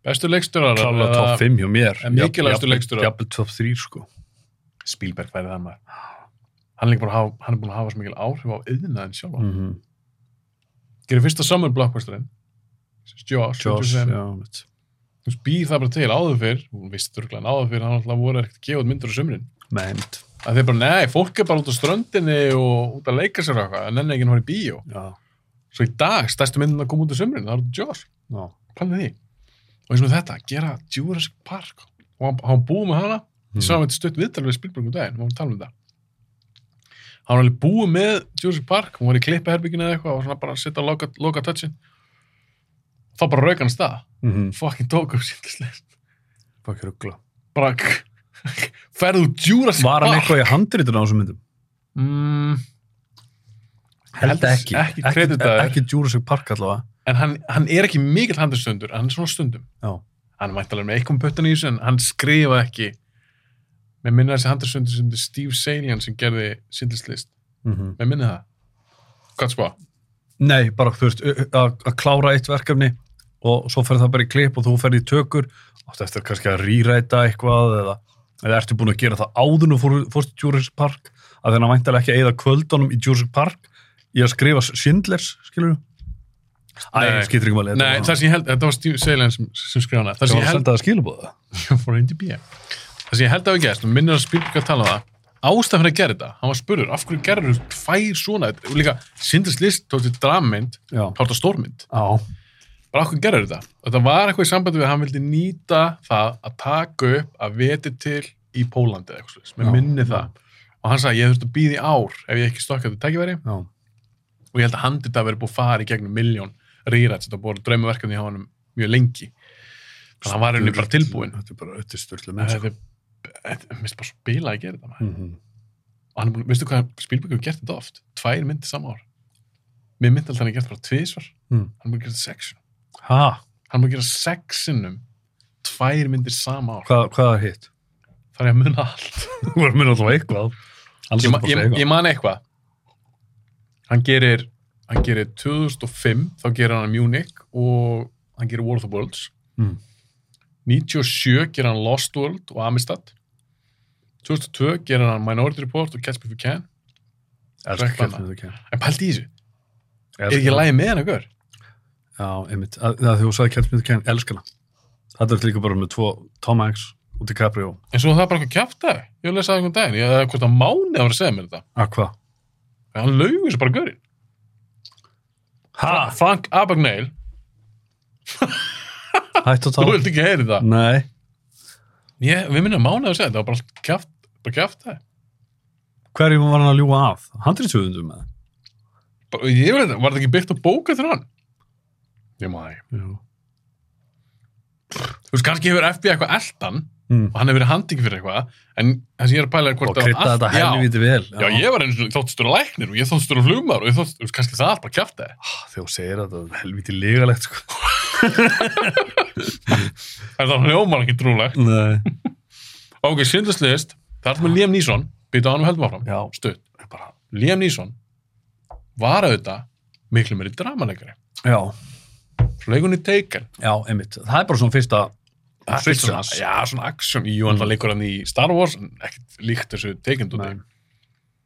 Speaker 5: bestu leikstörar.
Speaker 6: Klála
Speaker 5: eða-
Speaker 6: eh, top 5 hjá mér.
Speaker 5: en mikilvægastu leikstjórar.
Speaker 6: Jafnvel top 3 sko.
Speaker 5: Spielberg væri það maður. Hann er, líka bara að hafa, hann er búin að hafa svo mikil áhrif á yðnaðin sjálfa. Mm.
Speaker 6: -hmm.
Speaker 5: Gerir fyrsta summer blockbusterinn.
Speaker 6: Josh,
Speaker 5: Josh, Josh
Speaker 6: já, mitt.
Speaker 5: þú veist, býr það bara til áður fyrr hún vissi þurrglega áður fyrr, hann alltaf voru ekkert að gefa út myndir á sumrin,
Speaker 6: Meint.
Speaker 5: að þeir bara, nei, fólk er bara út á ströndinni og út að leika sér og eitthvað, en enn ekki hann var í bíó
Speaker 6: Já,
Speaker 5: svo í dag, stærstu myndin að koma út á sumrin það eru Jaws,
Speaker 6: já.
Speaker 5: hvað er því og eins og með þetta, gera Jurassic Park og hann, hann búið með hana ég
Speaker 6: Mhm.
Speaker 5: sá hann þetta stutt viðtal við Spielberg um daginn, við varum að tala um þetta hann var alveg búið með Jurassic Park, hún var í klippaherbygginu eða eitthvað og svona bara að setja á loka, loka touchin þá bara rauk hann af stað
Speaker 6: Mm -hmm.
Speaker 5: fucking tók upp síndislega
Speaker 6: Fokki ruggla.
Speaker 5: bara ferðu Jurassic
Speaker 6: Var hann
Speaker 5: Park?
Speaker 6: eitthvað í handritun á þessum myndum?
Speaker 5: mm, Held
Speaker 6: ekki.
Speaker 5: ekki
Speaker 6: Ekki,
Speaker 5: kreditaður.
Speaker 6: ekki Jurassic Park allavega.
Speaker 5: en hann, hann er ekki mikill handistundur hann er svona stundum
Speaker 6: Já.
Speaker 5: hann mætti alveg með eitthvað um pöttan í þessu en hann skrifa ekki með minna þessi handistundur sem þetta er Steve Salian sem gerði síndlislist
Speaker 6: Mm -hmm.
Speaker 5: með minna það gott spá
Speaker 6: Nei, bara þú veist, ö- ö- að að klára eitt verkefni og svo fer það bara í klip og þú fer í tökur áttu eftir kannski að rýræta eitthvað eða, eða ertu búin að gera það áður og fór, fórst í Jurassic Park að þannig að væntalega ekki að eyða kvöldunum í Jurassic Park í að skrifa Schindlers, skilur þú? Æ,
Speaker 5: Nei.
Speaker 6: skýtur ekki máli. þetta
Speaker 5: Nei,
Speaker 6: var-
Speaker 5: það sem ég held, þetta var Steve Salian sem, sem skrifa hana það
Speaker 6: Ég
Speaker 5: sem
Speaker 6: var
Speaker 5: ég
Speaker 6: að
Speaker 5: held
Speaker 6: senda það skilabóða.
Speaker 5: for IMDb það sem ég held að hafa gerst og minnir að Spielberg að tala um það ástæðan fyrir að gera þetta, hann var spurður af hverju gerður þú tvær svona og líka síndlislist tótti drammynd
Speaker 6: Já.
Speaker 5: tótti stórmynd
Speaker 6: Já.
Speaker 5: bara okkur gerður þetta þetta var eitthvað í sambandi við að hann vildi nýta það að taka upp að veti til í Pólandi eða eitthvað slúðis, með
Speaker 6: Já.
Speaker 5: minni það og hann sagði ég þurfti að býða í ár ef ég ekki stokka þetta tækifæri
Speaker 6: Já.
Speaker 5: og ég held að hann þetta verið búið að fara í gegnum miljón rýrætt þetta búið að drauma verkefni hjá hann mjög lengi Þannig að hann var henni bara tilbúin.
Speaker 6: Þetta er bara sko. öttu störtlu
Speaker 5: En
Speaker 6: með
Speaker 5: Þetta er mist bara spila að gera þetta. maður.
Speaker 6: -hmm.
Speaker 5: Og hann er búin, veistu hvað Spielberg hefur gert þetta oft? Tvær myndir sama ár. Mér myndi alltaf hann er gert bara tvisvar.
Speaker 6: Mm.
Speaker 5: Hann er búin að gera þetta sex sinnum.
Speaker 6: Ha,
Speaker 5: Hann er búin að gera sex sinnum tvær myndir sama ár.
Speaker 6: hvað, hvað er hitt?
Speaker 5: Það er að muna allt.
Speaker 6: Þú voru minn alltaf eitthvað. Alls
Speaker 5: Ég, ma
Speaker 6: er bara
Speaker 5: ég,
Speaker 6: eitthvað.
Speaker 5: ég man eitthvað. Hann gerir, hann gerir 2005, þá gerir hann Munich og hann gerir War of the Worlds.
Speaker 6: Mm.
Speaker 5: 97 gerir hann Lost World og Amistad. 2002 gerir hann Minority Report og Catch Me If You Can.
Speaker 6: Elsku
Speaker 5: Reklamað.
Speaker 6: Catch Me If You Can.
Speaker 5: En pældi í þessu, er
Speaker 6: Elska
Speaker 5: ekki
Speaker 6: hana.
Speaker 5: lægi með hann okkur?
Speaker 6: Já, einmitt. Að, að því þú sagði Catch Me If You Can, elskana. Þetta er líka bara með tvo Tom Hanks og DiCaprio.
Speaker 5: En svo það er bara eitthvað kjafta. Ég var að lesa það einhvern daginn. Ég hefði hvort að mánu að vera að segja mér þetta.
Speaker 6: Að Ah, hvað?
Speaker 5: En hann laugur þessu bara görinn.
Speaker 6: Ha,
Speaker 5: Frank Abagnale,
Speaker 6: hættu að
Speaker 5: þú
Speaker 6: tala.
Speaker 5: vilt ekki heyri það.
Speaker 6: Nei.
Speaker 5: Ég, við minnum mánu að segja þetta. Það var bara allt kjaft, bara kjafta.
Speaker 6: Hverjum var hann að ljúa af? Handriðsöfundum með það?
Speaker 5: Bara- Ég veit það, var það ekki byggt á bóka þurr hann? Ég maður það.
Speaker 6: Já.
Speaker 5: Þú veist, kannski hefur FBI eitthvað eldan
Speaker 6: Mm.
Speaker 5: og hann hefur verið handingi fyrir eitthvað, en það sem ég er að pæla er hvort
Speaker 6: Og krytta
Speaker 5: allt-
Speaker 6: þetta
Speaker 5: já,
Speaker 6: helviti vel.
Speaker 5: Já, ég var einu svona þóttist vera læknir og ég þóttist vera flugmaður og ég þóttist, þú veist, kannski það allt bara kjafta þið.
Speaker 6: Ah, Þegar þú segir þetta, það er helviti legalegt, sko.
Speaker 5: En það hljómar ekki trúlega.
Speaker 6: Nei.
Speaker 5: Ok, sindlustist, það er þetta með Liam Neeson, býta á hann og heldum áfram,
Speaker 6: Já.
Speaker 5: stutt. Bara, Liam Neeson var auðvitað miklu meiri dramalegari.
Speaker 6: Já,
Speaker 5: Fleikunni Taken.
Speaker 6: já, einmitt. Það er bara svona fyrsta
Speaker 5: Ekkert svona- Já, svona action Jú, hann leikur hann í Star Wars en ekkert líkt þessu teikend út
Speaker 6: Mm. Nei.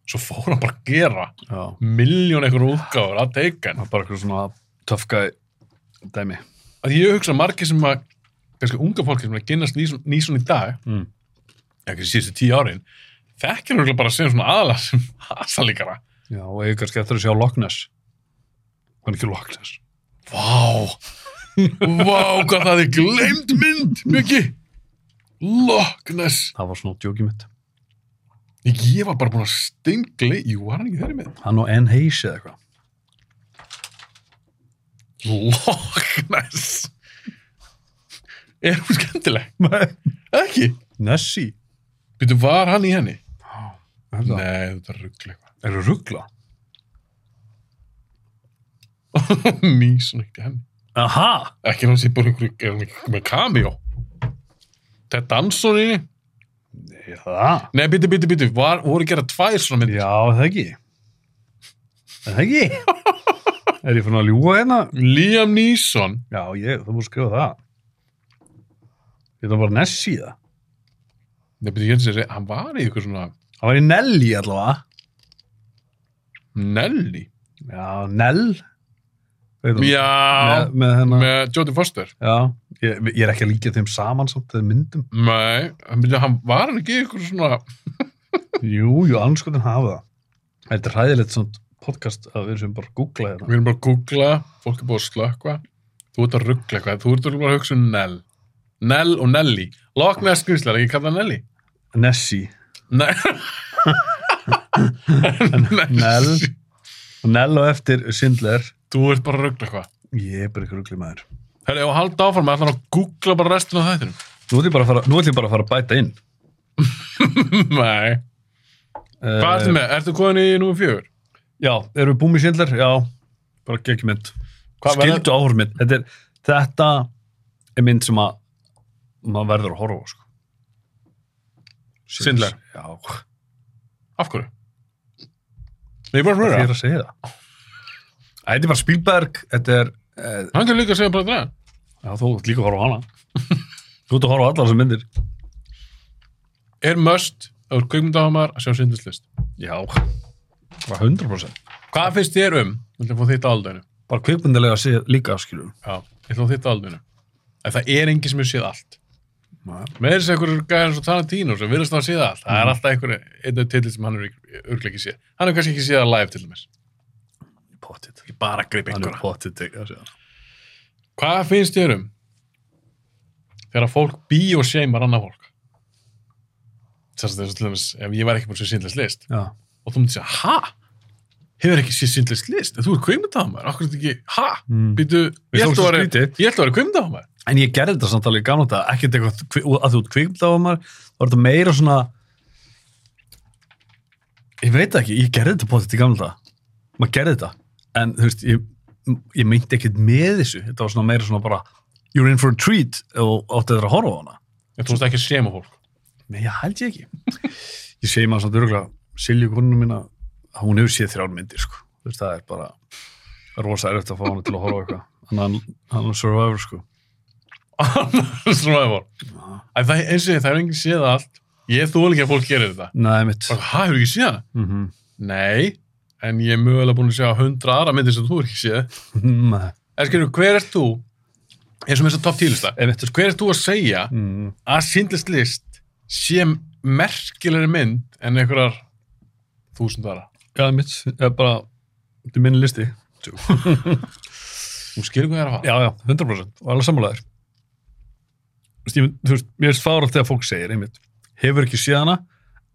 Speaker 5: Svo fór hann bara að gera
Speaker 6: Já,
Speaker 5: miljón eitthvað útgáfur að teiken
Speaker 6: það er bara eitthvað svona tough guy dæmi.
Speaker 5: að ég hugsa að margir sem að kannski unga fólki sem er að gynnast nýsum, nýsum í dag
Speaker 6: Mm.
Speaker 5: eða kannski síðustu tíu árin þekkir hann bara sem svona aðalega sem asalíkara
Speaker 6: Já, og ég er kannski eftir að sjá Loch Ness. Hvað er ekki Loch Ness?
Speaker 5: Vá Vá, hvað það er gleymd mynd Mjögki Loch Ness
Speaker 6: Það var svona djókið mitt.
Speaker 5: Ég ég var bara búin að stengli Jú, var hann ekki þeirri með
Speaker 6: Hann og Anne Hayes eða eitthvað.
Speaker 5: Loch Ness Er hún skemmtileg? Ekki?
Speaker 6: Nessie.
Speaker 5: Býtu, var hann í henni?
Speaker 6: Er það?
Speaker 5: Nei, þetta er ruggli eitthvað.
Speaker 6: Er það ruggla?
Speaker 5: Nýs hún ekkert í henni.
Speaker 6: Aha!
Speaker 5: Ekki hann sé bara einhverju, er hann ekki með cameo? Ted Danson í henni?
Speaker 6: Já, það.
Speaker 5: Nei, býtu, býtu, býtu, var, voru að gera tvær svona myndir?
Speaker 6: Já, það ekki. Það ekki. er ég fann að ljúga hérna?
Speaker 5: Liam Neeson,
Speaker 6: Já, ég, það múið skrifa það. Ég það bara Nessie það.
Speaker 5: nei, býtu, ég sé, hann var í ykkur svona
Speaker 6: Það var í Nelly allavega.
Speaker 5: Nelly.
Speaker 6: Já, Nell Veit þú?
Speaker 5: Já,
Speaker 6: með, með hennar
Speaker 5: með Jodie Foster.
Speaker 6: Já, ég, ég er ekki að líka þeim saman samt þeim myndum
Speaker 5: Nei, hann býtu, hann var hann ekki í ykkur svona,
Speaker 6: Jú, jú, anskotin hafa það Þetta er hræðilegt svona podcast að við sem bara googla
Speaker 5: við
Speaker 6: hérna
Speaker 5: erum bara að googla, fólk er búið að slökka, þú ert að ruggla eitthvað, þú ert bara að hugsa um Nell. Nell og Nelly. Loch Ness skrýmslar, ekki kalla hann Nelly.
Speaker 6: Nessie
Speaker 5: Nei.
Speaker 6: Nell og Nell og eftir Sindler
Speaker 5: Þú ert bara að ruggla eitthvað.
Speaker 6: Ég er bara ykkur ruggli maður
Speaker 5: Herri, og halda áfram, ætlar að googla bara restina af þættinum.
Speaker 6: Nú ætlum ég bara að fara, nú ætlum ég bara að, fara að bæta inn
Speaker 5: Nei. Hvað ertu með? Ertu komin í númer fjögur?
Speaker 6: Eh, Já, erum við búmi Sindler? Já, bara geggjum mynd
Speaker 5: Hvað verður-
Speaker 6: Skildu áhorf mynd þetta er, þetta er mynd sem að maður verður að horfa á sko.
Speaker 5: Sindler.
Speaker 6: Já,
Speaker 5: Af hverju? Nei, ég bara
Speaker 6: það
Speaker 5: að
Speaker 6: er
Speaker 5: hlura.
Speaker 6: að segja það Æ, Þetta er bara Spielberg Þetta er, eh,
Speaker 5: Hann kan líka segja bara það.
Speaker 6: já þú ert líka að horfa á hana Þú ert að horfa á allar sem myndir
Speaker 5: Er must, ef þú er kveikmyndahamar, að sjá syndislist.
Speaker 6: Já, bara 100%
Speaker 5: Hvað finnst þér um? Ég ætla að fá þitt aldurinu.
Speaker 6: Bara kvikmyndilega að segja líka skilur
Speaker 5: Já, ég ætla að fá þitt aldurinu. En það er engin sem hefur séð allt.
Speaker 6: Nei.
Speaker 5: Með þess að einhverjur gæðar svo Tarantino sem virðast að hafa séð allt. Það er alltaf einhverju, einhverju titli sem hann er örglega ekki séð. Hann hefur kannski ekki séð að live til dæmis.
Speaker 6: Pottit
Speaker 5: Ég bara grip
Speaker 6: Hann er
Speaker 5: einhverja.
Speaker 6: pottit ekki að segja það.
Speaker 5: Hvað finnst þér um þegar fólk bíóseimar annað fólk? Þess að þess að til dæmis, ef ég var ekki búin að sé síndlist list
Speaker 6: Já,
Speaker 5: og þú myndir segja, ha? Hefur ekki séð síndlist list? En þú er kveimundahamaður, akkur er þetta ekki, ha?
Speaker 6: Mm.
Speaker 5: Býtu,
Speaker 6: Við
Speaker 5: ég
Speaker 6: þóttum
Speaker 5: ætla að
Speaker 6: skrítið.
Speaker 5: vera kveimundahamaður.
Speaker 6: en ég gerði þetta samt alveg í gamla þetta ekkert eitthvað kvi- að þú ert kvikmyndafamar þá er þetta meira svona ég veit það ekki, ég gerði þetta potið í gamla þetta maður gerði þetta en þú veist, ég, ég meinti ekkert með þessu þetta var svona meira svona bara you're in for a treat og átti þetta að horfa á hana
Speaker 5: Þú veist ekki að séma fólk.
Speaker 6: Nei, ég held ég ekki. Ég segi maður svona dörgla, Silju konunum minna, að hún hefur séð þrjár myndir, sko. Þú veist, það er bara rosa erfitt að fá hana til að horfa á eitthvað. Hann, hann er survivor, sko.
Speaker 5: Svona það var. Æ, Það er eins og ég, það er enginn séð það allt. Ég þú ekki að fólk gerir þetta.
Speaker 6: Nei, mitt.
Speaker 5: Bara, Hæ, hefur ekki séð það?
Speaker 6: Mm -hmm.
Speaker 5: Nei, en ég er mögulega búin að sjá hundra aðra myndir sem þú er ekki séð.
Speaker 6: Mm-hmm.
Speaker 5: En skilur, hver ert þú, eins og með þess að top 10 lista,
Speaker 6: Einmitt.
Speaker 5: Þú veist, hver ert þú að segja
Speaker 6: Mm.
Speaker 5: að Schindler's List sé merkilegri mynd en einhverjar þúsund aðra?
Speaker 6: Já, mitt. Ég er bara, þetta er minni listi.
Speaker 5: Þú skilur hvað ég er að fara?
Speaker 6: Já, já, 100% og alveg sammálaður. Þú veist, ég mynd- þú veist, mér finnst fáralt þegar fólk segir, einmitt, hefur ekki séð hana,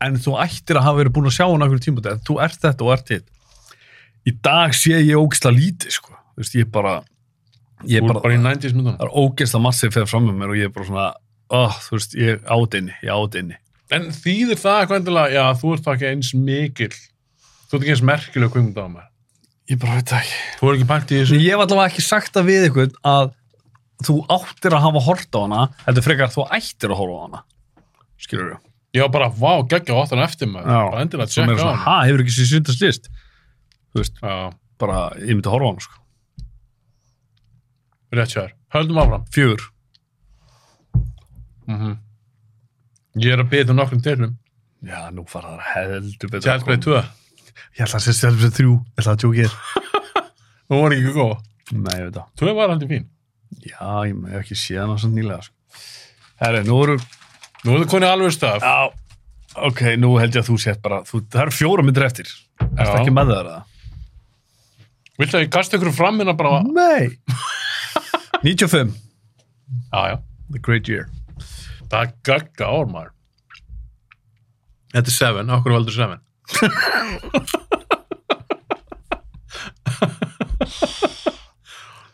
Speaker 6: en þú ættir að hafa verið búin að sjá hana okkur tímabæti, en þú ert þetta og ert hitt. Í dag sé ég ógislega lítið, sko. Þú veist, ég bara, ég
Speaker 5: Þú er bara í 90s myndunum.
Speaker 6: það er ógislega massið fyrir fram með mér og ég er bara svona, oh, þú veist, ég átinni, ég átinni.
Speaker 5: En þýðir það eitthvað endilega, já, þú ert það ekki eins mikill. Þú ert ekki eins merkileg kvimund á maður.
Speaker 6: Ég bara veit það ekki.
Speaker 5: Þú er ekki pælt í
Speaker 6: Svo
Speaker 5: þessu.
Speaker 6: ég hef allavega ekki sagt það við ykkur að þú áttir að hafa hort á hana, þetta er frekar að þú ættir að horfa á hana. Skilur þú?
Speaker 5: Ég var bara, vá, geggja á áttan eftir maður.
Speaker 6: Já.
Speaker 5: Bara endilega,
Speaker 6: Svo
Speaker 5: tjekka
Speaker 6: meira
Speaker 5: á
Speaker 6: svona,
Speaker 5: hann.
Speaker 6: ha, hefur ekki sér syndast list þú veist,
Speaker 5: Já,
Speaker 6: bara, ég myndi að horfa á hann sko.
Speaker 5: rétt sér. Höldum áfram.
Speaker 6: fjögur,
Speaker 5: Ég er að byrja um nokkrum tilum.
Speaker 6: já, nú fara það heldur betur að
Speaker 5: Sjálfbreið
Speaker 6: koma.
Speaker 5: 2.
Speaker 6: ég ætla að sé sjálfsveit þrjú, ég ætla að tjóki þér
Speaker 5: Hún var ekki góð.
Speaker 6: nei, ég veit það,
Speaker 5: 2 var aldrei fín.
Speaker 6: já, ég hef ekki séð hann svo nýlega sko. herri, nú eru
Speaker 5: Nú er það konið alveg stað.
Speaker 6: já, ok, nú held ég að þú sétt bara þú, það eru fjóra myndir eftir
Speaker 5: Já.
Speaker 6: erst ekki með það, er það?
Speaker 5: Viltu að ég kasta ykkur fram hérna bara?
Speaker 6: nei 95,
Speaker 5: Já, já.
Speaker 6: The Great Year
Speaker 5: Það er gaggá ár maður. Þetta er Seven, okkur valdur Seven.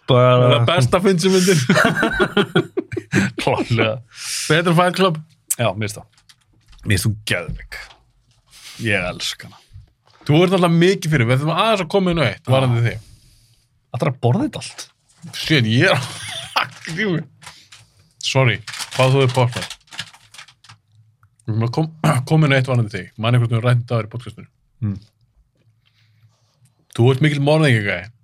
Speaker 5: Það er
Speaker 6: bara,
Speaker 5: besta finn sem myndir.
Speaker 6: klálega
Speaker 5: Betra Fight Club.
Speaker 6: já, mér finnst það mér finnst þú geðvik ég elsk hana
Speaker 5: Þú ert alltaf mikið fyrir, við þurfum aðeins að koma inn á eitt, varandi þig.
Speaker 6: Ætlar að borða þetta allt?
Speaker 5: Sjön, ég er að... Djú. Sorry, hvað þú er bort Við erum að kom, koma inn á eitt varandi þig. Manni hvort við erum rænt að vera í podcastinu.
Speaker 6: Mm.
Speaker 5: Þú ert mikil morðingi, gæði.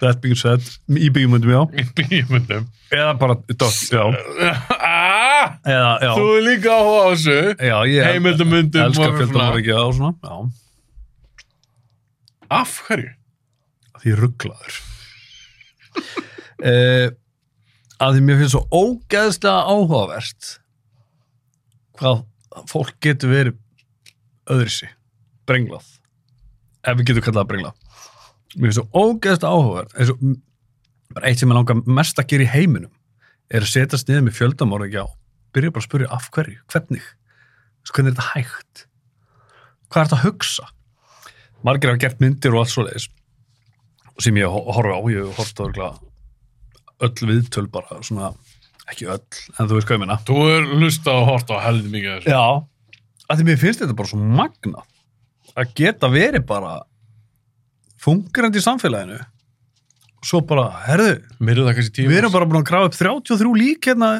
Speaker 6: That being said, í byggjumundum já
Speaker 5: Í bíumundum.
Speaker 6: eða bara dot, já,
Speaker 5: Ah,
Speaker 6: eða, já,
Speaker 5: þú er líka áhuga á þessu.
Speaker 6: já ég
Speaker 5: Heimildamyndum og
Speaker 6: elskar
Speaker 5: eitthvað svona.
Speaker 6: fjöldamorðingja og svona já,
Speaker 5: Af hverju?
Speaker 6: því rugglaður uh, að því mér finnst svo ógeðslega áhugavert hvað fólk getur verið öðrisi, brenglað ef við getum kallað að brengla mér finnst svo ógeðslega áhugavert eins og bara eitt sem ég langar mest að gera í heiminum er að setjast niður með fjöldamorðingja og byrja bara að spyrja af hverju, hvernig Þú veist, hvernig er þetta hægt hvað er þetta að hugsa margir hafa gert myndir og allt svo leiðis sem ég ho- horfi á, ég horfði örgulega öll viðtöl bara svona, ekki öll, en þú veist hvað ég minna
Speaker 5: Þú er hlustað og hort á helði mikið af þessu.
Speaker 6: Já, að því mér finnst þetta bara svo magna að geta verið bara fungerandi í samfélaginu svo bara, herðu
Speaker 5: Mér er það kannski tíma.
Speaker 6: við erum bara búin að grafa upp 33 lík hérna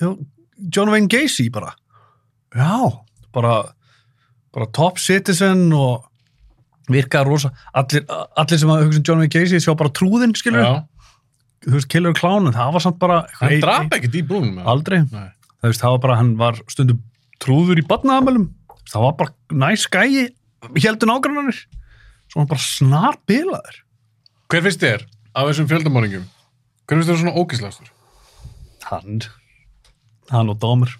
Speaker 6: hjá John Wayne Gacy bara já, bara bara top citizen og virkaða rosa allir, allir sem að hugsa um John Wayne Gacy sjá bara trúðinn, skilur
Speaker 5: Já,
Speaker 6: þú veist, Killer Clown, en það var samt bara
Speaker 5: hann draf ekkert í brúnum. eða?
Speaker 6: aldrei,
Speaker 5: Nei.
Speaker 6: það veist, það var bara hann var stundum trúður í badnaðamölum það var bara næs gæi heldur nágrannanir svo hann bara snar bilaður
Speaker 5: Hver finnst þér af þessum fjöldamorðingum? Hver finnst þér svona ógæslegastur?
Speaker 6: hann, hann og Dómur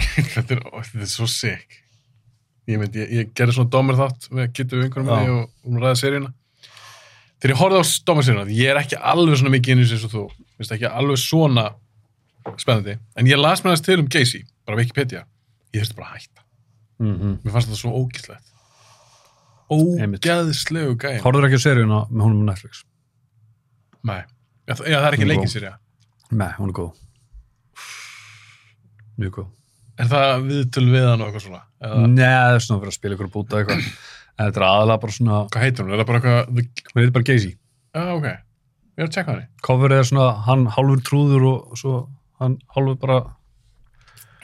Speaker 5: þetta, er, þetta er svo sick. Ég myndi, ég, ég gerði svona domar þátt með kittu vingurum
Speaker 6: Já.
Speaker 5: minni og hún ræði seríuna. Þegar ég horfði á domar seríuna, ég er ekki alveg svona mikið inn í þessu eins og þú. Mér finnst ekki alveg svona spennandi. En ég las mér hans til um Casey, bara Wikipedia. Ég þurfti bara að hætta.
Speaker 6: mm -hmm.
Speaker 5: Mér fannst þetta svo ógæslegt.
Speaker 6: Einmitt.
Speaker 5: Ógæðslegu gæðin.
Speaker 6: horfður ekki á seríuna með honum á Netflix
Speaker 5: Nei. Já, það já, það er ekki
Speaker 6: Nú.
Speaker 5: leikið sér, já.
Speaker 6: Nei, hún er góð. Mjög góð.
Speaker 5: Er það viðtöl við hann og eitthvað svona? Eða,
Speaker 6: Nei, það er svona fyrir að spila ykkur og búta eitthvað. En þetta er aðalega bara svona,
Speaker 5: Hvað heitir hún? Er það bara eitthvað... The...
Speaker 6: hún heitir bara Geysi.
Speaker 5: Já, ok. Ég er að tjekka hann
Speaker 6: Coverið er svona, hann hálfur trúður og svo hann hálfur bara...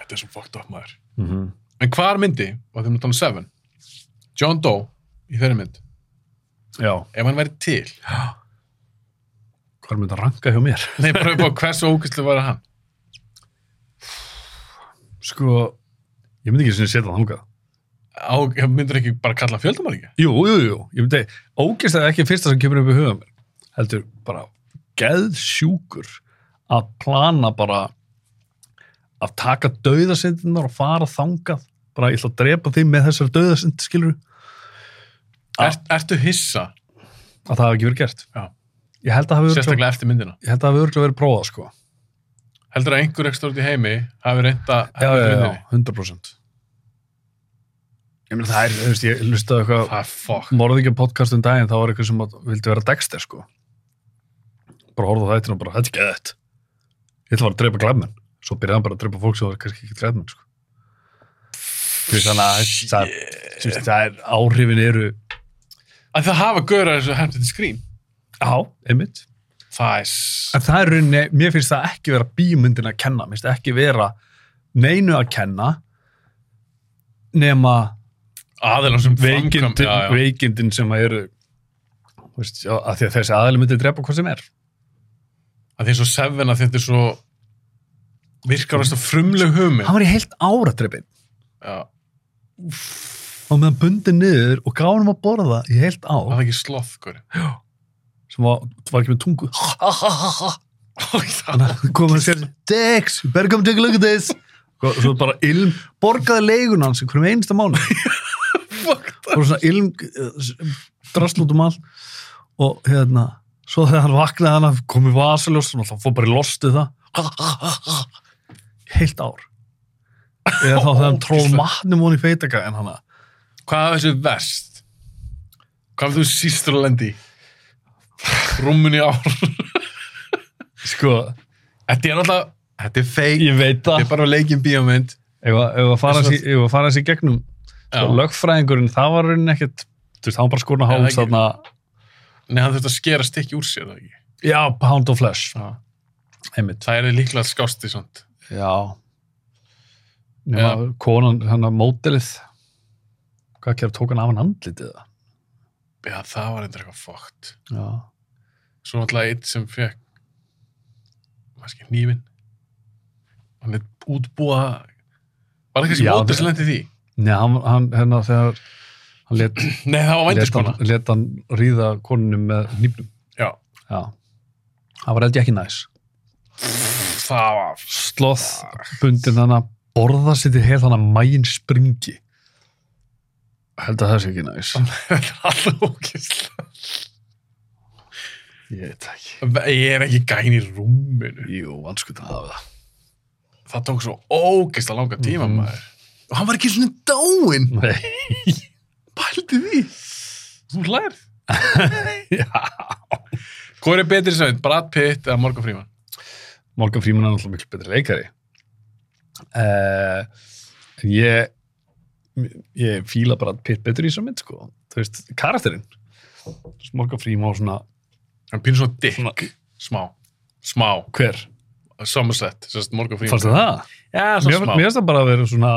Speaker 5: Þetta er svo fucked up, maður.
Speaker 6: Mm -hmm.
Speaker 5: En hvað er myndi, og þeim er talað um Seven, John Doe í þeirri mynd,
Speaker 6: Já,
Speaker 5: ef hann væri til,
Speaker 6: hvað er myndið að ranka hjá mér?
Speaker 5: nei, bara upp á hversu ógæslu var hann?
Speaker 6: Sko, ég myndi ekki sem ég setja það þangað.
Speaker 5: Á, ég myndur ekki bara kalla fjöldamæringi?
Speaker 6: Jú, jú, jú, ég myndi, ógeðslega er ekki fyrsta sem kemur upp í huga mér. Heldur bara geðsjúkur að plana bara að taka dauðasindunar og fara þangað. Bara ég ætla að drepa því með þessar dauðasind, skilur Ah.
Speaker 5: Er, ertu hissa,
Speaker 6: að það hafi ekki verið gert.
Speaker 5: Já.
Speaker 6: Ég held að það hafi örugglega-
Speaker 5: sérstaklega eftir myndina?
Speaker 6: ég held að það hafi örugglega verið prófað, sko.
Speaker 5: Heldur að einhver ekstra út í heimi hafi reynda
Speaker 6: Já, já, já, 100%. Ég meina það er, þú veist, ég lustaði eitthvað
Speaker 5: Það er fokk.
Speaker 6: morðingja podcast um daginn þá var eitthvað sem að- vildi vera Dexter sko bara horfði á þættina og bara, þetta er ekki eðitt ég ætla bara að dreipa glæfmenn svo byrjaði hann bara að dreipa fólk sem var kannski ekki glæfmenn sko Þú veist, þannig að það, yeah. það er áhrifin eru
Speaker 5: Að það hafa gaurað þessu hermt þetta skrím.
Speaker 6: á, einmitt
Speaker 5: Það er... s-
Speaker 6: en það er rauninni, mér finnst það ekki vera bímyndin að kenna, mér finnst það ekki vera neinu að kenna nema
Speaker 5: Aðeins sem framkvæm-
Speaker 6: veikindin,
Speaker 5: Já, já.
Speaker 6: veikindin sem að eru þú veist, já, að því að þessi aðli myndi drepa hvað sem er
Speaker 5: að því er svo seven að þetta er svo virkar þess að frumleg hugmynd
Speaker 6: hann var í heilt áratreppin
Speaker 5: já,
Speaker 6: og meðan bundið niður og gaf hann að borða í heilt
Speaker 5: það er
Speaker 6: á
Speaker 5: ekki sloth góri
Speaker 6: sem var, var ekki með tungu
Speaker 5: það
Speaker 6: þannig að kom hann sér Dex, you better come take a look at this og svo bara ilm, borgaði leigun hans í hverjum einasta mánu og svona ilm drasl út um allt og hérna, svo þegar hann vaknaði hann kom í vasaljós og hann fór bara í lostið það heilt ár eða þá þegar hann tróð
Speaker 5: Ógeðslegt.
Speaker 6: matnum hún í feitaka en hann
Speaker 5: hvað er þessu verst hvað er þú sístur að lendi rúmun í ár
Speaker 6: sko,
Speaker 5: þetta er alltaf þetta er feik,
Speaker 6: ég veit
Speaker 5: þetta
Speaker 6: það
Speaker 5: er bara leikin bíómynd
Speaker 6: Ef að- ef að fara
Speaker 5: Þess
Speaker 6: sig- ef að fara þessi gegnum sko,
Speaker 5: Já. lögfræðingurinn,
Speaker 6: lögfræðingurinn, það var raunin ekkert þú veist, hann bara skurna
Speaker 5: Nei,
Speaker 6: háls
Speaker 5: það ekki.
Speaker 6: þarna
Speaker 5: nei, hann þurft að skera stykki úr sér það ekki
Speaker 6: já, Hound of Flesh,
Speaker 5: já.
Speaker 6: einmitt
Speaker 5: það er líklega skásti svont
Speaker 6: já Nema, Eh, konan, hann að mótilið hvað kjær tók hann af hann andlitið það
Speaker 5: já, það var eitthvað eitthvað fókt
Speaker 6: já,
Speaker 5: svo alltaf einn sem fekk kannski nývin hann er útbúa var það kannski
Speaker 6: Já,
Speaker 5: mótur
Speaker 6: það-
Speaker 5: sem lendi í því
Speaker 6: Nei, hann, hann hérna þegar hann let,
Speaker 5: Nei, það var
Speaker 6: let,
Speaker 5: vændiskona.
Speaker 6: hann, let hann ríða konunum með nýpnum
Speaker 5: Já.
Speaker 6: já, það var held ég ekki næs
Speaker 5: Það var...
Speaker 6: sloth bundin hann að borða sér til heil hann að mægin springi held að það sé ekki næs
Speaker 5: Þetta er alltaf ókysla.
Speaker 6: ég veit ekki
Speaker 5: Ég er ekki gæn í rúminu.
Speaker 6: jú, vanskuð að hafa
Speaker 5: Það tók svo ókysla langa tíma,
Speaker 6: Mhm.
Speaker 5: maður. Og hann var ekki svona dáinn.
Speaker 6: það nei,
Speaker 5: Pældi því. Þú hlærð. Hvor er betri sveinn? Brad Pitt eða Morgan Freeman?
Speaker 6: Morgan Freeman er náttúrulega miklu betri leikari uh, en ég ég fíla bara pitt betur í þessu mynd sko, þú veist, karakterinn Morgan Freeman var svona
Speaker 5: Hann pýnur svona dick.
Speaker 6: Svona-
Speaker 5: Smá. Smá.
Speaker 6: hver,
Speaker 5: Somerset. Sérst Morgan Freeman.
Speaker 6: fannst það það?
Speaker 5: Já,
Speaker 6: Mér,
Speaker 5: svona smá.
Speaker 6: mér finnst það bara að vera svona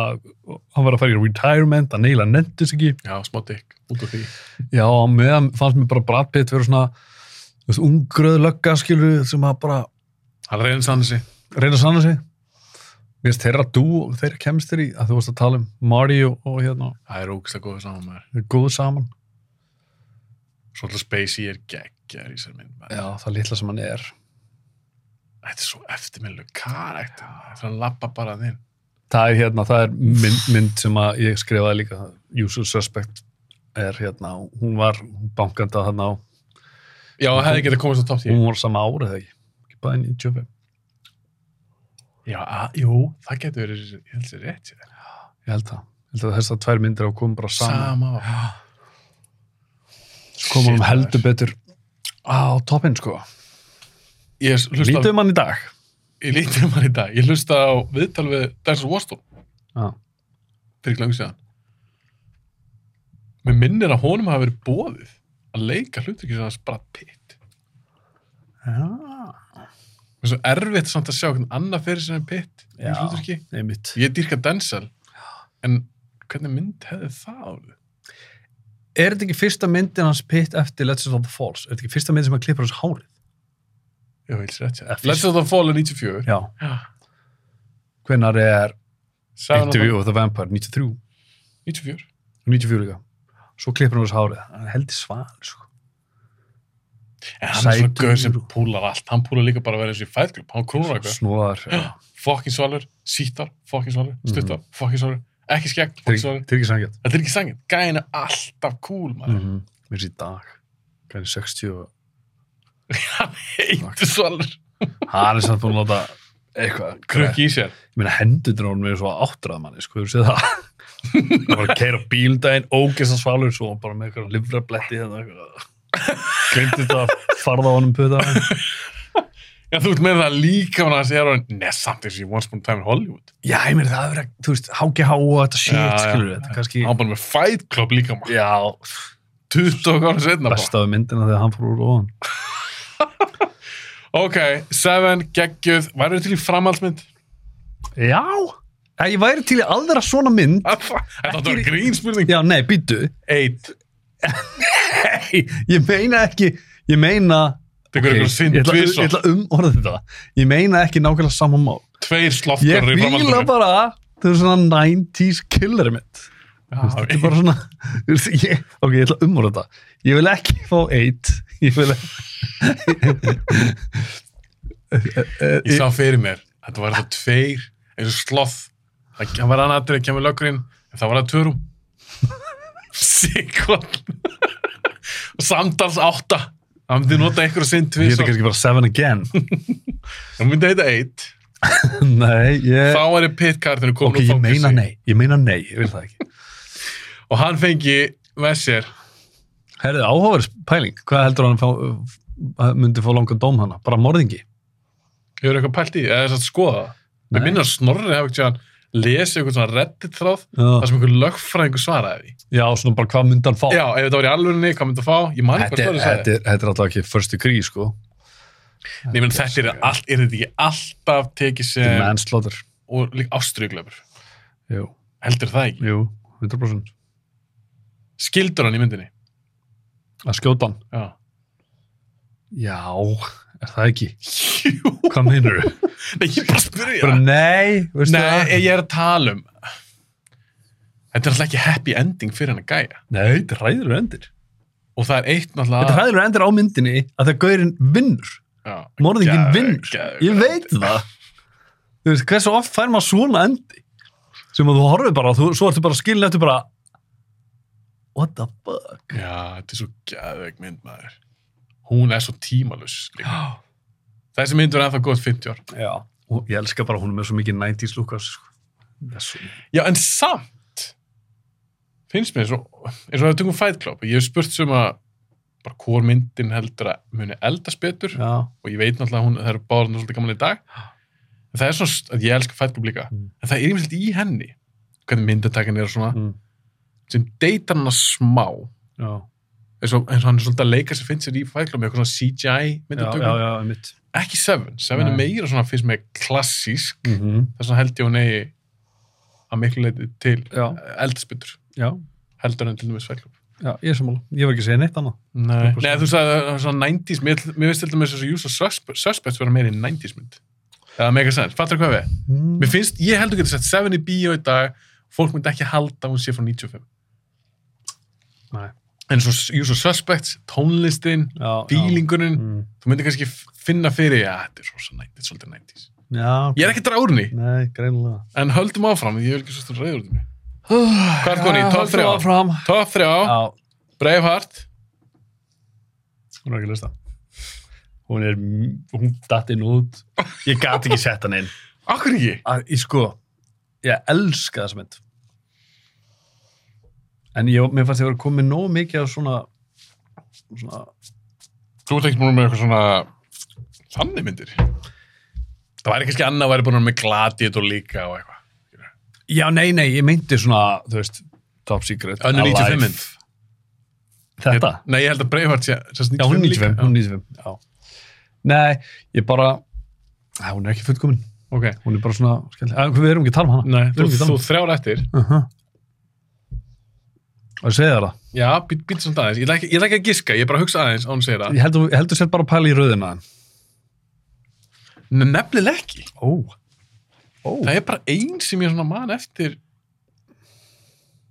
Speaker 6: hann var að fara í retirement, að neila nendis ekki
Speaker 5: Já, smá dick. Út af því.
Speaker 6: Já, á meðan fannst mér bara Brad Pitt vera svona þú veist, ungröð lögga skilur sem að bara
Speaker 5: Hann reynir sann þessi.
Speaker 6: reyna að sanna sig Mér finnst þeirra dú og þeirra kemst þeir í að þú varst að tala um Marty og, og hérna
Speaker 5: Það er ókysla góður saman, maður.
Speaker 6: þeir eru góð saman
Speaker 5: Svolítið Spacey er geggjar í sér mynd, maður.
Speaker 6: Já, það litla sem hann er
Speaker 5: Þetta er svo eftirminnileg karakter. maður. Þegar hann lappa bara þinn.
Speaker 6: Það er hérna, það er mynd, mynd sem að ég skrifaði líka Usual Suspect er hérna, hún var bankandi að hérna á
Speaker 5: Já, það hefði getið komist á topp 10.
Speaker 6: hún var sama árið þegar ekki bæði 95
Speaker 5: Já, að, jú, það getur verið, ég held sér rétt. Sama.
Speaker 6: Ég held það, ég held að þessar tvær myndir hafa komið bara saman
Speaker 5: Sama. Sko, var-
Speaker 6: Svo komum
Speaker 5: Shit,
Speaker 6: við heldur
Speaker 5: maður.
Speaker 6: betur á toppinn sko
Speaker 5: Ég hlusta
Speaker 6: Lítið um hann í dag.
Speaker 5: ég lítið um hann í dag, ég hlusta á viðtal við Denzel Washington
Speaker 6: Já.
Speaker 5: fyrir ekki langt síðan mér minnir að honum hafi verið bóðið að leika hlutur sem hans bara pitt
Speaker 6: Já.
Speaker 5: mér er svo erfitt samt að sjá hvernig annað fyrir sem pitt
Speaker 6: Já.
Speaker 5: ég
Speaker 6: Einmitt.
Speaker 5: dýrka Denzel en hvernig mynd hefði það áður?
Speaker 6: Er þetta ekki fyrsta myndin hans pitt eftir Let's Just of the Falls? Er þetta ekki fyrsta myndin sem hann klippur hans hárið?
Speaker 5: Já, ég helst rétt sér.
Speaker 6: Eh, fyrst-
Speaker 5: Let's Let the Fall er 94
Speaker 6: Já. Hvenar er
Speaker 5: Seven of
Speaker 6: Interview
Speaker 5: the-
Speaker 6: of the Vampire? 93.
Speaker 5: 94
Speaker 6: 94 líka. Svo klippur hann hans hárið. Hann heldur sval, sko.
Speaker 5: en hann er svona
Speaker 6: Sætur.
Speaker 5: gauð sem púlar allt hann púlar líka bara að vera eins og í Fight Club hann krónar eitthvað
Speaker 6: Snúðar. Já.
Speaker 5: fokkin svalur, sítar, fokkin svalur,
Speaker 6: Mhm.
Speaker 5: stuttar, mm fokkin svalur, ekki skegg,
Speaker 6: Þeir
Speaker 5: fokkin svalur.
Speaker 6: þeir ekki sangjað.
Speaker 5: Þetta er ekki sangin, gæin er alltaf cool, maður. Mm.
Speaker 6: -hmm. Mér sé í dag. Hvernig 60 og...
Speaker 5: Eitt svalur,
Speaker 6: Hann er samt búin að láta eitthvað.
Speaker 5: krukki í sér.
Speaker 6: Ég meina hendutin á hún með svo áttrað manni, sko, þú séð það. Það var að keira bíldaginn, ógist að svalur, svo bara með eitthvað livra bletti hérna, eitthvað. Glemdi þetta að farða á honum puta.
Speaker 5: Já, þú ert með það líka hann að segja hann, neð, samt eins og ég once upon a time in Hollywood.
Speaker 6: Já, ég meina það er verið að, þú veist, HGH og þetta shit,
Speaker 5: Já, já.
Speaker 6: skilur þetta, kannski.
Speaker 5: Hann var bara með Fight Club líka, maður.
Speaker 6: Já,
Speaker 5: 20 ára setna, bara.
Speaker 6: bestaðu myndina þegar hann fór úr ofan.
Speaker 5: Ok, Seven, geggjöð, værið til í framhaldsmynd?
Speaker 6: Já, Æ, ég væri til í aðra svona mynd.
Speaker 5: Ah, Þetta var grínspurning.
Speaker 6: Já, nei, býtu.
Speaker 5: Eitt.
Speaker 6: Nei, ég meina ekki, ég meina...
Speaker 5: Þetta er eitthvað
Speaker 6: ég
Speaker 5: sinn,
Speaker 6: ætla- ég
Speaker 5: tvisvar.
Speaker 6: ætla að umorða þetta. Ég meina ekki nákvæmlega saman mál.
Speaker 5: Tveir
Speaker 6: Ég
Speaker 5: sloftkörður í
Speaker 6: fíla
Speaker 5: framhaldsmynd.
Speaker 6: bara þau svona 90s killer mitt þetta er bara svona þú veist, ég, ok, ég ætla að umorða þetta ég vil ekki fá 8 ég vil ekki
Speaker 5: Ég sá fyrir mér, þetta var það tveir eins og sloth. Það hann var annað aðrið, kemur lögurinn, en það var það törum. Sikon. Og samtals átta. Það myndi nota einhver að sinn
Speaker 6: ég heita
Speaker 5: tvisar.
Speaker 6: kannski bara 7 again
Speaker 5: Það myndi heita eitt.
Speaker 6: nei, ég
Speaker 5: Þá er pitkartinu komin
Speaker 6: Eh, ok, ég
Speaker 5: úr fangelsi.
Speaker 6: meina nei, ég meina nei, ég vil það ekki
Speaker 5: Og hann fengi með sér.
Speaker 6: herrið, áhóður pæling, hvað heldur hann fá, uh, myndi fá langan dóm hana bara morðingi
Speaker 5: Hefur eitthvað pælt í? því? Eða þess að skoða það?
Speaker 6: Nei.
Speaker 5: Mér minnir að snorri hafa ekki hann lesið eitthvað svona reddit þráð
Speaker 6: Já.
Speaker 5: þar sem einhver lögfræðingur svaraði því.
Speaker 6: já, svona bara hvað myndi hann fá
Speaker 5: Já, ef þetta var í alvörinni, hvað myndi að fá? Ég man ekki
Speaker 6: þetta
Speaker 5: hvað
Speaker 6: er,
Speaker 5: snorri sagði.
Speaker 6: þetta, er, þetta er alltaf ekki first degree sko,
Speaker 5: Nei, menn þetta er, all, er þetta ekki alltaf tekið
Speaker 6: þetta er
Speaker 5: sem
Speaker 6: manslaughter
Speaker 5: og líka ástriðuglöfur.
Speaker 6: Eh. jú,
Speaker 5: Heldur það ekki?
Speaker 6: jú, 100%
Speaker 5: Skildur hann í myndinni?
Speaker 6: að skjóta hann
Speaker 5: Já.
Speaker 6: Já, er það ekki? Jú. Hvað meinur þú?
Speaker 5: Nei, ég er bara að spyrja.
Speaker 6: Bara nei, veistu
Speaker 5: Nei,
Speaker 6: það?
Speaker 5: ég er að tala um. Þetta er alltaf ekki happy ending fyrir hann að gæja.
Speaker 6: Nei, þetta er hræður endir.
Speaker 5: Og það er eitt
Speaker 6: Þetta
Speaker 5: náttúrulega...
Speaker 6: er hræður endir á myndinni að það gaurinn vinnur.
Speaker 5: Já.
Speaker 6: Morðingin
Speaker 5: Geð-
Speaker 6: vinnur.
Speaker 5: geð-
Speaker 6: Ég veit það. Þú veist, hversu oft fær maður svona endi? Sem að þú horfir bara, þú, svo ertu bara skilin eftir bara What the fuck?
Speaker 5: Já, þetta er svo gæðveik mynd, maður. Hún er svo tímalus.
Speaker 6: Já.
Speaker 5: Þessi mynd verður ennþá góð 50 ár.
Speaker 6: Já. Og ég elska bara hún er með svo mikið 90s lúkas. Sko. Það er svo-
Speaker 5: Já, en samt finnst mér svo, eins og það tökum Fight Club ég hef spurt sem að bara hvort myndin heldur að muni eldast betur
Speaker 6: Já.
Speaker 5: og ég veit náttúrulega að hún, það eru báðar nú svolítið gaman í dag en það er svona að ég elska Fight Club líka
Speaker 6: Mm.
Speaker 5: en það er yfirleitt í henni hvernig myndatakin er og svona
Speaker 6: Mm.
Speaker 5: sem deytar hana smá
Speaker 6: Já.
Speaker 5: eins og, eins og hann er svolítið að leika sem finnst sér í Fight Club með eitthvað svona CGI
Speaker 6: Já, já,
Speaker 5: myndatökum
Speaker 6: já, mitt.
Speaker 5: ekki Seven, Seven
Speaker 6: Nei.
Speaker 5: er meira svona finnst mér klassísk
Speaker 6: Mm
Speaker 5: þess að held ég hún eigi að miklu leiti til
Speaker 6: Já.
Speaker 5: eldast betur
Speaker 6: Já,
Speaker 5: heldur en til dæmis Fight Club
Speaker 6: já, ég er sammála. Ég var ekki að segja neitt annað.
Speaker 5: Nei,
Speaker 6: 100%.
Speaker 5: Nei þú sagði það var svona 90s Mér, mér finnst til dæmis þessu Usual Suspe- Suspects vera meira í 90s mynd Það meika sens, fattur hvað við?
Speaker 6: Mm.
Speaker 5: Mér finnst, ég heldur getur sett 7 í bíó í dag Fólk myndi ekki halda að hún sé frá 95
Speaker 6: Nei.
Speaker 5: En svo Usual Suspects, tónlistin
Speaker 6: Já,
Speaker 5: Bílingurinn,
Speaker 6: Já, mm.
Speaker 5: þú myndir kannski f- finna fyrir Já, þetta er svo 90s, svolítið 90s
Speaker 6: já
Speaker 5: Ég er ekki dráðurinn í,
Speaker 6: Nei, greinilega.
Speaker 5: en höldum áfram Ég vil ekki svo stund reyður út í mig Hvað er koni? Top 3
Speaker 6: Ah, áfram.
Speaker 5: Top 3,
Speaker 6: Já,
Speaker 5: Braveheart
Speaker 6: hún er ekki að lusta. Hún er, m- hún datt inn og út. Ég gati ekki sett hann inn.
Speaker 5: Akkur ekki?
Speaker 6: Að, ég sko, ég elska þessa mynd. En ég, mér fannst ég verið að koma með nóg mikið af svona, svona,
Speaker 5: Þú ert ekki múin með eitthvað svona Þannig myndir. Það væri kannski annað að væri búin að vera með gladiðt og líka og eitthvað.
Speaker 6: Já, nei, nei, ég meinti svona, þú veist, Top Secret.
Speaker 5: Önnu
Speaker 6: Alive.
Speaker 5: 95 mynd.
Speaker 6: Þetta?
Speaker 5: Nei, ég held að Breivart sé sérst
Speaker 6: Já, hún
Speaker 5: 95 líka.
Speaker 6: 95, hún 95, já. Nei, ég bara, Æ, hún er ekki fullkomin.
Speaker 5: Ok.
Speaker 6: Hún er bara svona, skemmtileg. Æ, Við erum ekki að tala um hana.
Speaker 5: Nei,
Speaker 6: Við
Speaker 5: þú,
Speaker 6: erum ekki að
Speaker 5: þú
Speaker 6: tala um hana.
Speaker 5: þrjár eftir.
Speaker 6: Og ég segi þér það.
Speaker 5: Já, být, být samt aðeins. Ég ætla ekki, ég ætla ekki að giska, ég er bara að hugsa aðeins á hún segir það.
Speaker 6: Ég heldur held sér bara að pæla í rauðina.
Speaker 5: Nei, Nefnileg ekki.
Speaker 6: Ó. Ó.
Speaker 5: Það er bara einn sem ég svona man eftir.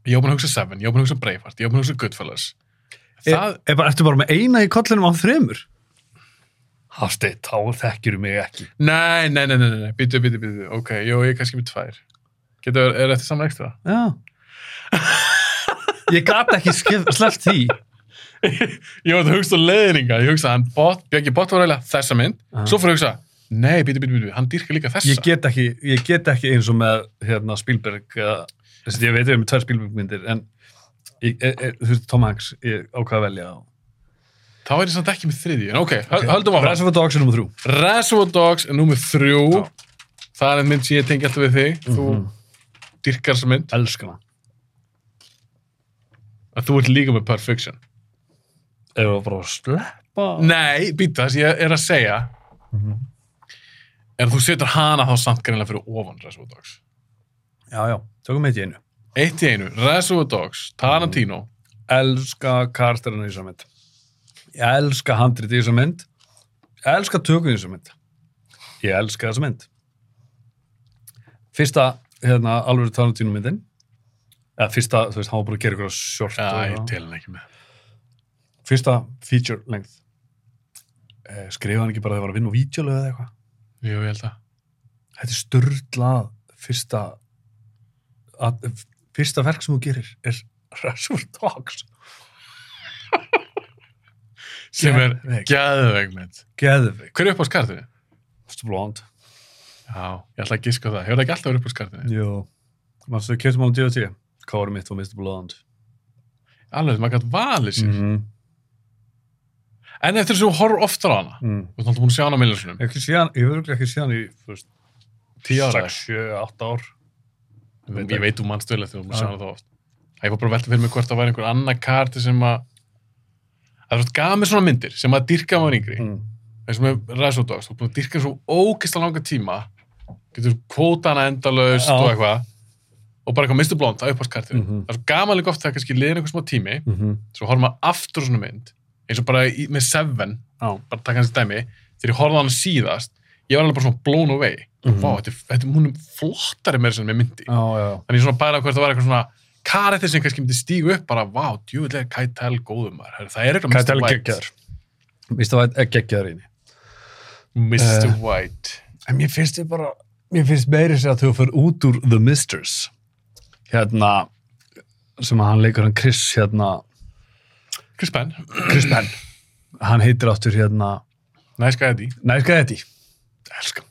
Speaker 5: Ég var búin að hugsa Seven, ég var búin að hugsa Braveheart, ég var búin að hugsa Goodfellas. Það,
Speaker 6: Það... Er, Eh, bara, ertu bara með eina í kollinum á þremur? Hafsteinn, þá þekkjur mig ekki.
Speaker 5: nei, nei, nei, nei, nei, nei, býtu, býtu, býtu, ok, jú, ég er kannski með tvær. Getur, er þetta saman ekstra?
Speaker 6: Já. Ég gat ekki skef- sleppt því.
Speaker 5: Ég var að hugsa leðninga, ég hugsa hann, bot, Björki Bott var eiginlega þessa mynd, svo fyrir að hugsa, nei, býtu, býtu, býtu, hann dýrka líka þessa.
Speaker 6: Ég get ekki, ég get ekki eins og með hérna, Spielberg, uh, þessi, ég veit ég er með tvær Spielbergmyndir, en ég, e, e, þú veist, Tom Hanks, ég ákvað að velja.
Speaker 5: Þá er ég samt ekki með þriðji, en ok, okay. höldum á
Speaker 6: Ræsum fyrir dagsinn um þrjú.
Speaker 5: Reservoir Dogs er númið þrjú það er einn mynd sem ég tengi alltaf við þig þú dyrkar þessa mynd
Speaker 6: Elskana.
Speaker 5: að þú ert líka með Perfection
Speaker 6: Ef það bara að sleppa.
Speaker 5: nei, býta þess, ég er að segja en þú setur hana þá samt greinlega fyrir ofan Reservoir Dogs
Speaker 6: Já, já, tökum eitt í einu.
Speaker 5: eitt í einu, Reservoir Dogs, Tarantino
Speaker 6: Elska karakterinu í þessa mynd. Ég elska handrit í þessa mynd. Ég elska tökum í þessa mynd. Ég elska þessa mynd. Fyrsta, hérna, alveg Tarantino myndin. Eða fyrsta, þú veist, hann var bara að gera ykkur sjort.
Speaker 5: já,
Speaker 6: og-
Speaker 5: ég tel hann ekki með
Speaker 6: fyrsta feature length eh, skrifaði hann ekki bara þegar það var að vinna á vídjólu eða eitthvað
Speaker 5: jú, ég held að
Speaker 6: þetta er störðlað fyrsta að, fyrsta verk sem þú gerir er Reservoir Dogs
Speaker 5: sem er
Speaker 6: Geðveik.
Speaker 5: gæðveik mynd
Speaker 6: Geðvig,
Speaker 5: hver er upp á skartinu?
Speaker 6: Mr. Blond
Speaker 5: já, ég ætla að giska á það, hefur það ekki alltaf verið upp á skartinu?
Speaker 6: Jú, mannstu þau kjöftum á D.O.T. Kári mitt var Mr. Blond
Speaker 5: alveg, maður gætt valið sér
Speaker 6: mm.
Speaker 5: en eftir þess að þú horfur oftar á hana
Speaker 6: Mm.
Speaker 5: þú ert alltaf búin að sjá hana millinsunum
Speaker 6: Ekki síðan, ég verður ekki síðan í þú veist,
Speaker 5: 10 ára
Speaker 6: 6, 7, 8 ár
Speaker 5: Ég, ég veit um mannstöðlega þegar þú
Speaker 6: Já.
Speaker 5: maður hana þá oft. Ég var bara að velta fyrir mig hvort það væri einhver annar karti sem að að þú veist, gaf mér svona myndir sem að dyrka maður yngri.
Speaker 6: mm.
Speaker 5: Eins og með Ræsódags, þú er búin að dyrka svo ógeðslega langa tíma, getur kvóta hana endalaust
Speaker 6: Já.
Speaker 5: og eitthvað og bara eitthvað mistu blónd, það er upphalskartir.
Speaker 6: Mhm.
Speaker 5: Það er svo gaman líka oft þegar kannski liðin einhver smá tími,
Speaker 6: Mm -hmm.
Speaker 5: svo horfum maður aftur á svona mynd, eins og bara í, með Seven,
Speaker 6: Já,
Speaker 5: bara taka hans dæmi, þegar ég horfði á hana síðast, ég var alveg bara svona blown away.
Speaker 6: Mhm.
Speaker 5: Vá, þetta, er- þetta, er- hún er flottari meira sem með myndi
Speaker 6: já, já
Speaker 5: þannig ég svona bæla hvort það var eitthvað svona karættir sem kannski myndi stígu upp bara vá, djúvilega Kætel góðum maður Herru, það er eitthvað
Speaker 6: Kættel geggjar Mr. White er geggjar eini
Speaker 5: Mr.
Speaker 6: Eh.
Speaker 5: White
Speaker 6: En mér finnst þið bara, mér finnst meiri sér að þú fyrir út úr The Misters, hérna, sem að hann leikur hann Chris, hérna,
Speaker 5: Chris Penn,
Speaker 6: Chris Penn, hann heitir áttur hérna,
Speaker 5: nice guy Eddie
Speaker 6: nærska þetta í, elskan,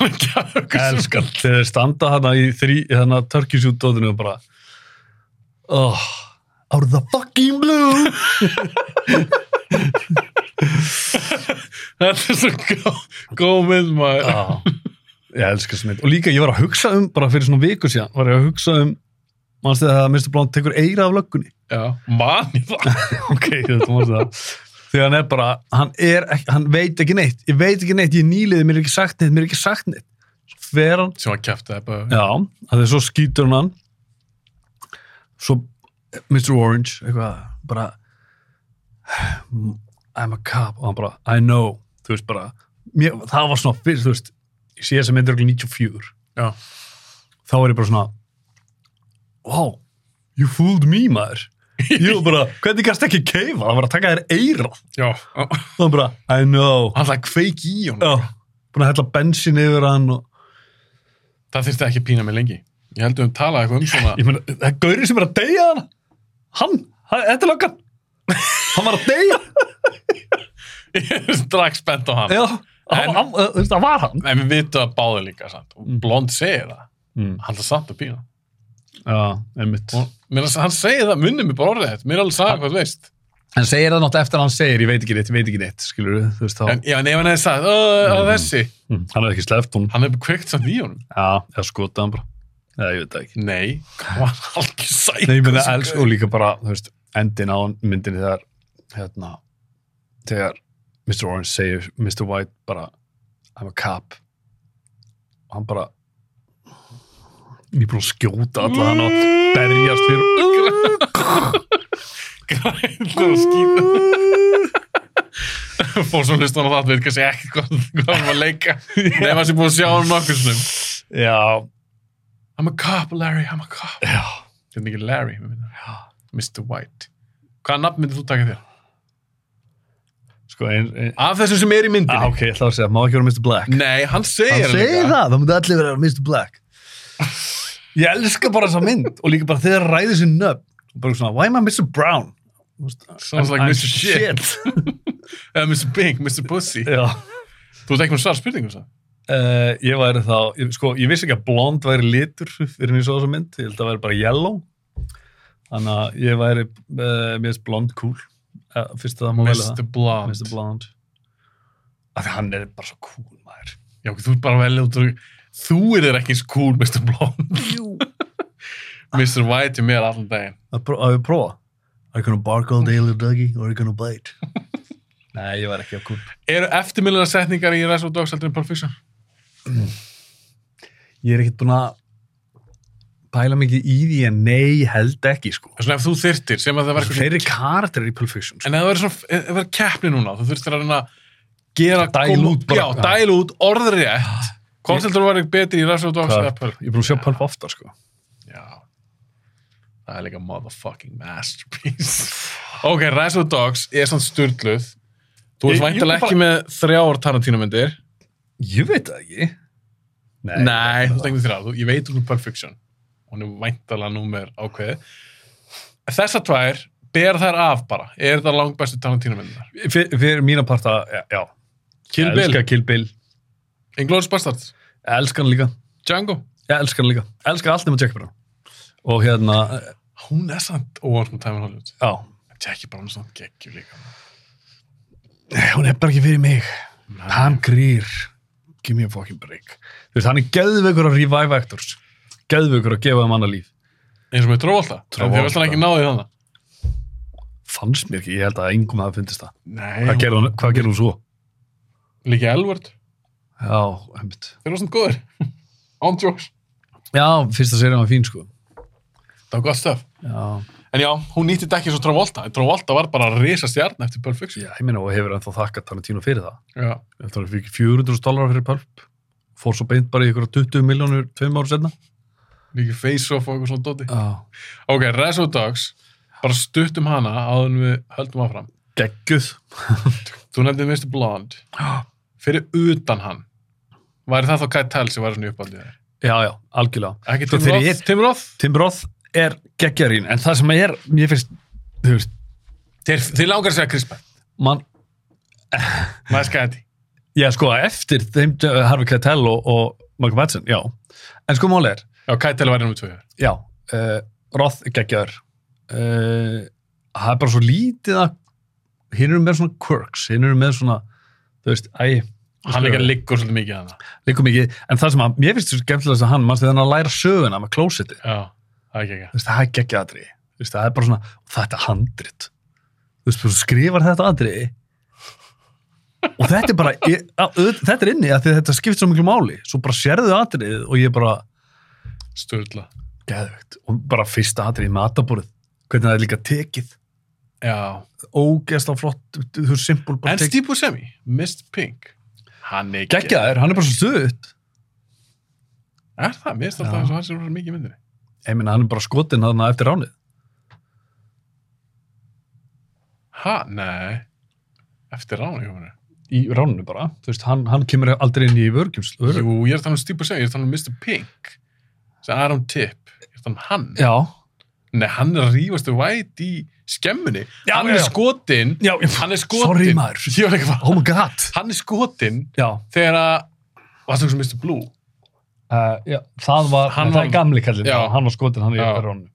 Speaker 5: elskan
Speaker 6: elskan, þegar þeir standa hana í þrý, hérna, törkisjútdóðinu og bara, oh, are the fucking blue,
Speaker 5: þetta er svo gó- góð mynd maður
Speaker 6: Já, ég elska þessu mynd. Og líka ég var að hugsa um, bara fyrir svona viku síðan, var ég að hugsa um, mannstu það að Mr. Blount tekur eira af löggunni.
Speaker 5: já, man ég það
Speaker 6: ok, þetta mást það því hann er bara, hann, er ekki, hann veit ekki neitt ég veit ekki neitt, ég er nýliði, mér er ekki sagt neitt mér er ekki sagt neitt svo fer hann,
Speaker 5: sem að kæfti það bara
Speaker 6: já, það er svo skýtur hann hann svo Mr. Orange eitthvað, bara I'm a cop og hann bara, I know, þú veist bara mér, það var svona fyrst, þú veist ég sé þess að myndir okkur 94
Speaker 5: Já.
Speaker 6: þá er ég bara svona wow, you fooled me maður ég var bara, hvernig gæst ekki keifa það var að taka þér eira
Speaker 5: já, Ó,
Speaker 6: það var bara, I know
Speaker 5: hann það kveik í hún
Speaker 6: Já, búin að hella bensin yfir hann og...
Speaker 5: það þurfti ekki að pína mig lengi ég held að við höfum talað eitthvað um svona
Speaker 6: ég meina, það er gaurið sem er að deyja hann hann, það- þetta er löggan hann var að deyja
Speaker 5: ég er strax spennt á hann
Speaker 6: Já, hann,
Speaker 5: En-
Speaker 6: hann, þú veist, það var hann
Speaker 5: en við vitum að báðu líka samt. og Blond segir það,
Speaker 6: Mm.
Speaker 5: hann það samt að pína
Speaker 6: Já, einmitt
Speaker 5: Mér, hann segir það, munni mér bara orðið þetta, mér er alveg sagði hvað þú veist.
Speaker 6: hann segir það náttúrulega eftir að hann segir ég veit ekki neitt, ég veit ekki neitt, skilur við þú veist þá,
Speaker 5: En, já, en ef hann hefði sagt, "Ó, á þessi,
Speaker 6: Mm, hann hefði ekki sleft hún
Speaker 5: hann hefði kveikt samt í honum.
Speaker 6: já, eða skotað hann bara, eða ég veit það ekki
Speaker 5: Nei, hann var alveg sæk.
Speaker 6: Nei, ég meina els og líka bara, þú veist, endin á myndinni þegar, hérna, þegar Mr. Orange segir Mr. White bara, I'm a cop. Og hann bara, ég er búin að skjóta alla hann og berjast fyrir.
Speaker 5: Það var skýt. Fór svo hlustan á það, veit kannski ekki hvað hvað hann var að leika. Nei, maður sem búið að sjá hann nokkur sinnum.
Speaker 6: Já,
Speaker 5: I'm a cop, Larry, I'm a cop.
Speaker 6: já.
Speaker 5: Þetta er ekki Larry, mér minna. Mr. White. Hvaða nafn myndir þú taka þér?
Speaker 6: Sko, ein, ein,
Speaker 5: Af þessum sem er í myndinni?
Speaker 6: ah, ok, ég ætla að segja, má ekki vera Mr. Black.
Speaker 5: Nei, hann segir
Speaker 6: Hann segir
Speaker 5: líka.
Speaker 6: það, það múti allir vera Mr. Black. Ég elska bara þessa mynd og líka bara þegar ræðið sér nöfn. Bara svona, why am I Mr. Brown? Þú veist,
Speaker 5: Sounds like
Speaker 6: I'm
Speaker 5: Mr. Shit. Eða Mr. Bing, Mr. Pussy.
Speaker 6: Já.
Speaker 5: Þú ert ekki með svar spurningum það?
Speaker 6: Uh, ég væri þá, ég- sko, ég vissi ekki að blond væri litur fyrir mér svo þessa mynd, ég held að það væri bara yellow þannig að ég væri uh, mér finnst blond cool uh, fyrst að það má velja það
Speaker 5: Mr. Blonde.
Speaker 6: Mr. Blond af því hann er bara svo cool maður
Speaker 5: Já, ok, þú ert bara vel út og þú er þér ekki eins cool, Mr. Blonde. Mr. White er mér allan daginn.
Speaker 6: að pró- að við prófa Are you gonna bark all day little doggy or are you gonna bite? Nei, ég væri ekki að cool
Speaker 5: Eru eftirmilina setningar í Reservoir Dogs heldur en Pulp Fiction?
Speaker 6: Ég er ekkert búin að pæla mikið í því en nei, held ekki sko
Speaker 5: Svona ef þú þyrtir, sem að það verður...
Speaker 6: Þeir eru karakterir í Pulp Fiction sko.
Speaker 5: En ef það verður svona, ef það verður keppni núna, þú þurftir að reyna að gera...
Speaker 6: Dæla
Speaker 5: koma-
Speaker 6: út bara. Ah,
Speaker 5: Já, dæl út, orðrétt. Hvort heldur þú verður betri í Reservoir Dogs eða
Speaker 6: Pulp.
Speaker 5: Pulp?
Speaker 6: Ég er búin að sjá Pulp ofta sko
Speaker 5: Já. Það er líka motherfucking masterpiece. ok, Rise of the Dogs er svona styrluð.
Speaker 6: Ég-
Speaker 5: Þú ert
Speaker 6: ég
Speaker 5: væntalega
Speaker 6: bara-
Speaker 5: ekki með þrjár Tarantino myndir.
Speaker 6: Ég veit það ekki.
Speaker 5: Nei, þú tekur þrjár. Þú- Ég veit hún er Pulp Fiction. Hún er væntalega númer ákveðið. Þessar tvær, ber þær af bara. Er það langbestu Tarantino myndir?
Speaker 6: Fyr, fyrir mína parta, já, já.
Speaker 5: Kill
Speaker 6: Ég
Speaker 5: Bill,
Speaker 6: Elska Kill Bill.
Speaker 5: Inglourious Bastards,
Speaker 6: Ég Elska hann líka.
Speaker 5: Django.
Speaker 6: Ég elska hann líka. Ég Elska allt nema Jack Brown. Og hérna, eh,
Speaker 5: Hún er samt óvart með Time in Hollywood.
Speaker 6: já.
Speaker 5: Jackie Brown er samt geggjur líka.
Speaker 6: Nei, Hún er bara ekki fyrir mig. Hann grýr. Give me a fucking break. Þú veist, hann er geðveikur að revive actors. Geðveikur að gefa þeim annað líf.
Speaker 5: Eins og með Travolta. Travolta. Þegar
Speaker 6: Travolta.
Speaker 5: vilt hann ekki náði þannig.
Speaker 6: Fannst mér ekki, ég held að engum hafa fundist það.
Speaker 5: Nei,
Speaker 6: Hvað gerði hún, hvað gerði hún svo?
Speaker 5: líka Elvard.
Speaker 6: Já, einmitt.
Speaker 5: Þeir eru svona góðir. On jokes.
Speaker 6: Já, fyrsta serið var fín, sko.
Speaker 5: Það var gott stöf.
Speaker 6: Já.
Speaker 5: En já, hún nýtti þetta ekki svo Travolta. En Travolta var bara að risa stjarn eftir Pulp Fiction.
Speaker 6: Já, ég meina, og hefur ennþá þakkað Tarantino fyrir það.
Speaker 5: Já.
Speaker 6: eftir að hann fikk 400 dólarar fyrir pulp fór svo beint bara í ykkur 20 miljónur tveim ára senna
Speaker 5: Líki face-off og eitthvað svona dóti.
Speaker 6: ah.
Speaker 5: Ok, Reservoir Dogs. Bara stutt um hana áður en við höldum áfram.
Speaker 6: gegguð
Speaker 5: Þú nefndið Mr. Blonde. Fyrir utan hann. Væri það þá Kyle Tell sem væri svona uppaldið þér?
Speaker 6: já, já, algjörlega
Speaker 5: Ekki
Speaker 6: Sko,
Speaker 5: Tim
Speaker 6: þegar
Speaker 5: Roth?
Speaker 6: ég-
Speaker 5: Tim Roth?
Speaker 6: Tim Roth er geggjarín en það sem er, mér finnst þú veist,
Speaker 5: Þeir, þeir langar að segja Chris Pratt.
Speaker 6: mann
Speaker 5: Nice Caddy.
Speaker 6: já, sko, eftir þeim uh, Harvey Keitel og, og Michael Madsen, já en sko, mál er,
Speaker 5: Já, Kyle Tell væri nummið tvö. hér.
Speaker 6: já uh, Roth er geggjar uh, það er bara svo lítið að hinn eru með svona quirks hinn eru með svona, þú veist, æ
Speaker 5: Hann líka liggur svolítið mikið að það.
Speaker 6: líka mikið, en það sem að mér finnst svo skemmtilegast að hann, mannstu þannig að læra söguna með klósiti,
Speaker 5: Já, það er ekki ekki.
Speaker 6: þú veist, það er geggja atriði þú veist, það er bara svona, þetta er handrit þú veist, þú skrifar þetta atriði og þetta er bara ég, á, auð- þetta er inni, af því að þetta skipt svo miklu máli, svo bara sérðu atriðið og ég bara,
Speaker 5: Sturla.
Speaker 6: geðvegt og bara fyrsta atriðið með atabúrið hvernig það er líka tekið,
Speaker 5: Já.
Speaker 6: ógeðsla flott þú veist, simpul bara
Speaker 5: En Steve Buscemi, Mr. Pink Hann er
Speaker 6: geggja þér, hann er bara svo stuðut
Speaker 5: Er það? Mér finnst alltaf
Speaker 6: Já.
Speaker 5: eins og hann sé rosa mikið í myndinni
Speaker 6: ég meina, hann er bara skotin hann eftir ránið
Speaker 5: Ha? Nei Eftir rána hjá henni
Speaker 6: í ráninu bara, þú veist, hann, hann kemur aldrei inn í vörgjumsl,
Speaker 5: Jú, ég er að tala um Steve Buscemi, ég er að tala um Mr. Pink sem Aaron Tipp Ég er að tala um hann
Speaker 6: Já,
Speaker 5: Nei, hann er að rífastu væt í skemmunni
Speaker 6: Já,
Speaker 5: Hann
Speaker 6: já,
Speaker 5: er
Speaker 6: já.
Speaker 5: skotinn
Speaker 6: já, já.
Speaker 5: Hann er skotinn
Speaker 6: Sorry, maður.
Speaker 5: Ég var ekki að
Speaker 6: Oh
Speaker 5: fara
Speaker 6: my god.
Speaker 5: Hann er skotinn
Speaker 6: Já,
Speaker 5: þegar að Og það er sem Mr. Blue
Speaker 6: uh, já það var,
Speaker 5: Hann
Speaker 6: það
Speaker 5: var-
Speaker 6: er gamli kallinn,
Speaker 5: Já.
Speaker 6: já, hann var skotin hann í
Speaker 5: Já.
Speaker 6: Rónu.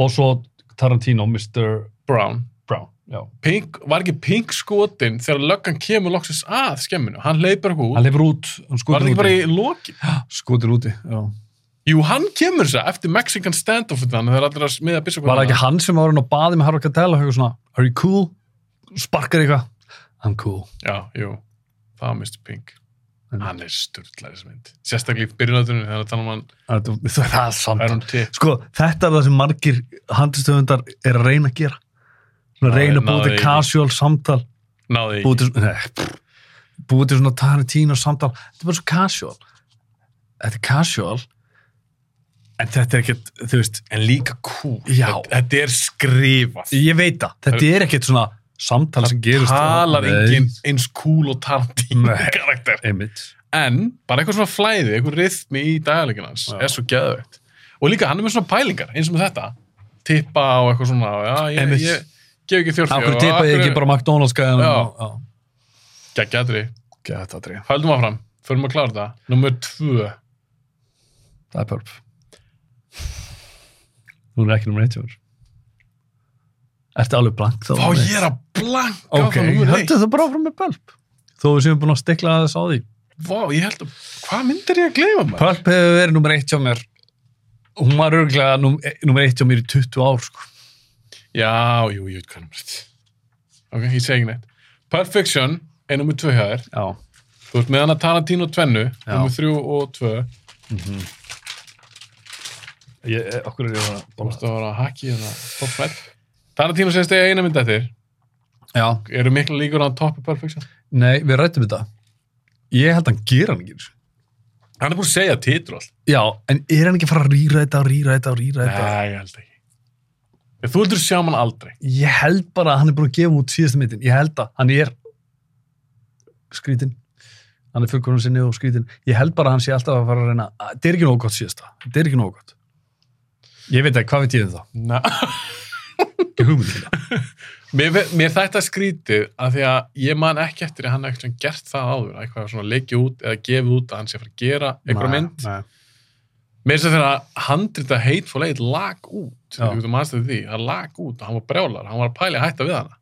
Speaker 6: Og svo Tarantino, Mr.
Speaker 5: Brown
Speaker 6: Brown. Já.
Speaker 5: Pink, var ekki Pink skotin þegar löggan kemur loksins að skemminu hann leipur hún,
Speaker 6: Hann leifur út, hann
Speaker 5: var
Speaker 6: skotir
Speaker 5: það
Speaker 6: úti.
Speaker 5: ekki bara í lokin
Speaker 6: Skotir úti, já.
Speaker 5: Jú, hann kemur þess að eftir Mexican standoff þannig þegar allir að smiða byssu
Speaker 6: Var það ekki hann sem var hann og baði með Harvard Cattell og hefur svona, are you cool? Sparkar eitthvað. I'm cool.
Speaker 5: Já, jú, það var Mr. Pink
Speaker 6: Einmitt.
Speaker 5: Hann er sturðlega þessi mynd Sérstaklega í byrjunatunni þegar það tala um hann
Speaker 6: Það er- það er samt.
Speaker 5: Iron Tip
Speaker 6: Sko, þetta er það sem margir handistöfundar er að reyna að gera. Svona
Speaker 5: Ná,
Speaker 6: reyna að
Speaker 5: ná
Speaker 6: búið til
Speaker 5: þeir í-
Speaker 6: casual samtal.
Speaker 5: Náði
Speaker 6: Búið til, nei, pff, búið til svona Tarantino samtal. Þetta er bara svo casual. Þetta er casual. En þetta er ekkert, þú veist,
Speaker 5: En líka kú
Speaker 6: Já.
Speaker 5: Þetta, þetta er skrifað
Speaker 6: ég veit það. Þetta er ekkert svona samtal sem gerist.
Speaker 5: Talar
Speaker 6: Nei.
Speaker 5: enginn eins kúl og Tarantino
Speaker 6: Nei.
Speaker 5: karakter
Speaker 6: Einmitt.
Speaker 5: En bara eitthvað svona flæði, eitthvað rithmi í dagalíkinn hans
Speaker 6: Já.
Speaker 5: er svo geðveikt Og líka hann er með svona pælingar eins og með þetta Tippa á eitthvað svona Já, ég,
Speaker 6: Einmitt.
Speaker 5: ég gef ekki þjórfjó
Speaker 6: Akkur tippaði ég ekki bara McDonalds gæðan.
Speaker 5: Já.
Speaker 6: og- Já.
Speaker 5: Gæðri,
Speaker 6: Gæða þetta aðrið.
Speaker 5: höldum áfram, förum að klára þetta Númer tvö
Speaker 6: Það er pörp. Hún er ekki nummer eitt hjá mér. Ertu alveg blank þá?
Speaker 5: Vá, ég er að blanka
Speaker 6: Ok,
Speaker 5: á það númer eitt
Speaker 6: höndu það bara áfram með pörp. Þó við séum búin að stikla aðeins á því.
Speaker 5: Vá, ég held að, hvað myndir ég að gleyma maður?
Speaker 6: Pörp hefur verið nummer eitt hjá mér. Hún var örglega num, nummer eitt hjá mér í 20 ár, sko.
Speaker 5: Já, jú, ég veit hvað nummer eitt Ok, ég segi ekki neitt Pulp Fiction er nummer tvö hjá þér
Speaker 6: Já.
Speaker 5: Þú ert með hann að Tarantino tvennu
Speaker 6: Já.
Speaker 5: Nummer þrjú og tvö Þú
Speaker 6: Ég, okkur er ég að
Speaker 5: ert að hérna, vera að haki eða topp fætt Tarantino segist eiga eina mynd eftir
Speaker 6: Já.
Speaker 5: Eru miklu líkur á að hann toppi Pulp Fiction?
Speaker 6: Nei, við rættum þetta. Ég held að hann gera hann ekki. einu sinni.
Speaker 5: Hann er búin að segja titur all
Speaker 6: Já, en er hann ekki að fara að rýra þetta og rýra þetta og rýra þetta?
Speaker 5: Nei, ég held ekki Ég, Þú heldur sjá hann aldrei
Speaker 6: Ég held bara að hann er búin að gefa út síðasta myndin. Ég held að hann er skrítin. Hann er fullkonum sinni og skrítin. Ég held bara að hann sé alltaf að fara að reyna. að- Þetta er ekki nóg gott síðasta. Þetta er ekki nóg gott. Ég veit ekki, hvað veit ég um það?
Speaker 5: Nei
Speaker 6: Ekki hugmynd til það.
Speaker 5: Mér, mér þetta skrítið að því að ég man ekki eftir að hann eitthvað gert það áður, að eitthvað svona leikið út eða gefið út að hann sé að fara að gera eitthvað mynd.
Speaker 6: Nei.
Speaker 5: Mér er þess að þegar að handrita Hateful Eight lag út,
Speaker 6: Já.
Speaker 5: þú veist að mannstu því, það lag út og hann var brjálar, hann var að pæli að hætta við hana.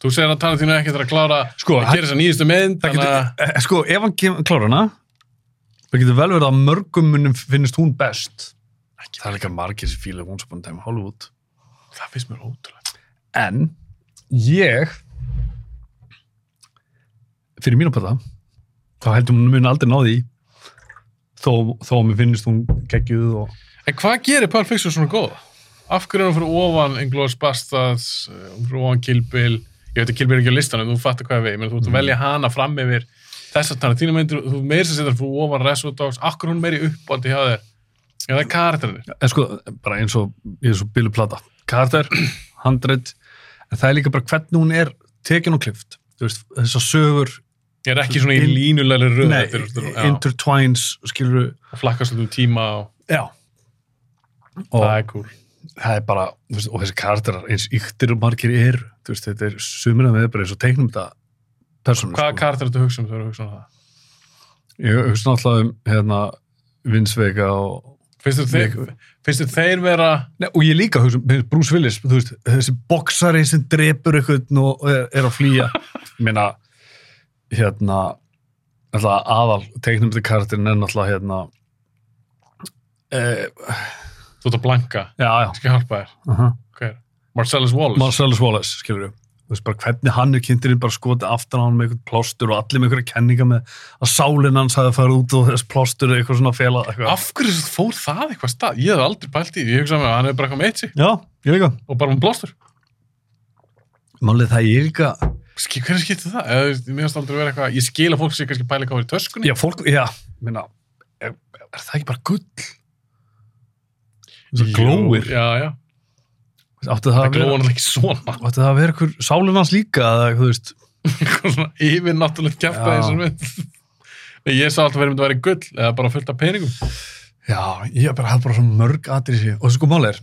Speaker 5: Þú segir að Tarantino ekki þarf að klára
Speaker 6: Sko,
Speaker 5: að
Speaker 6: hann-
Speaker 5: gera þess að nýjustu mynd,
Speaker 6: Það
Speaker 5: þannig að
Speaker 6: getur, eh, sko, ef hann kemur klára hana, það getur vel verið að mörgum munum finnist hún best. Það er líka margir sem fíla hún sem búin að Hollywood.
Speaker 5: það finnst mér ótrúlega.
Speaker 6: En ég fyrir mínu pæta þá heldur hún mun aldrei náði í þó, þó að mér finnist hún geggjuð og
Speaker 5: En hvað gerir Pulp Fiction svona góða? Af hverju er hann fyrir ofan Inglourious Bastards, eh, fyrir ofan Kill Bill, ég veit að Kill Bill er ekki á listanum, þú fattar hvað ég veið, menn
Speaker 6: Mm.
Speaker 5: þú ert að velja hana fram yfir þessar Tarantino myndir, þú meir sem setur fyrir ofan Reservoir Dogs, akkur hún meiri uppbóldi hjá þér, eða það er karakterinir.
Speaker 6: en sko, bara eins og, eins og Billu Plata, karakter, handrit en það er líka bara hvernig hún er tekin og klift, þú veist, þessar sögur
Speaker 5: Ég er ekki svona í
Speaker 6: In-
Speaker 5: línulegri röð,
Speaker 6: nei,
Speaker 5: þetta er- já,
Speaker 6: intertwines skilur,
Speaker 5: og flakkast um tíma og
Speaker 6: já og
Speaker 5: það er cool.
Speaker 6: það er bara, þú veist, og þessi karakterar eins yktir og margir eru, þú veist, þetta er sumina með bara eins og teiknum þetta persónu,
Speaker 5: Hvaða karakter ertu að hugsa um þegar þú hugsa um það?
Speaker 6: Ég hugsa náttúrulega um hérna Vinsveika og
Speaker 5: Finnst þér þeir, finnst þér þeir vera,
Speaker 6: Nei, og ég líka hugsa um mér finnst Bruce Willis, þú veist, þessi boksari sem drepur eitthvað og er, er að flýja ég meina hérna, alltaf aðal teiknum þetta karakterin er náttúrulega hérna e,
Speaker 5: þú ert að blanka,
Speaker 6: já, já
Speaker 5: ég skal hjálpa þér,
Speaker 6: uh -huh.
Speaker 5: hver? Marcellus Wallace?
Speaker 6: Marcellus Wallace, skilur við þú veist bara hvernig hann er kynntirinn bara skotið aftan á hann með eitthvað plástur og allir með eitthvað kenninga með að sálinn hans hafi farið út og þess plástur eitthvað svona fela eitthvað.
Speaker 5: Af hverju fór það eitthvað stað? Ég hef aldrei pælt í því. Ég hugsaði með að hann hefur bara komið eitt sig
Speaker 6: Já, ég líka.
Speaker 5: og bara um blóstur.
Speaker 6: Málið það ég er líka
Speaker 5: Ski, hvernig skiptir það? Eða, þú veist, mér finnst aldrei verið eitthvað, ég skil að fólk sé kannski pæli hvað var í töskunni.
Speaker 6: Já, fólk, já, minna, er, er það ekki bara gull? Það
Speaker 5: Jú,
Speaker 6: glóir.
Speaker 5: Já, já.
Speaker 6: Átti það
Speaker 5: Það
Speaker 6: að
Speaker 5: glóir
Speaker 6: vera,
Speaker 5: náttúrulega ekki svona.
Speaker 6: átti það að vera ykkur sálinn hans líka, eða, þú veist,
Speaker 5: Eitthvað svona yfir náttúrulega kjæft að
Speaker 6: Já.
Speaker 5: þessum mynd. Nei, Ég sá alltaf verið myndi að vera gull eða bara fullt af peningum.
Speaker 6: já, ég bara hafði bara svo mörg atrið sér. Og sko málið er,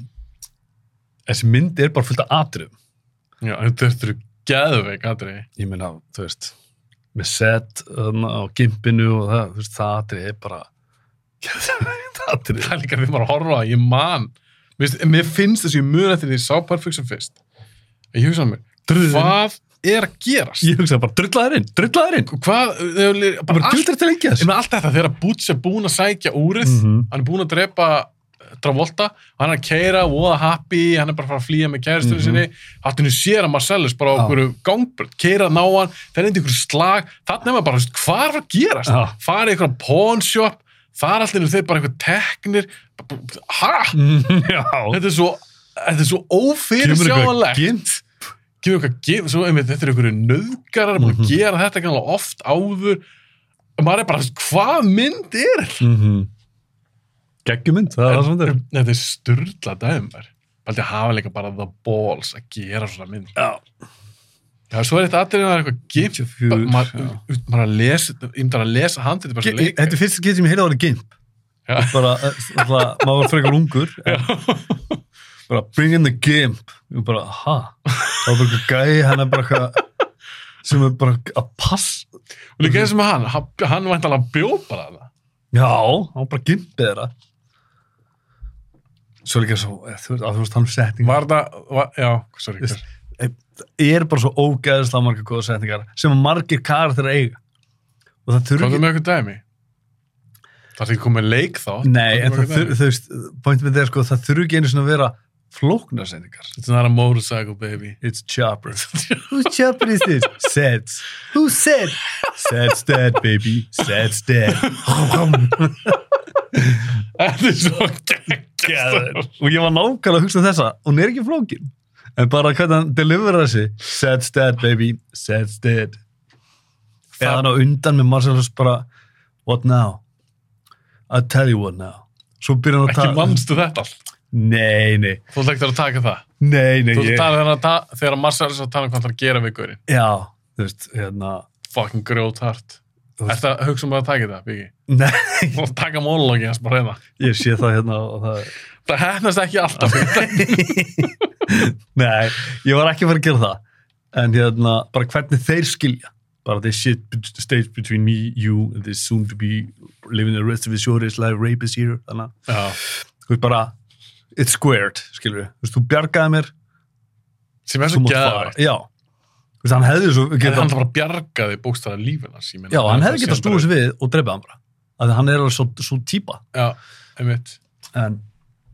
Speaker 6: þessi mynd er bara fullt af atrið.
Speaker 5: Já, þetta eru geðveik, Andri.
Speaker 6: Ég minna, þú veist, með set um, og gimpinu og það, þú veist, það atrið er bara, það atrið.
Speaker 5: Það er líka við bara að horfa á það. Ég man. Mér finnst- Mér finnst þess að ég muna þegar ég sá Pulp Fiction fyrst. Ég hugsaði mér,
Speaker 6: Drullin.
Speaker 5: Hvað er að gerast?
Speaker 6: Ég hugsaði bara, drullaður inn, drullaður inn.
Speaker 5: Hvað, þau eru
Speaker 6: Bara
Speaker 5: bara allt,
Speaker 6: drullaður til engi
Speaker 5: ég
Speaker 6: þess.
Speaker 5: með allt þetta þegar Butch er búin að sækja úrið,
Speaker 6: Mhm.
Speaker 5: hann er búin að drepa eh, Travolta, hann er að keira voða happy, hann er bara að fara að flýja með kæristunni
Speaker 6: Mhm.
Speaker 5: sinni, hattinu sér að Marcellus bara á
Speaker 6: Já.
Speaker 5: okkur gangbrönd, keira að ná hann það er einhver slag, þannig er maður bara þú veist, hvað er að gerast,
Speaker 6: Já.
Speaker 5: fara í einhverja pawn shop, það er allir þeir bara einhver teknir, bara- bara- ha
Speaker 6: Já.
Speaker 5: þetta er svo, þetta er svo
Speaker 6: Kemur
Speaker 5: ófyrir
Speaker 6: eitthvað
Speaker 5: sjáanlegt
Speaker 6: gimp.
Speaker 5: gefur eitthvað gef, svo einmitt, þetta er einhverju nöðgarar búin
Speaker 6: Mhm.
Speaker 5: að gera þetta kannski oft áður maður er bara, hvað mynd er þetta?
Speaker 6: Mhm. Geggjumynd, það er það sem þetta er.
Speaker 5: þetta er styrla dæmar Baldi hafa líka bara the balls að gera svona mynd
Speaker 6: Já.
Speaker 5: Já, svo er þetta aðrið að það er eitthvað gimp
Speaker 6: 94,
Speaker 5: Bara- maður
Speaker 6: já.
Speaker 5: maður að lesa, ég myndi að lesa handið bara svo
Speaker 6: Ge-
Speaker 5: leik
Speaker 6: Þetta er fyrsta getur sem ég heila árið gimp.
Speaker 5: Já.
Speaker 6: Bara, eh, náttúrulega, maður var frekar ungur. en Bara, bring in the gimp. Ég bara, ha? Það var bara eitthvað gæi, hann er bara eitthvað sem er bara að passa.
Speaker 5: og líka eins og með hann, hann, hann vænt alveg að bjó bara það
Speaker 6: Já, hann var bara gimpið þeirra. Svo líka svo, eh, þú veist, að þú veist, hann setning.
Speaker 5: var það, var, já, sorry
Speaker 6: Þú veist, eh, Það er bara svo ógæðislega margar góða setningar sem margir karar þeirra eiga. Og það þurfi
Speaker 5: hvað
Speaker 6: ekki
Speaker 5: er með eitthvað dæmi? Það er ekki komið leik þá
Speaker 6: Nei,
Speaker 5: Komdu
Speaker 6: en það
Speaker 5: með eitthvað
Speaker 6: þurfi,
Speaker 5: dæmi.
Speaker 6: þú veist, pointum við þegar sko, það þurfi ekki einu svona að vera flóknarsendingar.
Speaker 5: It's not a motorcycle, baby
Speaker 6: It's chopper. Whose chopper is this? Sets. Who said? Sets dead, baby. Sets dead.
Speaker 5: Þetta er svo geggjast
Speaker 6: og ég var nákvæmlega að hugsa um þessa, hún er ekki flókin. En bara hvernig hann delivera þessi. Sets dead, baby. Sets dead. Eða hann á undan með Marcellus bara, what now? I'll tell you what now. Svo byrjar hann að
Speaker 5: Ekki mannstu þetta allt
Speaker 6: Nei, nei.
Speaker 5: Þú ert ekkert að taka það
Speaker 6: Nei, nei.
Speaker 5: Þú ert
Speaker 6: ég-
Speaker 5: að tala þegar, að ta- þegar að Marcel er að tala um hvað það er að gera við gaurinn
Speaker 6: Já, þú veist, hérna
Speaker 5: Fucking grjót hart
Speaker 6: Þú veist-
Speaker 5: Þetta hugsa um að taka það, Biggi
Speaker 6: Nei,
Speaker 5: Þú ert að taka monologi hans bara hérna
Speaker 6: ég sé það hérna og það
Speaker 5: Það hefnast ekki alltaf
Speaker 6: Nei, ég var ekki að fara að gera það en hérna, bara hvernig þeir skilja bara this shit bet- stays between me, you and this soon to be living the rest of his short life rape is here þannig, að,
Speaker 5: Já.
Speaker 6: þú veist bara it's squared, skilur við, þú veist, þú bjargaði mér
Speaker 5: Sem er
Speaker 6: þú
Speaker 5: svo
Speaker 6: mátt fara,
Speaker 5: gæðvægt
Speaker 6: já þú veist, hann hefði svo
Speaker 5: Hann
Speaker 6: geta,
Speaker 5: hann bara bjargaði bókstara lífin hans ég meina.
Speaker 6: já, hann
Speaker 5: Það
Speaker 6: hefði
Speaker 5: sé
Speaker 6: getað
Speaker 5: bara-
Speaker 6: snúið sér við og dreipið hann bara, að hann er alveg svo, svo típa,
Speaker 5: Já, einmitt
Speaker 6: en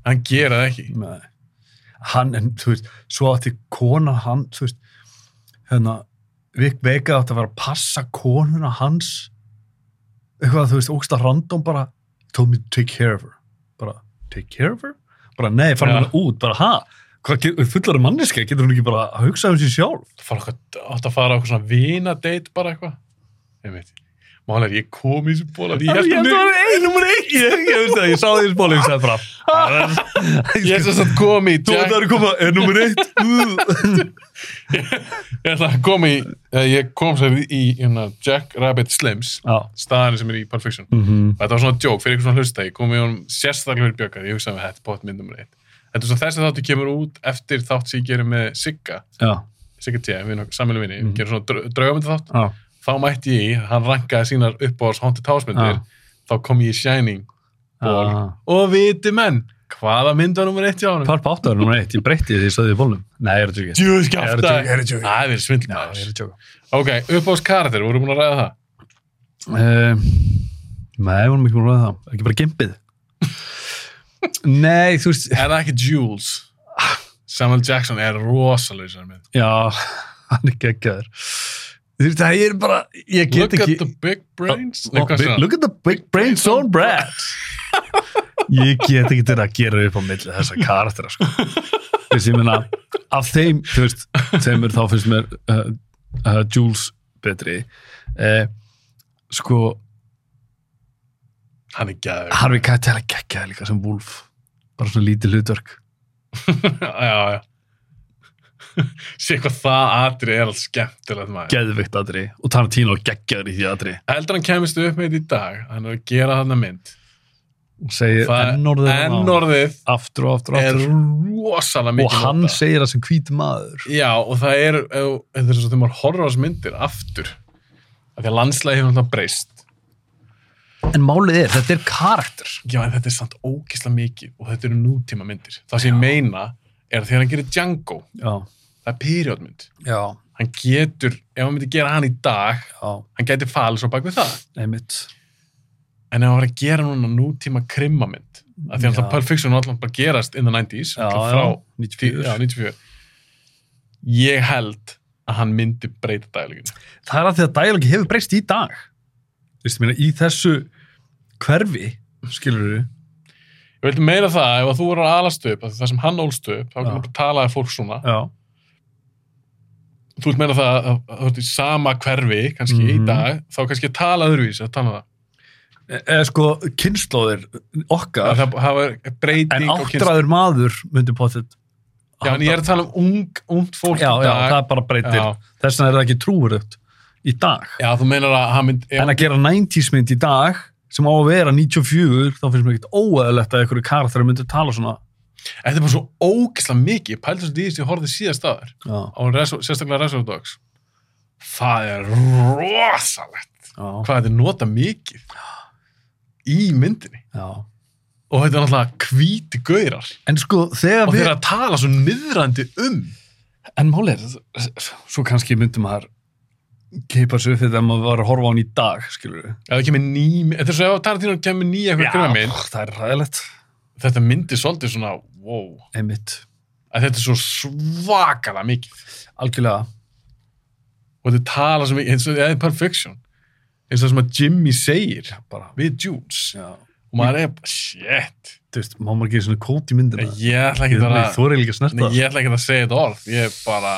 Speaker 5: Hann gera það ekki
Speaker 6: Nei. Hann, en þú veist, svo átti kona hann, þú veist, hérna, Vik Vega átti að vera að passa konuna hans, eitthvað, þú veist, ógsta random bara, told me to take care of her. Bara, take care of her? Bara, nei, fara
Speaker 5: Já.
Speaker 6: með hana út, bara, ha? Hvað getur, fullar er manneska, getur hún ekki bara að hugsa um sér sjálf?
Speaker 5: Það fara okkur- átti að fara á okkur svona vinadeit bara eitthvað Einmitt Málega er ég kom í þessu bóla Ég held að
Speaker 6: var einn, nummer einn, ég, ég veist það, ég sá því í spóli, ég sagði bara,
Speaker 5: Ég er sem sagt kom í
Speaker 6: þú
Speaker 5: Jack-
Speaker 6: ætlar að koma, er nummer eitt,
Speaker 5: Ég ætla að koma í, eða ég kom sér í hérna, Jack Rabbit Slims,
Speaker 6: já,
Speaker 5: staðan sem er í Pulp Fiction.
Speaker 6: mhm,
Speaker 5: Þetta var svona djók fyrir eitthvað svona hlusta, ég kom í honum sérstaklega fyrir bjökar, ég hugsaði með þetta pott myndum reitt. Þetta er svona þessi þáttu kemur út eftir þátt sem ég gerir með Sigga,
Speaker 6: já,
Speaker 5: Sigga T, við sammeilum vinni,
Speaker 6: Mhm.
Speaker 5: við gerum svona draugamöndu þátt.
Speaker 6: já,
Speaker 5: Þá mætti ég, í, hann rankaði sínar uppáðs Haunted House myndir,
Speaker 6: Já.
Speaker 5: þá kom ég í Shining ból
Speaker 6: já.
Speaker 5: og viti menn, hvaða mynd var nummer eitt hjá honum?
Speaker 6: Pulp 8 er nummer 1, ég breytti því stöðið í bólnum. Nei, ég er að tjóka. Ég
Speaker 5: Jú,
Speaker 6: er að
Speaker 5: skjáfta.
Speaker 6: djóka, ég er að djóka.
Speaker 5: Það er svindl
Speaker 6: Já,
Speaker 5: maður.
Speaker 6: ég er að tjóka.
Speaker 5: Ok, uppáðs karakter, vorum við búin að ræða það?
Speaker 6: Uh, nei, ég vorum ekki búin að ræða það. Ekki bara gimpið. nei, þú veist,
Speaker 5: er það ekki Jules Samuel Jackson er rosalega sér mynd
Speaker 6: já, hann er geggjaður. Þú veist, það er bara, ég
Speaker 5: Look
Speaker 6: get
Speaker 5: at
Speaker 6: ekki...
Speaker 5: the big brains Nei,
Speaker 6: Oh,
Speaker 5: hvað
Speaker 6: big-
Speaker 5: segir hann?
Speaker 6: Look at the big brains on Brad. ég get ekki til að gera upp á milli þessa karaktera, sko. Þú veist, ég meina, af þeim, þú veist, þeimur þá finnst mér uh, uh, Jules betri. Uh, sko,
Speaker 5: hann er gæður
Speaker 6: Harvey Keitel er geggjaði líka sem Wolf bara svona lítið hlutverk
Speaker 5: já, já sé hvað það atri er alls skemmtilegt maður
Speaker 6: geðvikt aðri og Tarantino er geggjaður í því aðri
Speaker 5: heldur hann kemist upp með þetta í dag hann er að gera þarna mynd
Speaker 6: og segir
Speaker 5: Það-
Speaker 6: ennorðið
Speaker 5: N-orðið
Speaker 6: aftur og aftur og
Speaker 5: er
Speaker 6: aftur
Speaker 5: rosalega mikið
Speaker 6: og hann
Speaker 5: notað.
Speaker 6: segir það sem hvít maður
Speaker 5: já og það er ef- þetta er svo þegar maður horfður á þessu myndir aftur af því að landslægi hefur alltaf breyst
Speaker 6: en málið er, þetta er karakter
Speaker 5: Já, en þetta er samt ógisla mikið og þetta eru nútíma myndir. Það sem ég meina er að þegar hann gerir Django,
Speaker 6: já,
Speaker 5: það er periodmynd
Speaker 6: já,
Speaker 5: hann getur, ef hann myndi gera hann í dag
Speaker 6: já,
Speaker 5: hann gæti falið svo bak við það
Speaker 6: einmitt
Speaker 5: en ef hann var að gera núna nútíma krimmamynd af því að
Speaker 6: Já.
Speaker 5: það Pulp Fiction var alltaf bara að gerast in the 90s
Speaker 6: já,
Speaker 5: alltaf frá
Speaker 6: já,
Speaker 5: 94.
Speaker 6: 94
Speaker 5: Já, 94 ég held að hann myndi breyta dælingun
Speaker 6: það er að því að dælingi hefur breyst í dag þú veist, ég meina, í þessu hverfi, skilur við
Speaker 5: ég vildi meira það, ef að þú voru að alast upp af því það sem hann ólst upp, þá
Speaker 6: Já.
Speaker 5: kannu bara talaði fólk svona
Speaker 6: já,
Speaker 5: þú vilt meina það að að þú ert í sama hverfi kannski í
Speaker 6: Mhm.
Speaker 5: dag, þá kannski að tala öðruvís að tala um það,
Speaker 6: e eða sko kynnslóðir
Speaker 5: það,
Speaker 6: okkar
Speaker 5: það, það er breyting
Speaker 6: en
Speaker 5: og kynst
Speaker 6: áttræður maður myndi potið
Speaker 5: já, en ég er að tala um ung, ungt fólk
Speaker 6: já,
Speaker 5: í
Speaker 6: já,
Speaker 5: dag,
Speaker 6: það bara breytir
Speaker 5: Já.
Speaker 6: þess vegna er það ekki trúurögt í dag
Speaker 5: já, þú meinar að hann mynd
Speaker 6: en að gera 90s mynd í dag sem á að vera 94 þá finnst mér ekkert óæðilegt að einhverju karakter myndi tala svona
Speaker 5: Þetta er bara svo ógeðslega mikið. Pældur svo dýrst ég horfði síðast að þér
Speaker 6: já,
Speaker 5: á Reso- sérstaklega Reservoir Dogs. Það er rosalegt.
Speaker 6: já,
Speaker 5: Hvað þetta er nota mikið í myndinni.
Speaker 6: já.
Speaker 5: Og þetta er náttúrulega hvíti gaurar.
Speaker 6: en sko
Speaker 5: Og
Speaker 6: þegar
Speaker 5: þeir
Speaker 6: við
Speaker 5: eru að tala svo niðrandi um.
Speaker 6: en máli er, svo kannski myndi maður keipa sér upp þegar maður var að horfa á hann í dag skilur við
Speaker 5: Ef það kemur ný, þetta er svo ef að Tarantino kemur ný eitthvað gröna mynd.
Speaker 6: það er ræðilegt
Speaker 5: Þetta myndi svolítið svona, wow.
Speaker 6: einmitt,
Speaker 5: Að þetta er svo svakalega mikið.
Speaker 6: algjörlega
Speaker 5: Og þetta tala svo mikið, eins og það er perfection. Eins og það sem að Jimmy segir
Speaker 6: bara,
Speaker 5: við Jules.
Speaker 6: já,
Speaker 5: Og maður er bara, shit.
Speaker 6: þú veist, má maður gera svona kót í myndina
Speaker 5: Ég ætla ekki
Speaker 6: þú
Speaker 5: að,
Speaker 6: er ekki að
Speaker 5: Nei,
Speaker 6: snerta
Speaker 5: ég ætla ekki að segja þetta orð. Ég er bara...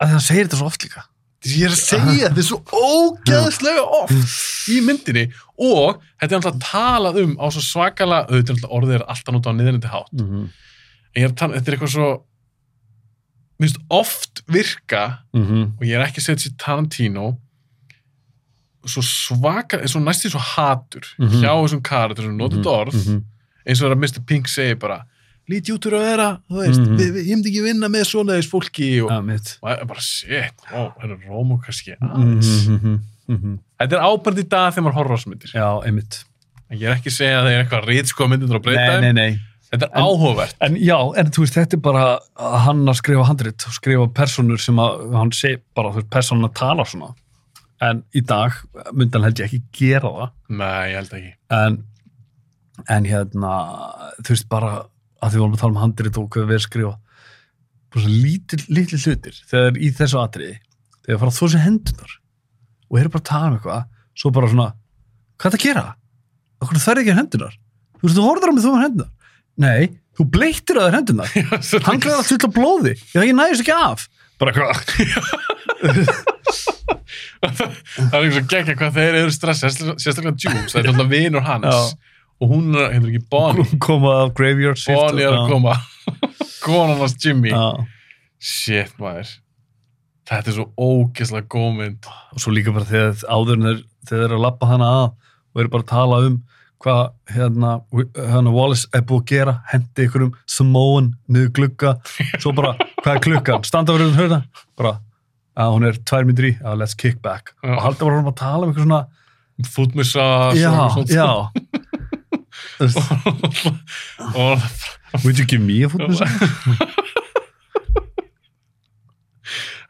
Speaker 6: að það segir þetta svo oft líka
Speaker 5: Ég er að segja þetta er svo ógeðslega oft í myndinni og þetta er alltaf talað um á svo svakala, auðvitað er alltaf orðið er alltaf nút á niðrindi hátt.
Speaker 6: mm -hmm.
Speaker 5: En ég er að tala, þetta er eitthvað svo, minnst oft virka
Speaker 6: Mm -hmm.
Speaker 5: og ég er ekki að segja þetta sér Tarantino svo svaka, svo næstum svo hatur
Speaker 6: Mhm.
Speaker 5: hjá þessum karakter sem notur þetta orð eins og það er að Mr. Pink segir bara lítið út úr að vera, þú veist,
Speaker 6: Mhm.
Speaker 5: við, við, ég myndi ekki vinna með svona þess fólki og
Speaker 6: að mitt
Speaker 5: og það er bara shit, ó, það er Rómó kannski
Speaker 6: mm
Speaker 5: aðeins. Þetta er ábært í dag þegar maður horfður á þessu myndir.
Speaker 6: já, einmitt
Speaker 5: En Ég er ekki að segja að það er eitthvað sko, rítsko myndir og breyta
Speaker 6: nei,
Speaker 5: þeim.
Speaker 6: nei, nei
Speaker 5: Þetta er áhugavert.
Speaker 6: En já, en þú veist, þetta er bara að hann að skrifa handrit og skrifa personur sem að hann sé bara, þú veist, personun að tala svona. En í dag myndi hann held ég ekki gera það.
Speaker 5: Nei, ég held ekki.
Speaker 6: En, en hérna, þú veist, bara að því vorum að tala um handrit og hvað við erum að skrifa. Bara svona lítil, lítil hlutir þegar í þessu atriði, þegar fara þú sem hendunar og eru bara að tala um eitthvað, svo bara svona, hvað er það að gera? Akkur þarf ekki að hendunar? Þú veist, þú horfður á mig þú um hendunar. Nei, þú bleittir að það hendunar hann glæði að tulla blóði já, ég næðist ekki af
Speaker 5: bara hvað? það er eins og geggja hvað þeir eru stressa, sérstaklega Júms, það er alltaf vinur hans. Og hún er, hendur ekki, Bonnie.
Speaker 6: koma af graveyard shift
Speaker 5: Bonnie er að koma. Konan hans Jimmy.
Speaker 6: já.
Speaker 5: Shit, maður. Þetta er svo ógeðslega góð mynd.
Speaker 6: og svo líka bara þegar áður en þeir, þeir eru að lappa hana að og eru bara að tala um hvað hérna, hérna Wallace er búið að gera hendi einhverjum Samoan niður glugga svo bara, hvað er klukkan? standa verið um hörna bara, að hún er tvær myndir í að let's kick back
Speaker 5: Já.
Speaker 6: og halda bara um að tala um eitthvað svona
Speaker 5: Fútmissa.
Speaker 6: já, já Þú veist,
Speaker 5: og
Speaker 6: would you give me a foot massage?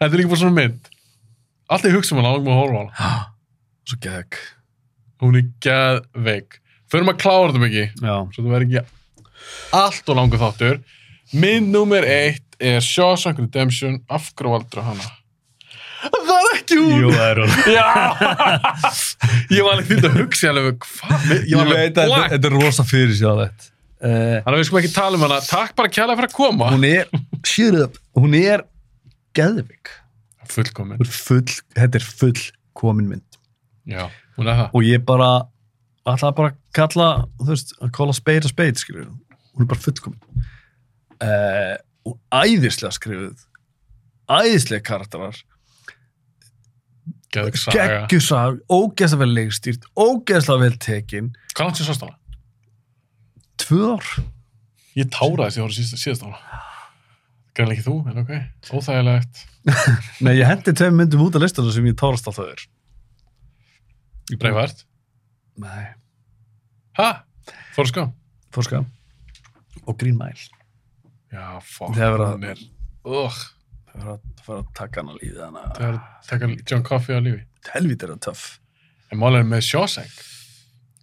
Speaker 5: þetta er líka bara svona mynd alltaf ég hugsa um hana, langum að horfa á hana
Speaker 6: svo gegg
Speaker 5: hún er geðveik förum að klára þetta mikið
Speaker 6: já,
Speaker 5: svo það verður ekki allt og langur þáttur mynd númer eitt er Shawshank Redemption af hverju aldrei hana það er ekki hún
Speaker 6: jú, það er hún
Speaker 5: já ég var alveg þýtt að hugsa alveg hvað ég var alveg
Speaker 6: veit að þetta-
Speaker 5: black
Speaker 6: þetta er rosa fyrir sjáðett uh,
Speaker 5: þannig að við skulum ekki tala um hana takk bara kjælega fyrir að koma
Speaker 6: hún er shut up, hún er geðvik,
Speaker 5: fullkomin
Speaker 6: hún er full þetta er full komin mynd
Speaker 5: já hún er það
Speaker 6: og ég bara ætla bara að kalla, þú veist að kalla speit að speit, skilur hún er bara full komin uh, og æðislega skrifuð æðislega karakterar
Speaker 5: geðveik saga
Speaker 6: geggjusag, ógeðslega vel leikstýrt ógeðslega vel tekin
Speaker 5: hvað langt sér sást hana?
Speaker 6: tvö ár,
Speaker 5: Ég táraði þess að ég voru síðast, síðast á hana. Greinlega ekki þú, en ok. Óþægilegt.
Speaker 6: nei ég hendi tveim myndum út af listana sem ég tárast alltaf þau er
Speaker 5: Ég breyfaðist.
Speaker 6: nei,
Speaker 5: Ha? Fór að sko?
Speaker 6: Þorska og Green Mile
Speaker 5: Já, fokk.
Speaker 6: Þegar vera-
Speaker 5: Hún er... Ugh.
Speaker 6: Það var að, það var að taka hann að líði þannig
Speaker 5: Það er að taka John Coffey á lífi.
Speaker 6: að helvítið er það töff.
Speaker 5: En málega með Shawshank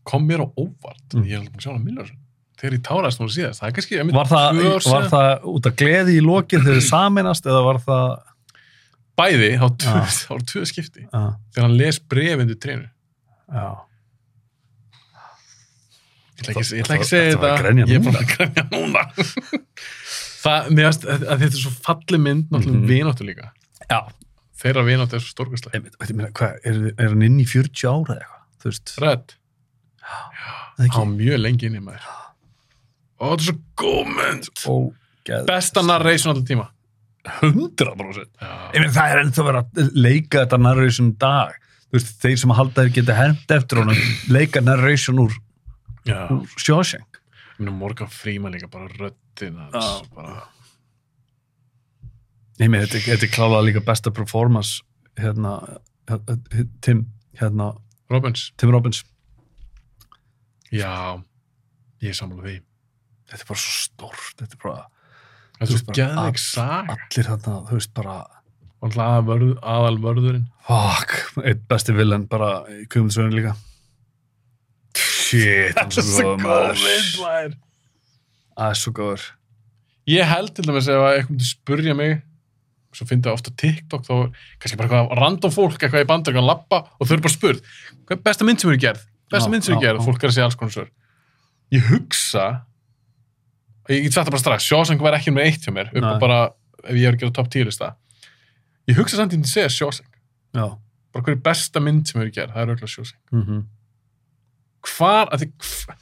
Speaker 5: kom mér á óvart.
Speaker 6: Mm.
Speaker 5: Ég er alveg búin að sjá hana Millersson. Þegar ég táraðist núna síðast. Það er kannski einmitt
Speaker 6: Var það,
Speaker 5: tvö ár
Speaker 6: var
Speaker 5: síðan.
Speaker 6: það út af gleði í lokin þegar þið saminast eða var það...
Speaker 5: bæði á tvö,
Speaker 6: Já.
Speaker 5: á tvö skipti.
Speaker 6: Já,
Speaker 5: Þegar hann les brefindu trénu.
Speaker 6: já.
Speaker 5: Ég ætla ekki, ég ætla
Speaker 6: Þetta-
Speaker 5: ekki að segja
Speaker 6: þetta var
Speaker 5: þetta.
Speaker 6: að grenja
Speaker 5: Ég er bara
Speaker 6: núna.
Speaker 5: að grænja núna. það, mér veist, að að þetta er svo falli mynd, náttúrulega mm
Speaker 6: Mhm.
Speaker 5: vináttu líka.
Speaker 6: Já.
Speaker 5: Þeirra vináttu er svo stórkastlega.
Speaker 6: Einmitt, veit ég meina, hvað, er, er hann inn í 40 ára eða eitthvað? Þú veist,
Speaker 5: Þrætt.
Speaker 6: það er
Speaker 5: Há
Speaker 6: ekki
Speaker 5: mjög lengi inn í maður. Ó, þetta er svo góð mynd.
Speaker 6: ógeð.
Speaker 5: Besta narration alltaf tíma.
Speaker 6: 100%.
Speaker 5: Já.
Speaker 6: Ég meina, það er ennþá verið að leika þetta narration í dag. Þú veist, þeir sem halda þeir geta hermt eftir honum, leika narration úr,
Speaker 5: Já.
Speaker 6: úr Shawshank.
Speaker 5: Mér er Morgan Freeman líka bara röddin hans.
Speaker 6: Já.
Speaker 5: Bara.
Speaker 6: Nei, mér, þetta, þetta er klárlega líka besta performance hérna, hérna, Tim, hérna,
Speaker 5: Robbins.
Speaker 6: Tim Robbins.
Speaker 5: Já. Ég er sammála því.
Speaker 6: Þetta er bara svo stórt, þetta er bara
Speaker 5: Þetta
Speaker 6: Þú
Speaker 5: er
Speaker 6: veist
Speaker 5: svo
Speaker 6: bara
Speaker 5: gæðveik
Speaker 6: all-
Speaker 5: sag.
Speaker 6: allir þarna, þú veist, bara
Speaker 5: Og alltaf vörð, aðal vörðurinn.
Speaker 6: fuck, eitt besti villan bara í kumulisöðinu líka. Shit, hann er svo góður maður.
Speaker 5: maður.
Speaker 6: Það er svo góður.
Speaker 5: Ég held til dæmis ef að eitthvað myndi spurja mig svo fyndi það ofta TikTok þá er kannski bara eitthvað random fólk eitthvað í bandur eitthvað að lappa og þau eru bara spurð hvað er besta mynd sem eru gerð? besta
Speaker 6: Já,
Speaker 5: mynd sem eru
Speaker 6: já,
Speaker 5: gerð?
Speaker 6: já.
Speaker 5: fólk er að segja alls konar svör ég hugsa ég get sagt það bara strax Shawshank var ekki nummer eitt hjá mér upp á
Speaker 6: Nei.
Speaker 5: bara ef ég er að gera top 10 lista ég hugsa samt ég myndi segja Shawshank
Speaker 6: Já.
Speaker 5: bara hver er besta mynd sem eru gerð? það er auðvitað Shawshank
Speaker 6: Mm
Speaker 5: hvar, af því, hv-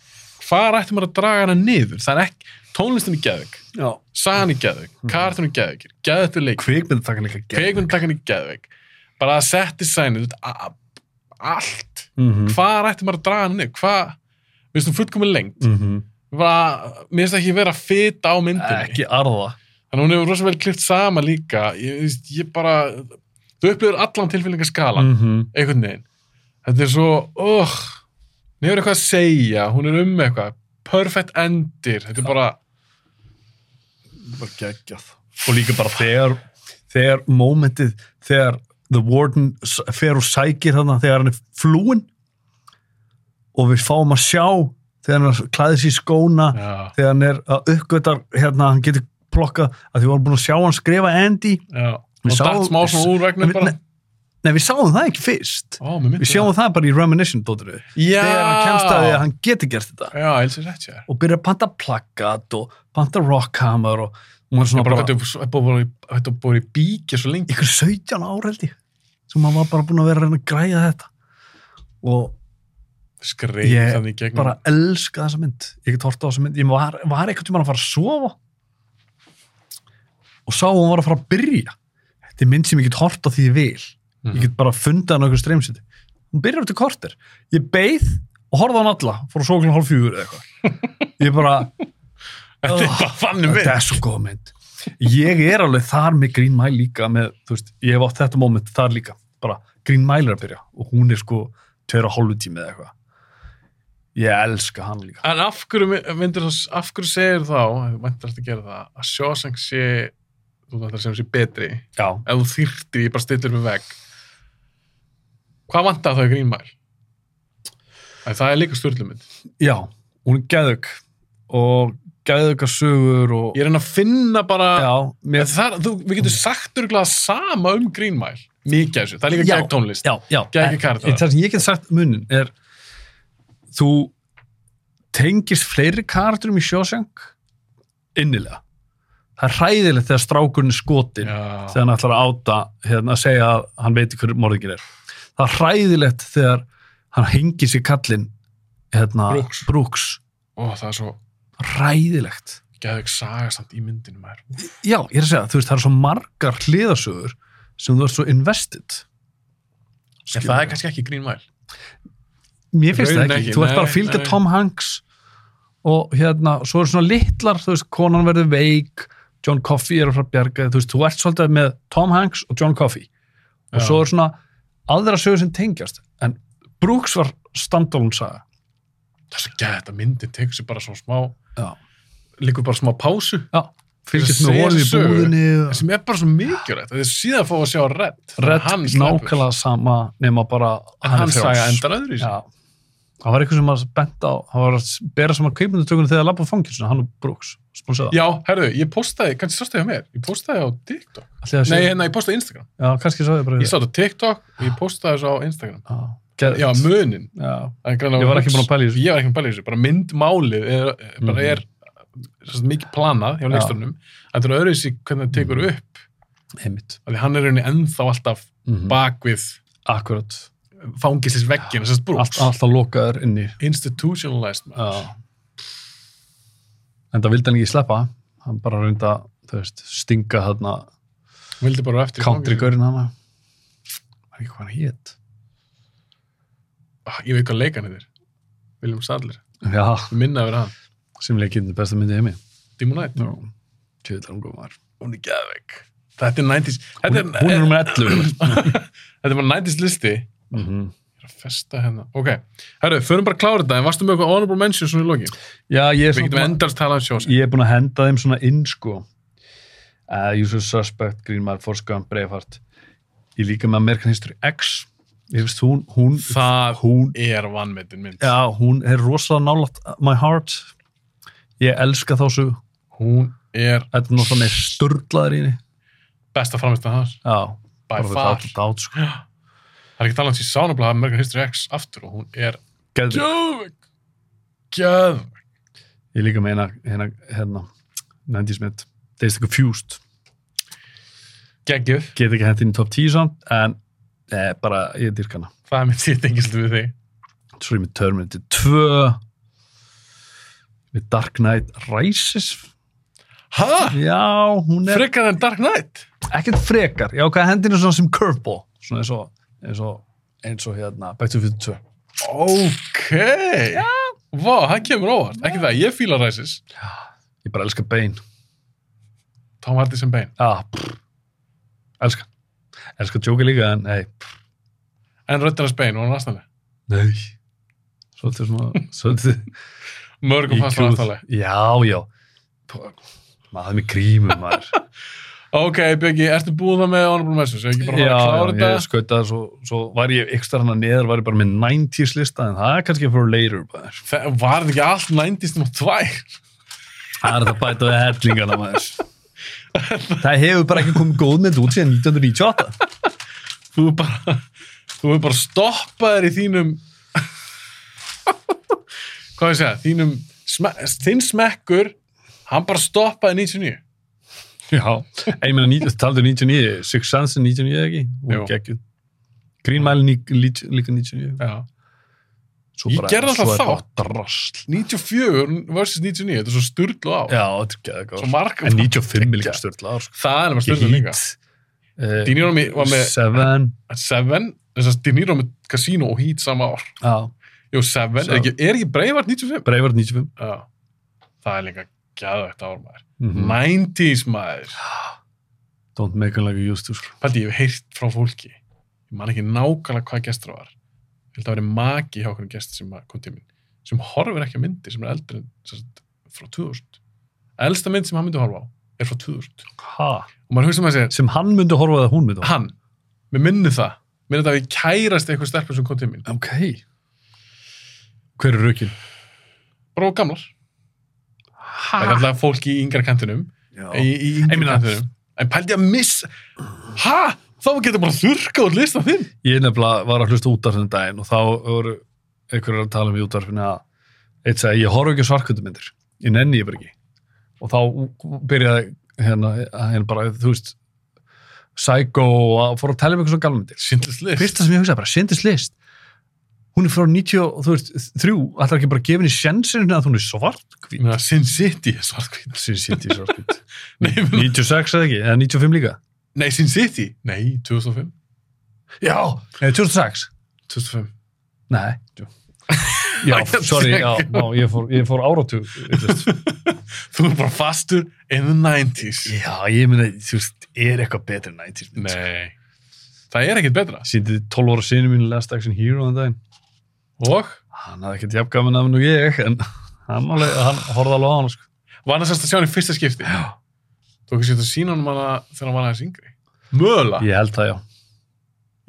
Speaker 5: hvar ætti maður að draga hana niður? það er ekki tónlistin er geðvik
Speaker 6: Já.
Speaker 5: sagan er geðvik,
Speaker 6: Mhm.
Speaker 5: kartun er geðvikir geðvik leik
Speaker 6: Kvikmynd þakkan líka
Speaker 5: kveikmyndatakkan í Geðveik bara að setja sænið allt,
Speaker 6: Mm -hmm.
Speaker 5: hvað ætti maður að draga hann niður hvað, við veistum fullkomin lengt
Speaker 6: Mm -hmm.
Speaker 5: bara, mér finnst ekki vera fita á myndinni
Speaker 6: Ekki arða.
Speaker 5: þannig að hún hefur rosa vel klift sama líka ég, þú veist, ég bara, þú upplifur allan tilfélningaskalan,
Speaker 6: -hmm.
Speaker 5: einhvern veginn þetta er svo, oh hún hefur eitthvað að segja, hún er um eitthvað perfect endir, þetta er bara
Speaker 6: bara geggjað og líka bara þegar þegar momentið, þegar The Warden s- fer og sækir hann þegar hann er flúin og við fáum að sjá þegar hann klæðir sér í skóna
Speaker 5: já,
Speaker 6: þegar hann er að uppgötar hérna, hann getur plokkað að því við varum búin að sjá hann skrifa Andy
Speaker 5: já
Speaker 6: Við
Speaker 5: og
Speaker 6: sáum-
Speaker 5: datt smá svona úr vegna
Speaker 6: Við-
Speaker 5: bara,
Speaker 6: nei við sáum það ekki fyrst
Speaker 5: ó, mér myndi
Speaker 6: við sjáum það bara í Reminiscent dótinu
Speaker 5: já,
Speaker 6: þegar hann kemst að því að hann getur gert þetta
Speaker 5: já, eins og rétt, já
Speaker 6: og byrja að panta plakkat og panta rockhammer og hún er
Speaker 5: Já,
Speaker 6: svona
Speaker 5: bara
Speaker 6: bara
Speaker 5: þetta er búið að búið í bíkja svo lengi.
Speaker 6: ykkur 17 ára held ég sem hann var bara búin að vera að reyna að græja þetta og
Speaker 5: Skreif
Speaker 6: Ég
Speaker 5: þannig í gegnum.
Speaker 6: bara elska þessa mynd ég get horta á þessa mynd, ég var, var eitthvað tíma að fara að sofa og sá að hún var að fara að byrja þetta er mynd sem ég get horta því ég vil ég
Speaker 5: Mhm.
Speaker 6: get bara fundið hann á einhver streymsiti hún byrjar eftir korter, ég beið og horfði á hann alla, fór að sofa klokkan hálf fjögur eða eitthvað ég bara
Speaker 5: Þetta er bara fannum við.
Speaker 6: Þetta er svo góð mynd. Ég er alveg þar með Green Mile líka með, þú veist, ég hef átt þetta moment þar líka. Bara Green Mile er að byrja og hún er sko tveir og hálfu tími eða eitthvað. Ég elska hann líka.
Speaker 5: En af hverju, my- myndir, þá- af hverju segir þá, ef þú mæntar að gera það, að Shawshank sé, þú ætlar að segja hún sé betri,
Speaker 6: Já.
Speaker 5: ef þú þyrtir ég bara stillir mig veg. Hvað vantar þá í Green Mile? Æ, það er líka styrlumynd.
Speaker 6: Já, hún er geðug og geðuga sögur og...
Speaker 5: Ég er enn að finna bara,
Speaker 6: Já,
Speaker 5: En
Speaker 6: mér...
Speaker 5: það, þú, við getum sagt örgulega sama um Green Mile. Mikið af þessu, það er líka
Speaker 6: Já,
Speaker 5: gegn tónlist.
Speaker 6: Já, já.
Speaker 5: Geggjur karakterar.
Speaker 6: En Það sem ég get sagt um munin er þú tengist fleiri karakterum í Shawshank innilega. Það er hræðilegt þegar strákurinn er skotin
Speaker 5: Já.
Speaker 6: þegar hann ætlar að áta hérna, að segja að hann veit hver morðingin er. Það er hræðilegt þegar hann hengir sér kallinn hérna,
Speaker 5: Brooks.
Speaker 6: Brooks.
Speaker 5: Ó, það er svo
Speaker 6: Hræðilegt.
Speaker 5: geðveik saga samt í myndinu maður.
Speaker 6: Já, ég er að segja, þú veist, það eru svo margar hliðasögur sem þú ert svo invested.
Speaker 5: En það er kannski ekki Green Mile.
Speaker 6: Mér finnst það
Speaker 5: Raunin
Speaker 6: ekki.
Speaker 5: ekki,
Speaker 6: Þú ert
Speaker 5: nei,
Speaker 6: bara að fylgja
Speaker 5: nei.
Speaker 6: Tom Hanks og hérna, svo eru svona litlar, þú veist, konan verður veik, John Coffey er að fara að bjarga, þér, þú veist, þú ert svolítið með Tom Hanks og John Coffey og
Speaker 5: Já.
Speaker 6: svo eru svona aðra sögur sem tengjast, en Brooks var standalone saga.
Speaker 5: það er svo gæt að myndin tekur sér bara svona smá
Speaker 6: Já.
Speaker 5: líkur bara smá pásu
Speaker 6: Já. fylgjast
Speaker 5: Þess að
Speaker 6: með honum í
Speaker 5: segja sögu.
Speaker 6: búðinni og-
Speaker 5: sem er bara svo mikilvægt þetta er síðan að fá að sjá redd
Speaker 6: Redd nákvæmlega sama nema bara
Speaker 5: en hann
Speaker 6: er frjáls.
Speaker 5: saga endar öðru í sig
Speaker 6: Já. Það var eitthvað sem maður bent á, það var að bera saman kveipmyndutökunum þegar að labba fangilsuna, hann og Brooks, sponsaða.
Speaker 5: já, herðu, ég postaði, kannski sástu hjá mér ég postaði á TikTok, nei, hérna, ég postaði á Instagram
Speaker 6: Já, kannski sá ég bara
Speaker 5: ég sá þetta á TikTok og ég postaði þessu á Instagram
Speaker 6: Já, Get
Speaker 5: já,
Speaker 6: it.
Speaker 5: munin
Speaker 6: Já.
Speaker 5: Það er greinilega-
Speaker 6: Ég var ekki búin að pæla í þessu.
Speaker 5: Ég var ekki búin að pæla í þessu, bara myndmálið er, er- bara
Speaker 6: Mhm.
Speaker 5: er sem sagt, mikið planað hjá
Speaker 6: Já. Mhm.
Speaker 5: leiksturnum þetta er öðruðs í hvernig það tekur upp
Speaker 6: Einmitt.
Speaker 5: af því hann er rauninni ennþá alltaf
Speaker 6: Mhm.
Speaker 5: bak við
Speaker 6: Akkurat.
Speaker 5: fangislis veggin, þessast brúks
Speaker 6: Allt, alltaf lokaður inni.
Speaker 5: institutionalized maður.
Speaker 6: Já. En það vildi hann ekki sleppa, hann bara reyndi að, þú veist, stinga þarna
Speaker 5: vildi bara á eftir fangelsinu.
Speaker 6: country-görinn hana. Það er ekki hvað hann hétt.
Speaker 5: Ah, ég veit hvað leikan þetta er William Sadler,
Speaker 6: Já,
Speaker 5: minna yfir hann
Speaker 6: sem leikinn er besta myndið heimi.
Speaker 5: Demonite,
Speaker 6: Já. Tjöðlar hún góðum var.
Speaker 5: hún er geðveik þetta er eh, 90s þetta
Speaker 6: Hún, hún er nummer 11.
Speaker 5: þetta er bara 90s listi ég
Speaker 6: mm
Speaker 5: er að festa hérna, ok herru, förum bara að klára þetta, en varstu með eitthvað honorable mention svona í loki,
Speaker 6: Já, ég er
Speaker 5: við
Speaker 6: svona-
Speaker 5: getum endast talað um sjós
Speaker 6: ég er búin að henda þeim svona inn sko uh, Usual Suspect, Green Mile, Forrest Gump, Braveheart ég er líka með American History X ég finnst hún hún,
Speaker 5: Það-
Speaker 6: hún,
Speaker 5: er vannmetin mynd
Speaker 6: já, hún er rosalega nálat my heart ég elska þá svo
Speaker 5: hún er
Speaker 6: þetta er náttúrulega með sturlaður í henni
Speaker 5: besta framist að hans
Speaker 6: já,
Speaker 5: by
Speaker 6: bara
Speaker 5: far,
Speaker 6: þetta át sko
Speaker 5: það er ekki talað um því sánabla að American History X aftur og hún er
Speaker 6: Geðvig.
Speaker 5: gjöðvig gjöðvig
Speaker 6: ég er líka með hérna, hérna, hérna nefndi ég smitt, Days of Confused
Speaker 5: geggjöð,
Speaker 6: get ekki hendt inn í top 10 samt en eh, bara ég dyrk hana
Speaker 5: það er mitt sitt engislu við þig
Speaker 6: svo er ég með Terminator 2 með Dark Knight Rises
Speaker 5: hæ?
Speaker 6: já, hún er
Speaker 5: Frekar en Dark Knight?
Speaker 6: ekkert frekar, já, hvað hendin er svona sem curveball svona eins og eins og, eins og hérna, Back to the Future 2
Speaker 5: Ok Já Vá, það kemur óvart Ekki það, ég fíla Rises
Speaker 6: ég bara elska Bane
Speaker 5: Tom Hardy sem bein
Speaker 6: já, pff, elska elska Joker líka, en nei pff,
Speaker 5: En röddina bein, var hann aðstæðlega
Speaker 6: nei svolítið svona, svolítið
Speaker 5: Mörgum fast var
Speaker 6: IQ.
Speaker 5: aðstæðlega
Speaker 6: já, já Pff, maður með grímum maður
Speaker 5: Ok, Björgi, ertu búið það með honorable mentions? Ég ekki bara að fara að
Speaker 6: já,
Speaker 5: klára Sko,
Speaker 6: ég skautaði svo, svo var ég ekstra hana neðar, var ég bara með 90s lista en það er kannski for later bara.
Speaker 5: þetta Þa- Var þetta ekki allt 90s nema tvær?
Speaker 6: það er það að bæta við hellingana maður það hefur bara ekki komið góð með út síðan 1998
Speaker 5: Þú er bara Þú er bara stoppaður í þínum Hvað ég segja? Þínum sme, Þinn smekkur Hann bara stoppaði 99
Speaker 6: já, en ég meina 90 taldu 99, Six Sense er 99 ekki
Speaker 5: Jú.
Speaker 6: og geggjuð Green Mile ní- lí- líka 99
Speaker 5: Já
Speaker 6: Svo
Speaker 5: Ég gerði alltaf
Speaker 6: svo er bara
Speaker 5: þátt.
Speaker 6: drasl
Speaker 5: 94 versus 99, þetta er svo styrlu á
Speaker 6: já, þetta er geggjuð
Speaker 5: Svo margar-
Speaker 6: en 95 er líka störtla
Speaker 5: Það er nema styrlu líka De Niro mi- var með
Speaker 6: eh, Seven
Speaker 5: Seven, þess að De Niro með Casino og Heat sama ár.
Speaker 6: já,
Speaker 5: Jú, Seven,
Speaker 6: Seven.
Speaker 5: Er, ekki, er ekki Breivart 95?
Speaker 6: Breivart 95
Speaker 5: Já, það er líka gæðvægt ár maður.
Speaker 6: Mhm.
Speaker 5: 90s maður.
Speaker 6: Don't make them like you used to sko.
Speaker 5: Paldi, ég hef heyrt frá fólki. Ég man ekki nákvæmlega hvað gestur var. Ég held að það væri magi hjá okkur gestur sem að- kom til mín, sem horfir ekki að myndi sem er eldri en sem sagt, frá 2000. Elsta mynd sem hann myndi horfa á er frá 2000.
Speaker 6: Ha?
Speaker 5: Og maður hugsa með sér,
Speaker 6: Sem hann myndi horfa að hún myndi horfa.
Speaker 5: hann, mér minni það, minni það að ég kærast eitthvað stelpur sem kom til mín.
Speaker 6: Ok. Hver er rökin?
Speaker 5: Bara of gamlar.
Speaker 6: Ha?
Speaker 5: Það er alltaf fólk í yngra kantinum í, í
Speaker 6: Ég
Speaker 5: yngri
Speaker 6: meina-
Speaker 5: kantinum En pældi að miss Hæ? Þá getur bara þurrka út listan þinn
Speaker 6: Ég nefnilega var að hlusta útvarfinn daginn og þá voru einhverjar að tala um í útvarfinu að eitt sagði, ég horfa ekki svarkvöndumyndir. Ég nenni ég bara ekki. Og þá byrjaði hérna, hérna bara, þú veist, Psycho og fór að tala um eitthvað svona galmyndir.
Speaker 5: Sýndlis list
Speaker 6: fyrsta sem ég hugsaði bara, Sindis List hún er frá 93 ætlar ekki bara að gefa henni sjensin að hún er svart
Speaker 5: Ég meina, Sin City er svartkvít
Speaker 6: Sin City svart hvít.
Speaker 5: Nei, ég meina-
Speaker 6: 96 eða ekki, eða 95 líka
Speaker 5: Nei, Sin City Nei, 2005
Speaker 6: já, eða 2006
Speaker 5: 2005
Speaker 6: nei, jú. já, sorry já, já, ég, fór, ég fór áratug vitlaust.
Speaker 5: Þú er bara fastur in the 90s
Speaker 6: já, ég meina, þú veist, er eitthvað betur en 90s mynd, sko.
Speaker 5: Nei Það er ekkert betra
Speaker 6: síndi 12 ára sinni mínu Last Action Hero þann daginn
Speaker 5: Og
Speaker 6: hann hafði ekkert jafn gaman af hennu ég en hann, alveg, hann horfði alveg á hann sko.
Speaker 5: var hann sérst að sjá hann í fyrsta skipti
Speaker 6: Já.
Speaker 5: Þú kannski þetta sína hann hana þegar hann var aðeins yngri. Mögulega.
Speaker 6: Ég held það, já.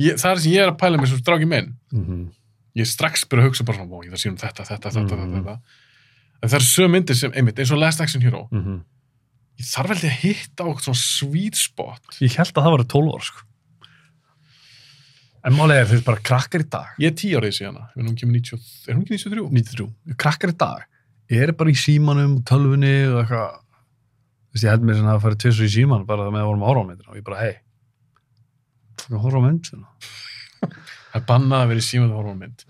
Speaker 5: Ég, það er það sem ég er að pæla mér sem stráki minn.
Speaker 6: Mm
Speaker 5: Ég er strax byrja að hugsa bara svona, ó, ég þarf að sína um þetta, þetta, þetta,
Speaker 6: Mhm.
Speaker 5: þetta, þetta. En það eru sög myndir sem, einmitt, eins og Last Action Hero.
Speaker 6: mhm.
Speaker 5: Ég þarf held ég að hitta á eitthvað svona sweet spot.
Speaker 6: Ég held að það var 12 ára, sko. En málega er þeir bara krakkar í dag,
Speaker 5: Ég er 10 árið síðan, ég veit hún kemur 90, er hún ekki 93?
Speaker 6: 93, krakkar í dag, eru bara í símanum, og tölvunni og eitthvað. Þú veist, ég held mér sem að það færi tvisur í síman bara með að vorum að horfa á myndina og ég bara, hei, það horfa á myndina.
Speaker 5: Það er bannað að vera í símað horfum mynd.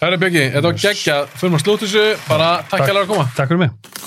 Speaker 5: Herra Björki, þetta var geggjað, fyrir maður slútt þessu, bara takk
Speaker 6: Takk.
Speaker 5: hérlega að koma.
Speaker 6: Takk fyrir mig.